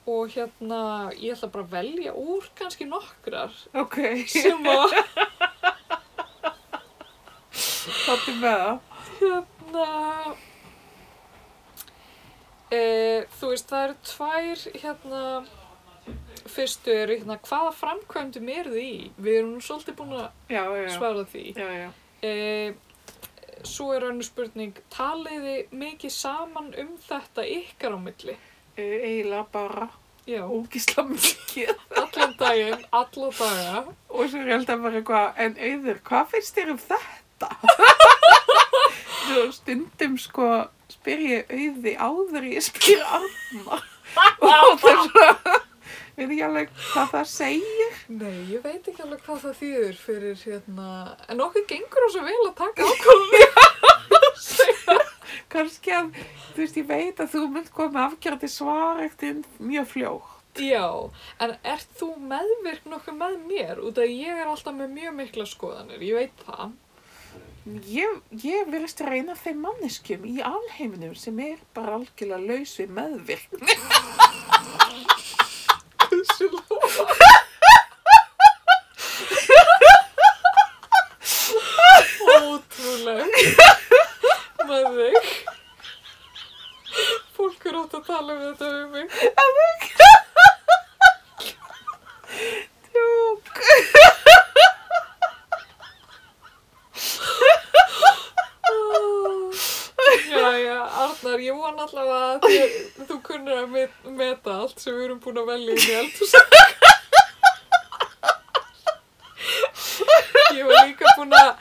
Speaker 1: Og hérna, ég ætla bara að velja úr kannski nokkrar
Speaker 2: Ok,
Speaker 1: sem að,
Speaker 2: þáttu með það.
Speaker 1: hérna, e, þú veist, það eru tvær, hérna, fyrstu eru, hérna, hvaða framkvæmdum eru þið í? Við erum nú svolítið búin að
Speaker 2: Já, já, já.
Speaker 1: svara því.
Speaker 2: Já, já.
Speaker 1: Eh, svo er önnur spurning, taliði mikið saman um þetta ykkar á milli?
Speaker 2: Eh, Eiginlega bara
Speaker 1: Já,
Speaker 2: ógisla mikið.
Speaker 1: allan daginn, alla daga.
Speaker 2: Og svo er ég alltaf bara eitthvað, en auður, hvað finnst þér um þetta? Svo stundum sko spyr ég auði áður en ég spyr amma. og það er svona, Við ekki alveg hvað það segir.
Speaker 1: Nei, ég veit ekki alveg hvað það þýðir fyrir hérna, en okkur gengur það svo vel að taka ákvörðunni.
Speaker 2: Kanski að, þú veist, ég veit að þú mynd koma afgjörði svar eftir mjög fljótt.
Speaker 1: Já, en ert þú meðvirk nokkuð með mér? Út að ég er alltaf með mjög mikla skoðanir, ég veit það.
Speaker 2: Ég, ég verðist reyna þeim manneskjum í alheiminum sem er bara algjörlega laus við meðvirkni.
Speaker 1: Þessu lofa. Ótrúleg. Með þig. Fólk er átt að tala um þetta við mig.
Speaker 2: Tjók.
Speaker 1: Jæja, Arnar, ég von allavega að þér, þú kunnir að met- meta allt sem við erum búin að velja inn í eldhús. Ég var líka búin að,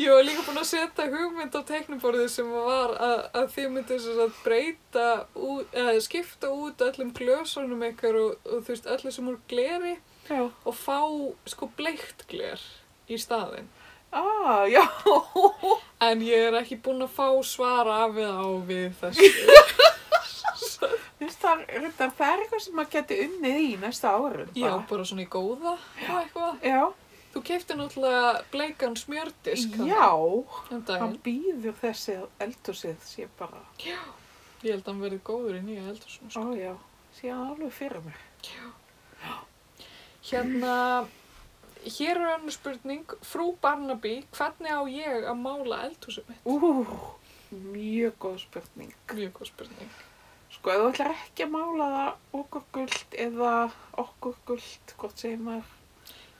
Speaker 1: ég var líka búin að setja hugmynd á teiknuborðið sem var að, að þið myndu þess að breyta, út, eða skipta út öllum glösunum ykkar og, og þú veist, öllu sem úr gleri
Speaker 2: Já.
Speaker 1: og fá sko bleikt gler í staðinn.
Speaker 2: Ah, já.
Speaker 1: En ég er ekki búin að fá svar af eða á við þessu.
Speaker 2: Þú veist, það, er- reyndar, það er eitthvað sem maður geti unnið í næsta árum.
Speaker 1: Já, bara svona í góða og eitthvað.
Speaker 2: Já.
Speaker 1: Þú keipti náttúrulega bleikan smjördisk hann
Speaker 2: Já.
Speaker 1: um
Speaker 2: Hann
Speaker 1: daginn.
Speaker 2: býður þessi eldhúsið sé bara,
Speaker 1: Ég held að hann verði góður í nýja eldhúsinu.
Speaker 2: á já, sé alveg fyrir mig.
Speaker 1: Sko. Hérna, hér er önnur spurning. Frú Barnaby, hvernig á ég að mála eldhúsið mitt?
Speaker 2: Ú, mjög góð spurning.
Speaker 1: Mjög góð spurning.
Speaker 2: Sko, ef þú ætlar ekki að mála það okkur guld eða okkur guld, hvort segir maður?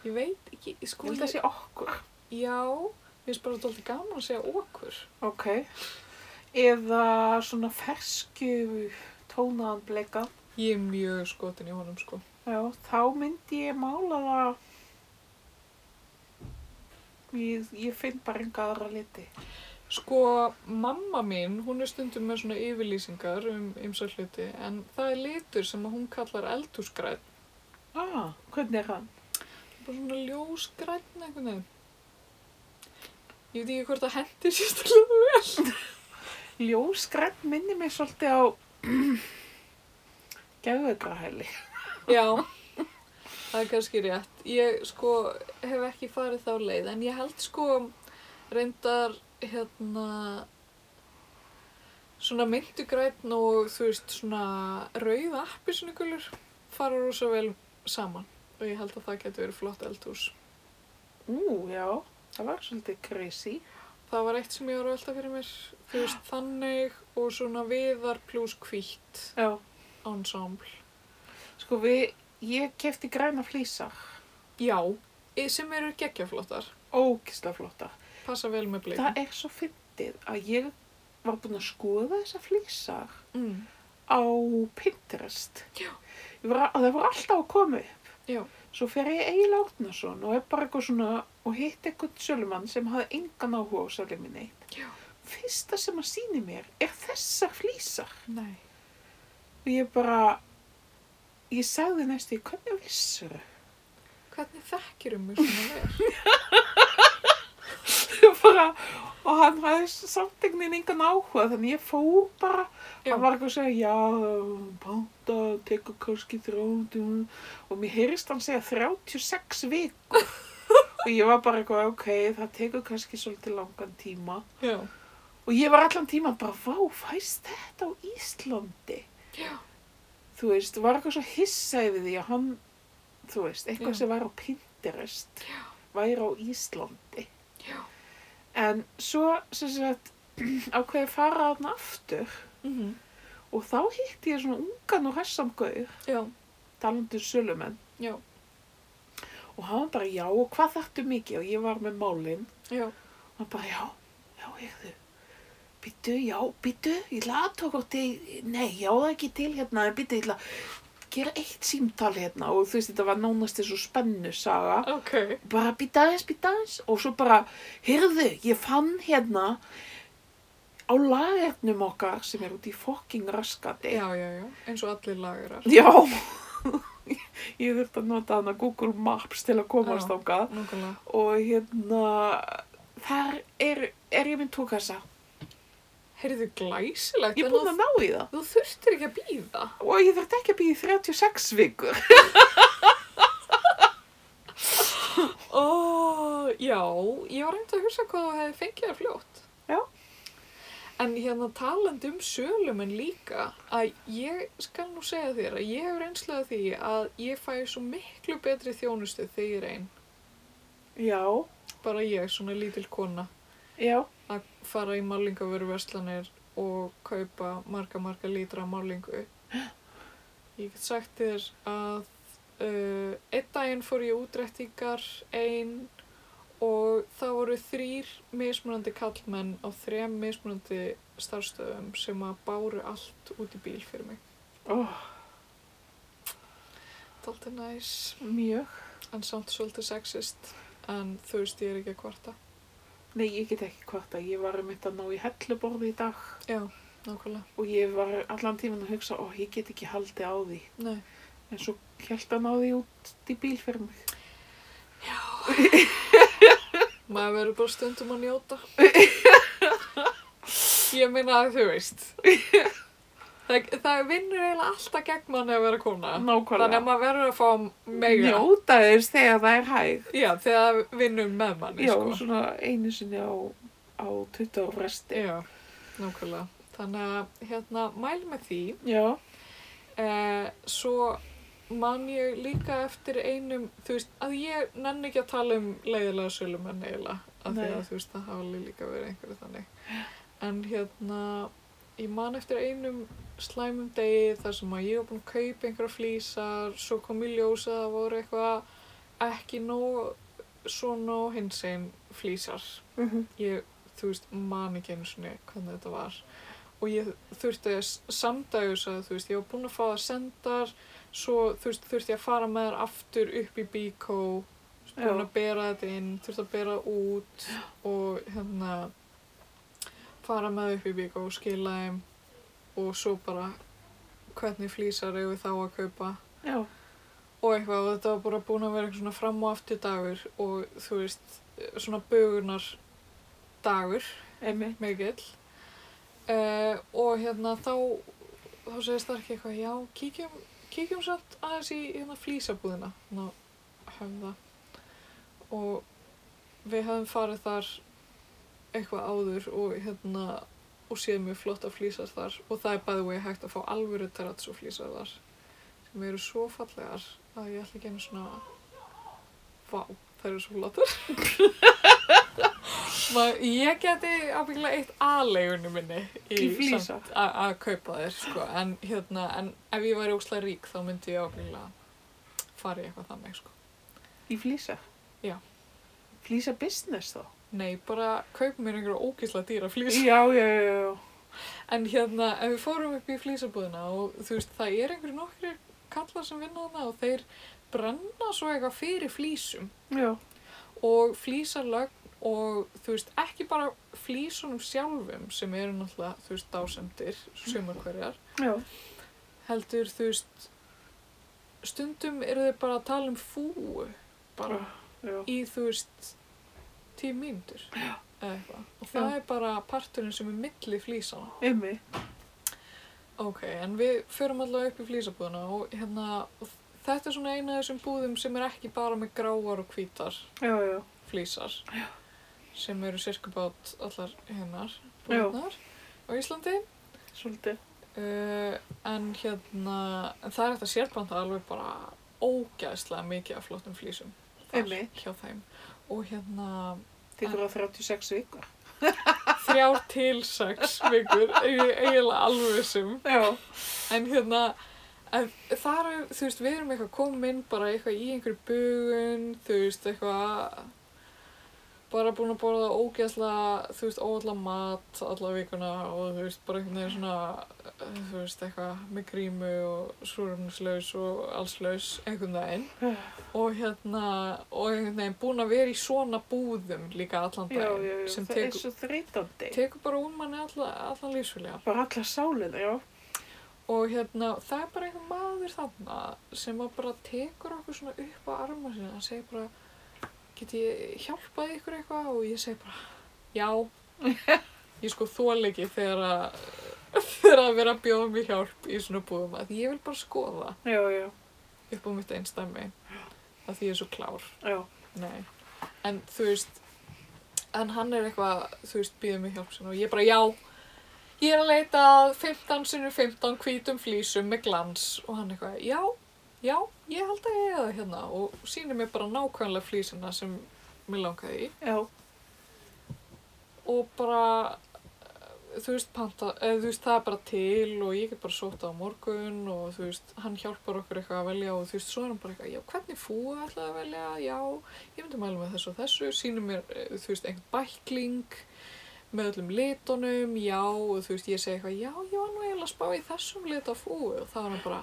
Speaker 1: Ég veit ekki, ég
Speaker 2: Ég
Speaker 1: sko,
Speaker 2: held að sé okkur.
Speaker 1: já, mér finnst bara alltaf gaman að segja okkur.
Speaker 2: Ok. Eða svona fersku tónaðan bleika.
Speaker 1: Ég er mjög skotin í honum, sko.
Speaker 2: Já, þá myndi ég mála það. Ég, ég finn bara enga aðra liti.
Speaker 1: Sko, mamma mín, hún er stundum með svona yfirlýsingar um ymsa hluti, en það er litur sem að hún kallar eldhúsgræn.
Speaker 2: Ah, hvernig er hann?
Speaker 1: Bara svona ljósgræn einhvern veginn. Ég veit ekki hvort það hendi sérstaklega vel.
Speaker 2: Ljósgrænt minni mig svolítið á geðveikrahæli.
Speaker 1: Já, það er kannski rétt. Ég sko hef ekki farið þá leið, en ég held sko reyndar hérna svona myndugræn og þú veist svona rauð appi svona gulur fara rosa vel saman og ég held að það getur verið flott eldhús.
Speaker 2: Ú, já, það var svolítið crazy.
Speaker 1: Það var eitt sem ég var að velta fyrir mér, þú veist þannig og svona viðar pluss hvítt
Speaker 2: Já.
Speaker 1: ensemble.
Speaker 2: Sko við, ég kefti græna flýsar,
Speaker 1: Já, eh, sem eru geggjaflottar,
Speaker 2: ógislega flotta.
Speaker 1: passa vel með bleikum.
Speaker 2: Það er svo fyndið að ég var búin að skoða þessar flýsar
Speaker 1: Mm.
Speaker 2: á Pinterest.
Speaker 1: Já.
Speaker 2: Ég Var, að það voru alltaf að koma upp.
Speaker 1: Já.
Speaker 2: Svo fer ég Egil Árnason og er bara eitthvað svona og hitt eitthvað sölumann sem hafði engan áhuga á sælum minni eitt.
Speaker 1: Já.
Speaker 2: Fyrsta sem að sýni mér er þessar flýsar.
Speaker 1: Nei.
Speaker 2: Og ég bara, ég sagði næstu, hvernig vissur
Speaker 1: Hvernig þekkirum við svona vel?
Speaker 2: bara, og hann hafði samt einhvern veginn engan áhuga þannig ég fór bara
Speaker 1: Já.
Speaker 2: hann var eitthvað að segja já, panta, tekur kannski þrjóðum og mér heyrist hann segja 36 vikur og ég var bara eitthvað ok, það tekur kannski svolítið langan tíma
Speaker 1: Já.
Speaker 2: og ég var allan tíma bara, vá, fæst þetta á Íslandi
Speaker 1: Já.
Speaker 2: þú veist, var eitthvað svo hissa yfir því að hann, þú veist, eitthvað
Speaker 1: Já.
Speaker 2: sem var á Pinterest
Speaker 1: Já.
Speaker 2: væri á Íslandi.
Speaker 1: Já.
Speaker 2: En svo, sem sagt, ákveði fara þarna aftur
Speaker 1: Mhm.
Speaker 2: og þá hitti ég svona ungan og hessan gauð,
Speaker 1: Já.
Speaker 2: talandur um sölumenn.
Speaker 1: Já.
Speaker 2: Og hann bara, já, og hvað þarftu mikið? Og ég var með málinn.
Speaker 1: Já.
Speaker 2: Og hann bara, já, já, heyrðu, býttu, já, býttu, ég ætla að tóka til, nei, já, það er ekki til hérna, en býttu, ég ætla að gera eitt símtal hérna. Og þú veist, þetta var nánast eins og spennu saga.
Speaker 1: Ok.
Speaker 2: bara býta aðeins, býta aðeins og svo bara, heyrðu, ég fann hérna á lagernum okkar sem er út í fokking raskati
Speaker 1: Já, já, já. Eins og allir lagarar.
Speaker 2: Já, ég þurfti að nota hana Google Maps til að komast
Speaker 1: Já.
Speaker 2: þangað
Speaker 1: Nákvæmlega.
Speaker 2: og hérna þar er, er ég minn tókassa
Speaker 1: Heyrðu glæsilegt.
Speaker 2: ég er
Speaker 1: en
Speaker 2: búin að
Speaker 1: þú-
Speaker 2: ná í það
Speaker 1: Þú þurftir ekki að býða.
Speaker 2: og ég þurfti ekki að býja í 36 vikur
Speaker 1: Ó, já, ég var reynd að hugsa hvað þú hefði fengið það fljótt.
Speaker 2: Já.
Speaker 1: En hérna talandi um sölumenn líka, að ég skal nú segja þér að ég hefur einslega því að ég fæ svo miklu betri þjónustu þegar ég er einn.
Speaker 2: já,
Speaker 1: Bara ég, svona lítil kona,
Speaker 2: já,
Speaker 1: að fara í málingavöruverslanir og kaupa marga, marga lítra af málingu. Ég get sagt þér að uh, einn daginn fór ég í útrektingar einn og það voru þrýr mismunandi kallmenn á þrem mismunandi starfstöðum sem að báru allt út í bíl fyrir mig.
Speaker 2: oh,
Speaker 1: Daldi næs,
Speaker 2: mjög
Speaker 1: en samt svolítið sexist, en þú veist ég er ekki að kvarta.
Speaker 2: nei, ég get ekki hvort að ég var um þetta að ná í helluborði í dag
Speaker 1: Já, nákvæmlega.
Speaker 2: og ég var allan tíman að hugsa ó, ég get ekki haldið á því
Speaker 1: Nei.
Speaker 2: en svo held að ná því út í bíl fyrir mig
Speaker 1: Maður verður bara stundum að njóta. Ég meina að þú veist. Það, það vinnur eiginlega alltaf gegn manni að vera kona. Þannig að
Speaker 2: nákvæmlega
Speaker 1: maður verður að fá meira.
Speaker 2: njóta þess þegar það er hæg
Speaker 1: Já, þegar það vinnur með manni,
Speaker 2: já,
Speaker 1: sko.
Speaker 2: svona einu sinni á, á 20 ára fresti
Speaker 1: Já, nákvæmlega. Þannig að, hérna, mæl með því.
Speaker 2: já,
Speaker 1: Eh, svo man ég líka eftir einum, þú veist, að ég nenni ekki að tala um leiðilega sölumenn eiginlega, af því
Speaker 2: Nei.
Speaker 1: að þú veist, það hafa alveg líka verið einhverju þannig. En hérna, ég man eftir einum slæmum degi þar sem að ég var búin að kaupa einhverja flísar, svo kom í ljós að það voru eitthvað ekki nóg svona og hins einn flísar
Speaker 2: Mhm.
Speaker 1: ég, þú veist, man ekki einu sinni hvernig þetta var og ég þurfti að samdægjus að þú veist, ég var búin að fá það sendar svo þú veist, þurfti ég að fara með þær aftur upp í bíkó búin
Speaker 2: Já.
Speaker 1: að bera þetta inn, þurfti að bera það út og hérna fara með þau upp í bíkó og skila þeim og svo bara hvernig flýsar eigum við þá að kaupa
Speaker 2: já,
Speaker 1: og eitthvað og þetta var bara búin að vera eitthvað svona fram og aftur dagur og þú veist, svona bugunar dagur
Speaker 2: emi
Speaker 1: mikill uh, og hérna þá þá segist það ekki eitthvað já, kíkjum, kíkjum samt aðeins í hérna flýsabúðina hérna á höfða og við höfum farið þar eitthvað áður og hérna og séð mjög flott að flýsar þar og það er bæði vegi hægt að fá alvöru terratsu flýsar þar sem eru svo fallegar að ég ætla ekki einu svona vá, það eru svo flottar Ma- Ég geti ábyggilega eitt aðleigunni minni
Speaker 2: Í flísar.
Speaker 1: samt- að að kaupa þér sko. en, hérna, en ef ég væri óslega rík þá myndi ég ábyggilega fara í eitthvað þannig sko.
Speaker 2: í flýsa
Speaker 1: Já.
Speaker 2: flýsa business þá
Speaker 1: Nei, bara kaupa mér einhverja ógislega dýra flýsa
Speaker 2: já, já, já, já
Speaker 1: En hérna, ef við fórum upp í flýsabúðina og þú veist, það er einhverju nokkri kallar sem vinna þarna og þeir brenna svo eitthvað fyrir flýsum
Speaker 2: já,
Speaker 1: og flýsalögn og þú veist, ekki bara flýsunum sjálfum sem eru náttúrulega, þú veist, dásendir, sumar hverjar,
Speaker 2: já,
Speaker 1: heldur, þú veist, stundum eru þeir bara að tala um fúu bara
Speaker 2: já.
Speaker 1: í, þú veist, tíu mínútur eða eitthvað. Og það
Speaker 2: Já.
Speaker 1: er bara parturinn sem er milli flýsana.
Speaker 2: emi
Speaker 1: Ok, en við förum allavega upp í flýsabúðuna og hérna, og þetta er svona eina af þessum búðum sem er ekki bara með gráar og hvítar
Speaker 2: já, já,
Speaker 1: flýsar sem eru sirkubát allar hennar búðunar á Íslandi
Speaker 2: svolítið
Speaker 1: uh, en hérna, en það er þetta sérbanda alveg bara ógæðslega mikið af flottum flýsum þar
Speaker 2: Einmitt.
Speaker 1: hjá þeim og hérna
Speaker 2: tekur það 36 vikur
Speaker 1: þrjár til sex vikur ég er eiginlega alveg sem
Speaker 2: já,
Speaker 1: En hérna, en þar, er- þú veist, við erum eitthvað komin bara eitthvað í einhverju bugun, þú veist, eitthvað bara búin að borða ógeðslega, þú veist, óalla mat alla vikuna og þú veist, bara einhvern veginn svona, eh, þú veist, eitthvað með grímu og súrumslaus og allslaus einhvern veginn og hérna, og einhvern veginn búin að vera í svona búðum líka allan
Speaker 2: já,
Speaker 1: daginn
Speaker 2: já, já.
Speaker 1: sem
Speaker 2: það er
Speaker 1: tekur,
Speaker 2: svo þreytandi
Speaker 1: tekur bara úr manni alla, allan lífsfélja
Speaker 2: bara alla sálina, já
Speaker 1: Og hérna, það er bara einhver maður þarna sem að bara tekur okkur svona upp á arma sinna. Hann segir bara, get ég hjálpað ykkur eitthvað? Og ég segi bara, já. Ég sko þól ekki þegar að, þegar að vera að bjóða mig hjálp í svona búðum. Að því ég vil bara skoða
Speaker 2: Já, já,
Speaker 1: upp á mitt einstæmi. Að því ég er svo klár.
Speaker 2: já.
Speaker 1: Nei. En þú veist, en hann er eitthvað, þú veist, býðið mig hjálp sinna og ég bara, já, ég er að leita að 15 sinni 15 hvítum flísum með glans og hann eitthvað, já, já, ég held að ég eigi það hérna og sýnir mér bara nákvæmlega flísina sem mér langaði í
Speaker 2: Já,
Speaker 1: og bara, eh, þú veist, panta, eða, þú veist, það er bara til og ég get bara sóta á morgun og þú veist, hann hjálpar okkur eitthvað að velja og þú veist, svo er hann bara eitthvað, já, hvernig fúa ætlaði að velja, já, ég myndi mæla með þessu og þessu, sínum mér, eh, þú veist, einhvern bækling með öllum litunum, já, og þú veist, ég segi eitthvað, já, ég var nú eiginlega að spá í þessum lit af fúu og það er hann bara,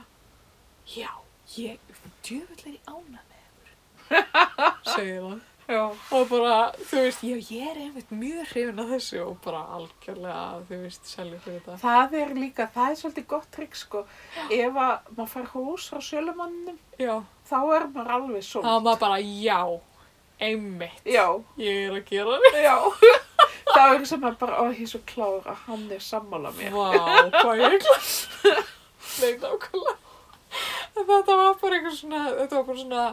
Speaker 1: já, ég, djöfull er í ána með ykkur, segir hann
Speaker 2: já,
Speaker 1: og bara, þú veist, já, ég er einmitt mjög hrifin að þessu og bara algjörlega, þú veist, selja fyrir þetta.
Speaker 2: það er líka, það er svolítið gott trikk sko. Ef að maður fær hús á sölumannum,
Speaker 1: Já,
Speaker 2: þá er maður alveg
Speaker 1: þá
Speaker 2: svo.
Speaker 1: var maður bara, já, einmitt,
Speaker 2: Já,
Speaker 1: ég er að gera þetta.
Speaker 2: já. þá er sem maður bara, ó, ég er svo klár að hann er sammála mér.
Speaker 1: Vá, hvað ég er glas. Nei, nákvæmlega. En Þetta var bara einhver svona, þetta var bara svona,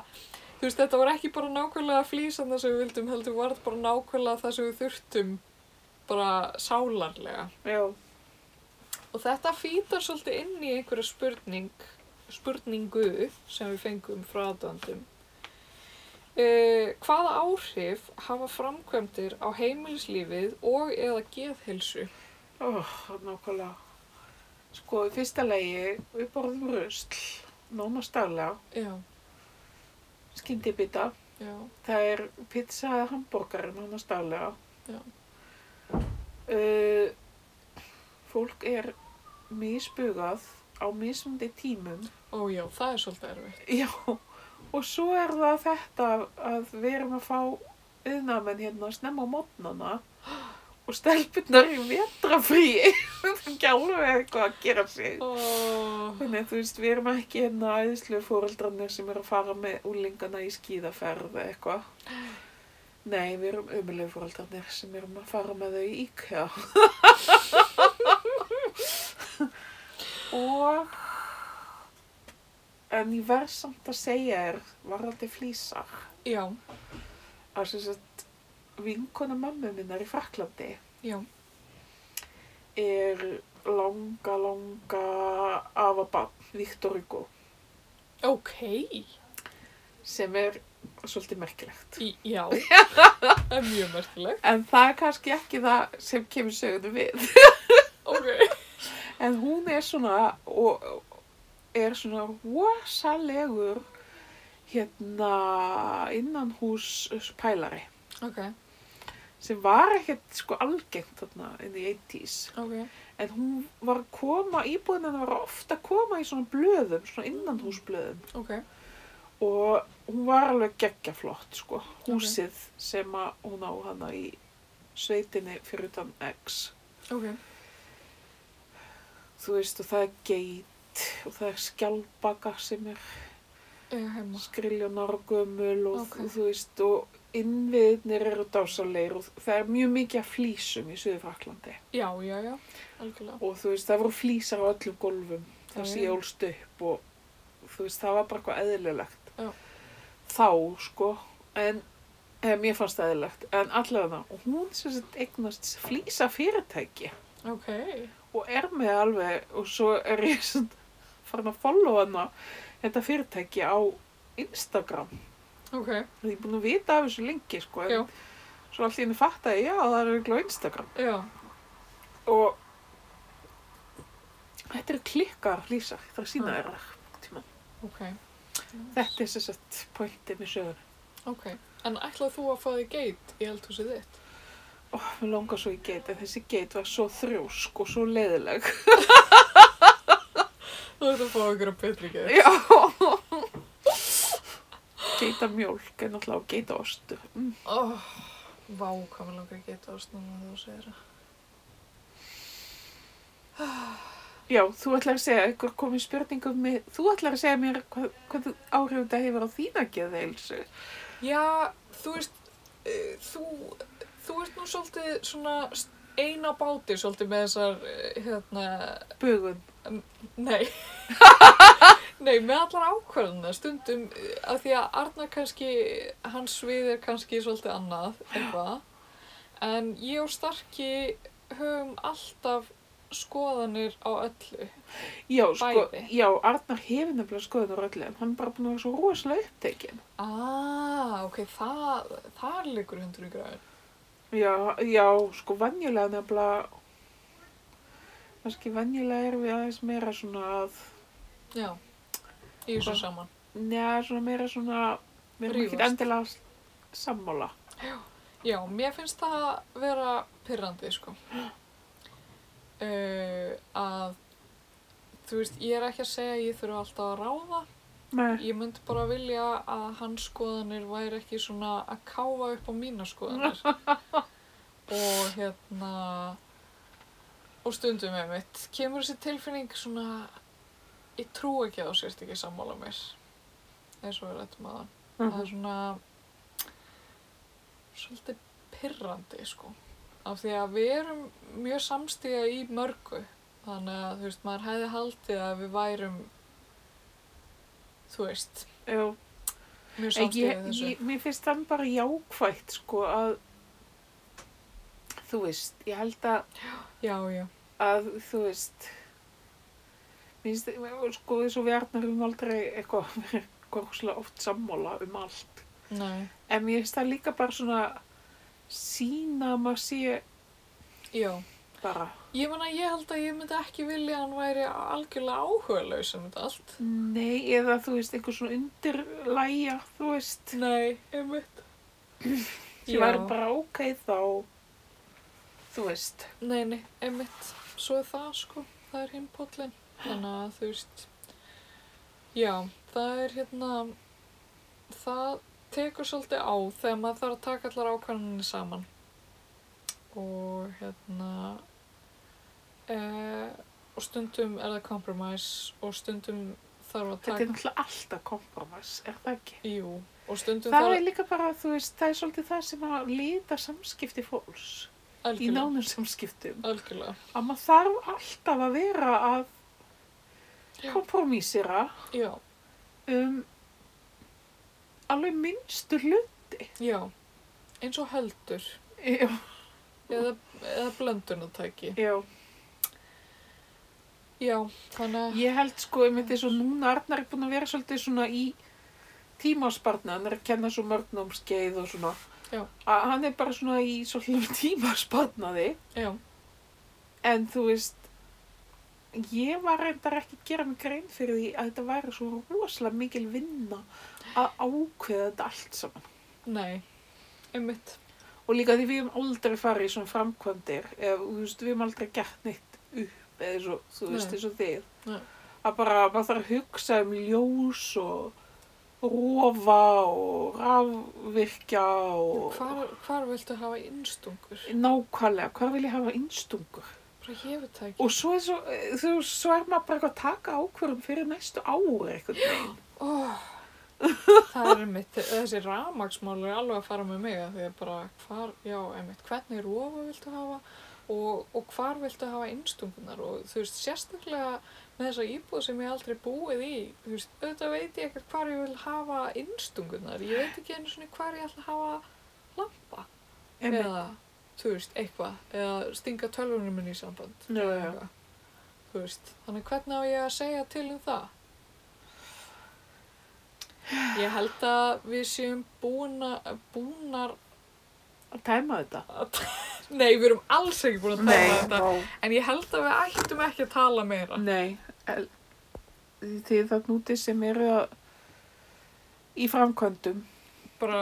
Speaker 1: þú veist, þetta var ekki bara nákvæmlega flýsan það sem við vildum, heldur var þetta bara nákvæmlega það sem við þurftum, bara sálarlega.
Speaker 2: Já,
Speaker 1: Og þetta fýtar svolítið inn í einhverja spurning, spurningu sem við fengum frá aðdöndum. Uh, hvaða áhrif hafa framkvæmdir á heimilislífið og eða geðheilsu?
Speaker 2: ó, nákvæmlega. Sko, í fyrsta lagi, við borðum rusl, nóna stærlega,
Speaker 1: Já,
Speaker 2: skyndibita.
Speaker 1: já,
Speaker 2: Það er pizza eða hambúrgar núna stálega.
Speaker 1: Já.
Speaker 2: Uh, fólk er misbugað á mismundi tímum.
Speaker 1: ó já, það er svolítið erfitt.
Speaker 2: Já, og svo er það þetta að við erum að fá yðnamenn hérna snemma á mótnana og stelpunnar í vetrafríi. Það er ekki alveg eitthvað að gera sig.
Speaker 1: Oh,
Speaker 2: Þannig að þú veist, við erum ekki hérna æðislu fóreldrarnir sem eru að fara með úlingana í skíðaferð eða eitthvað. Nei, við erum umilegu fóreldrarnir sem erum að fara með þau í IKEA. Og, en ég verð samt að segja þér, varandi flýsar,
Speaker 1: já,
Speaker 2: að sem sagt, vinkona mammu minnar í Fraklandi
Speaker 1: já,
Speaker 2: er langa, langa afabann, Viktor Hugo.
Speaker 1: ok,
Speaker 2: sem er svolítið merkilegt.
Speaker 1: í, já, það er mjög merkilegt,
Speaker 2: En það er kannski ekki það sem kemur sögunu við.
Speaker 1: ok,
Speaker 2: En hún er svona, og er svona rosalegur hérna innan hús pælari
Speaker 1: ok,
Speaker 2: sem var ekkert sko algengt þarna inn í 80s.
Speaker 1: ok,
Speaker 2: En hún var að koma, íbúðin hennar var ofta að koma í svona blöðum, svona innanhúsblöðum.
Speaker 1: ok,
Speaker 2: og hún var alveg geggjaflott sko, húsið sem að hún á hana í sveitinni fyrir utan X
Speaker 1: ok,
Speaker 2: þú veist og það er geit og það er skjálbaka sem er
Speaker 1: ég Eh, heima,
Speaker 2: skriljónar og gömul og
Speaker 1: Ókei.
Speaker 2: þú veist og innviðnir eru dásalegir og það er mjög mikið af flýsum í Suðurfraklandi
Speaker 1: já, já, já, algjörlega,
Speaker 2: og þú veist það voru flýsar á öllum gólfum
Speaker 1: Já,
Speaker 2: það sé
Speaker 1: já.
Speaker 2: ég ólst upp og þú veist það var bara eitthvað eðlilegt
Speaker 1: Já.
Speaker 2: þá sko en eða, mér fannst það eðlilegt en allavega og hún sem sagt eignast flýsa fyrirtæki
Speaker 1: ok,
Speaker 2: og er með alveg og svo er ég svona farin að followa hana þetta fyrirtæki á Instagram
Speaker 1: ok,
Speaker 2: ég er búin að vita af þessu lengi sko en
Speaker 1: Já.
Speaker 2: svo allt í henni fattaði ég, já það er örugglega á Instagram
Speaker 1: já,
Speaker 2: og þetta eru klikkar flýsar, það er að sína
Speaker 1: Já.
Speaker 2: þér það einhvern tímann.
Speaker 1: ok.
Speaker 2: þetta er sem sagt pointið með söguna
Speaker 1: Ok, en ætlaðu þú að fá þig geit í eldhúsið þitt?
Speaker 2: og mér langar svo í geit en þessi geit var svo þrjósk og svo leiðileg
Speaker 1: Þú ert að fá ykkur að betri geit.
Speaker 2: já geita mjólk en alltaf geita ostu mm.
Speaker 1: Oh, vá, hvað mér langar að geta á snána þú segir það.
Speaker 2: Já, þú ætlar að segja, ykkur komið spurningum með, þú ætlar að segja mér hvað, hvað áhrif þetta hefur á þína geðheilsu.
Speaker 1: Já, þú veist, eh, þú, þú ert nú svolítið svona eina báti svolítið með þessar, eh, hérna,
Speaker 2: Bugun.
Speaker 1: nei, nei, með allar ákvarðuna stundum eh, af því að Arnar kannski, hans svið er kannski svolítið annað, eitthvað, en ég og Starki höfum alltaf skoðanir á öllu.
Speaker 2: Já, sko,
Speaker 1: Bæði.
Speaker 2: já, Arnar hefur nefnilega skoðunar öllu en hann er bara búin að vera svo rosalega upptekinn.
Speaker 1: Ah, ok, það, þar liggur hundur í græn.
Speaker 2: Já, já, sko, venjulega nefnilega, kannski venjulega erum við aðeins meira svona að,
Speaker 1: Já, í þessu
Speaker 2: Hvað?
Speaker 1: saman.
Speaker 2: neða, svona meira svona, við erum ekkert
Speaker 1: Rífast.
Speaker 2: endilega s- sammála.
Speaker 1: Já, mér finnst það vera pyrrandi, sko. Uh, að, þú veist, ég er ekki að segja að ég þurfa alltaf að ráða.
Speaker 2: Nei,
Speaker 1: Ég myndi bara vilja að hans skoðanir væri ekki svona að káfa upp á mína skoðanir. og hérna, og stundum með mitt, kemur þessi tilfinning svona, ég trú ekki að þú sért ekki sammála mér. Eins og við rættum aðan það er svona svolítið pirrandi sko af því að við erum mjög samstíða í mörgu þannig að þú veist maður hefði haldið að við værum þú veist
Speaker 2: já,
Speaker 1: mjög
Speaker 2: Ég,
Speaker 1: samstíða í þessu
Speaker 2: ég, mér finnst það bara jákvætt sko að þú veist, ég held að,
Speaker 1: já já
Speaker 2: að þú veist mér finnst sko eins og við Arnar um aldrei eitthvað góðslega oft sammála um allt
Speaker 1: nei
Speaker 2: en mér finnst það líka bara svona sína að maður sé
Speaker 1: já
Speaker 2: bara
Speaker 1: ég meina ég held að ég myndi ekki vilja að hann væri algjörlega áhugalaus um þetta allt
Speaker 2: nei eða þú veist einhver svona undirlæja þú veist
Speaker 1: nei einmitt
Speaker 2: ég var bara ok þá þú veist
Speaker 1: Nei, nei, einmitt, svo er það sko, það er hinn póllinn, þannig að þú veist, já, það er hérna, það tekur svolítið á þegar maður þarf að taka allar ákvarðanir saman og hérna, e, og stundum er það compromise og stundum þarf að
Speaker 2: þetta er
Speaker 1: taka,
Speaker 2: náttúrulega alltaf kompromiss er það ekki?
Speaker 1: jú, og stundum
Speaker 2: Það er
Speaker 1: þarf
Speaker 2: líka bara, þú veist, það er svolítið það sem að lita samskipti fólks
Speaker 1: að,
Speaker 2: í nánum samskiptum.
Speaker 1: algjörlega,
Speaker 2: Að maður þarf alltaf að vera að
Speaker 1: Já.
Speaker 2: kompromísera
Speaker 1: já,
Speaker 2: um alveg minnstu hlut.
Speaker 1: já, eins og heldur
Speaker 2: Já,
Speaker 1: eða, eða blöndunatæki,
Speaker 2: já.
Speaker 1: já, þannig að...
Speaker 2: Ég held sko, ég myndi svo núna, Arnar er búin að vera svolítið svona í tímasparna, hann er að kenna svo mörg námskeið og svona.
Speaker 1: Já.
Speaker 2: Að hann er bara svona í svolítið tímasparnaði.
Speaker 1: Já,
Speaker 2: En þú veist, ég var reyndar ekki að gera mig grein fyrir því að þetta væri svo rosalega mikil vinna að ákveða þetta allt saman.
Speaker 1: nei, einmitt,
Speaker 2: Og líka því við höfum aldrei farið í svona framkvæmdir, eða þú veist, við höfum aldrei gert neitt upp eða svo, þú veist,
Speaker 1: Nei.
Speaker 2: eins og þið.
Speaker 1: Nei.
Speaker 2: Að bara, maður þarf að hugsa um ljós og rofa og rafvirkja og
Speaker 1: hvar, hvar viltu hafa innstungur?
Speaker 2: nákvæmlega, hvað vil ég hafa innstungur?
Speaker 1: Bara ég veit það ekki.
Speaker 2: Og svo er, svo, þú, svo er maður bara eitthvað að taka ákvörðum fyrir næstu ári eitthvað.
Speaker 1: Ó, það er einmitt, þessi ramagsmál er alveg að fara með mig að því að bara hvar, já, einmitt, hvernig rofa viltu hafa og, og hvar viltu hafa innstungunar og þú veist, sérstaklega með þessa íbúð sem ég aldrei búið í, þú veist, auðvitað veit ég ekkert hvar ég vil hafa innstungunar, ég veit ekki einu svona hvar ég ætla að hafa lampa
Speaker 2: Einmitt.
Speaker 1: eða, þú veist, eitthvað, eða stinga tölvunum minni í samband.
Speaker 2: Já, já, já.
Speaker 1: eitthvað. Þú veist, þannig hvernig á ég að segja til um það? Ég held að við séum búna, búnar
Speaker 2: Að tæma þetta.
Speaker 1: að... Nei, við erum alls ekki búin að tala um
Speaker 2: Nei,
Speaker 1: þetta.
Speaker 2: Mm.
Speaker 1: En ég held að við ættum ekki að tala meira.
Speaker 2: nei. el- Þið það núti sem eru að, í framkvæmdum.
Speaker 1: Bara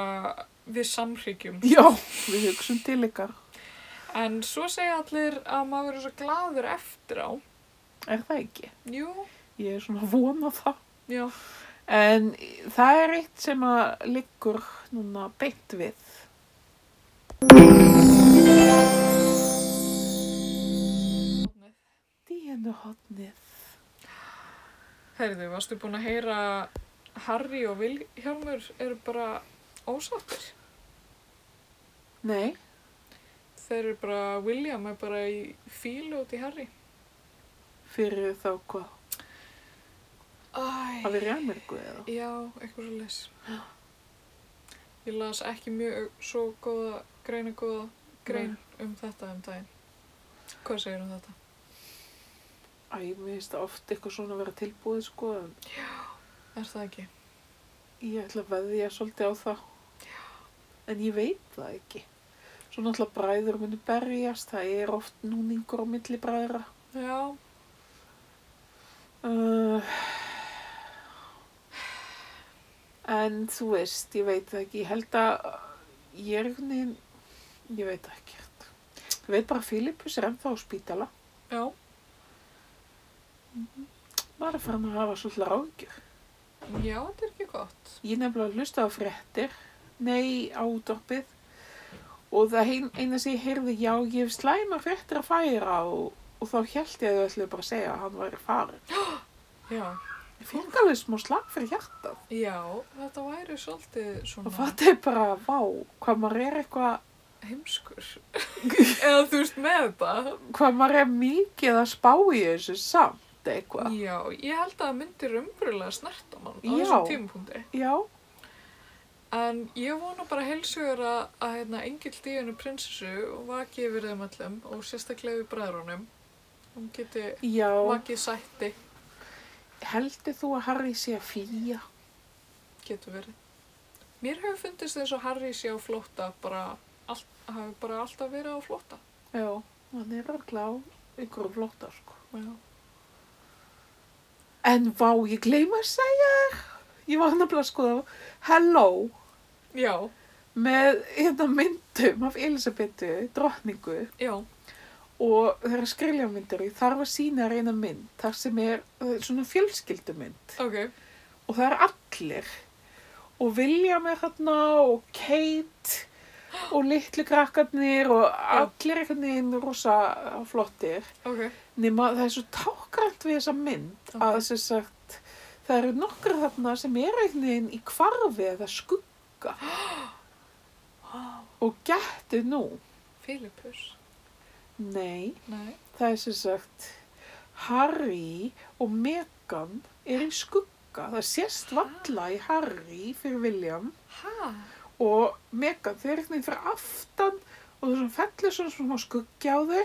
Speaker 1: við samhryggjum.
Speaker 2: Já. Við hugsum til ykkar.
Speaker 1: En svo segja allir að maður verður svo gladur eftir á.
Speaker 2: Er það ekki?
Speaker 1: Jú,
Speaker 2: Ég er svona að vona það.
Speaker 1: já,
Speaker 2: En það er eitt sem að liggur núna beint við. Dínu hotnið.
Speaker 1: Herðu, varstu búin að heyra Harry og Vilhjálmur eru bara ósáttir.
Speaker 2: Nei.
Speaker 1: Þeir eru bara, William er bara í fílu út í Harry.
Speaker 2: Fyrir þá hvað?
Speaker 1: Æ.
Speaker 2: Að vera í Ameríku eða?
Speaker 1: Já, eitthvað svo les. Ég las ekki mjög svo góða, greina góða grein um þetta um daginn. Hvað segir um þetta?
Speaker 2: Æ, mér finnst það oft eitthvað svona að vera tilbúið sko. En
Speaker 1: Er það ekki?
Speaker 2: ég ætla að veðja svolítið á það. En ég veit það ekki. Svo náttúrulega bræður muni berjast. Það er oft núningur á milli bræðra.
Speaker 1: Já,
Speaker 2: Uh, en þú veist, ég veit það ekki. Ég held að ég er einhvern veginn, ég veit það ekkert. Ég veit bara að Filippus er ennþá á spítala.
Speaker 1: já.
Speaker 2: Maður er farin að hafa svolítið ráðgjur.
Speaker 1: Já, þetta er ekki gott.
Speaker 2: Ég nefnilega hlusta á fréttir, nei á útdorpið og það ein, eina sem ég heyrði, já ég hef slæma fréttir að færa og, og þá held ég að þau ætluðu bara að segja að hann væri farin.
Speaker 1: Já.
Speaker 2: Ég fengi alveg smá slag fyrir hjartað
Speaker 1: Já, þetta væri svolítið svona
Speaker 2: og fattaði bara, vá, hvað maður er eitthvað,
Speaker 1: heimskur. Eða þú veist með þetta.
Speaker 2: hvað maður er mikið að spá í þessu samt eitthvað.
Speaker 1: Já, ég held að það myndir umbrúlega snert á mann á
Speaker 2: Já.
Speaker 1: þessum tímapunkti.
Speaker 2: Já,
Speaker 1: En ég vona bara heilsugur að, að hérna, engil díðinu prinsessu vaki yfir þeim öllum og sérstaklega yfir bræðrunum. Hún geti
Speaker 2: já,
Speaker 1: vakið sætti,
Speaker 2: heldur þú að Harry sé að flýja?
Speaker 1: getur verið. Mér hefur fundist þess að Harry sé á flótta, bara, all, hafi bara alltaf verið á flótta.
Speaker 2: Já, hann er örgla á einhverju flótta sko.
Speaker 1: Já.
Speaker 2: En vá, ég gleyma að segja þér. Ég var hann að blaða skoða Hello
Speaker 1: Já,
Speaker 2: með hérna myndum af Elisabetu, drottningu
Speaker 1: já,
Speaker 2: og þeirra skriljamindur. Ég þarf að sína reyna mynd þar sem er eh, svona fjölskyldumynd
Speaker 1: ok,
Speaker 2: og það er allir. Og William er hérna og Kate og litlu krakkarnir og allir einhvern veginn rosa flottir.
Speaker 1: ok,
Speaker 2: Nýma það er svo tákrænt við þessa mynd
Speaker 1: Ok.
Speaker 2: að sem sagt það eru nokkur þarna sem eru einhvern veginn í kvarfi eða skugga og gettu nú.
Speaker 1: Filippus.
Speaker 2: Nei,
Speaker 1: Nei,
Speaker 2: það er sem sagt Harry og Meghan eru í skugga. Það sést valla í Harry fyrir William
Speaker 1: hæ?
Speaker 2: og Meghan þau eru einhvern veginn fyrir aftan og það er svona fellur svona svona skuggja á þau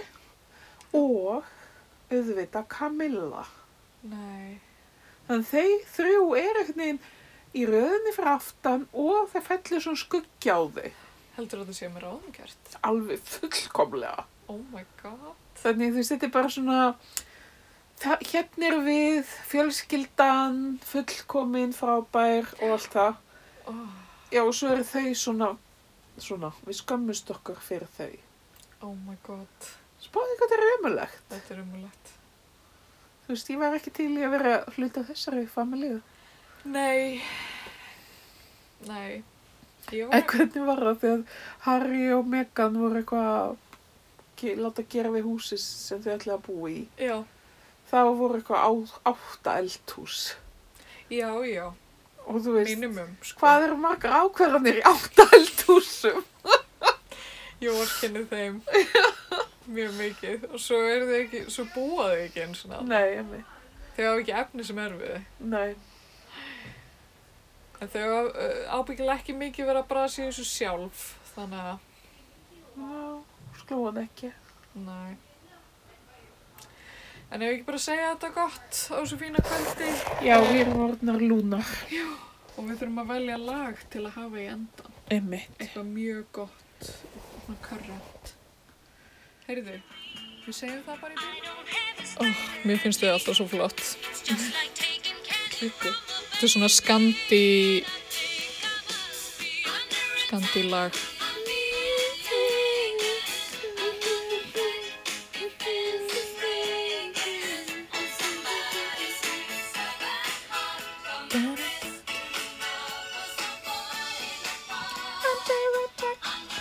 Speaker 2: og auðvitað Camilla.
Speaker 1: Nei,
Speaker 2: Þannig þeir þrjú er einhvern veginn í röðinni fyrir aftan og það fellur svona skuggja á þau.
Speaker 1: heldur að það sé mér áðumkjart.
Speaker 2: Alveg fullkomlega.
Speaker 1: Oh my god.
Speaker 2: Þannig þú veist, þetta er bara svona, það, hérna er við, fjölskyldan, fullkomin, frábær og allt það.
Speaker 1: Oh,
Speaker 2: Já, og svo eru þau svona, svona, við skömmust okkur fyrir þau.
Speaker 1: oh my god,
Speaker 2: Spáðu hvað þetta er ömulegt.
Speaker 1: þetta er umulett.
Speaker 2: Þú veist, ég var ekki til í að vera hluta af þessari familíu.
Speaker 1: Nei. Nei. Ég var
Speaker 2: En hvernig var það þegar Harry og Meghan voru eitthvað að ge- láta gera við húsi sem þau ætlaði að búa í?
Speaker 1: Já,
Speaker 2: Þá voru eitthvað á, átta eldhús.
Speaker 1: já, já.
Speaker 2: Og þú veist,
Speaker 1: Mínumum, sko.
Speaker 2: hvað eru margar ákvarðanir í átta eldhúsum?
Speaker 1: Ég vorkenni þeim mjög mikið. Og svo er þau ekki, svo búa þau ekki eins og nátt.
Speaker 2: Nei, ég mei,
Speaker 1: Þau hafa ekki efni sem er við þau.
Speaker 2: nei,
Speaker 1: En þau hafa uh, ábyggilega ekki mikið verið að brasa í þessu sjálf. Þannig að,
Speaker 2: Ná, sklóan ekki.
Speaker 1: næ. En ef ég ekki bara segja þetta gott á þessu fína kvöldi
Speaker 2: Já, við erum orðnar lúnar.
Speaker 1: og við þurfum að velja lag til að hafa í endan.
Speaker 2: Einmitt.
Speaker 1: eitthvað mjög gott og karrant heyrðu, við segjum það bara í byrju oh, mér finnst þau alltaf svo flott klipi þetta er svona skandi skandi lag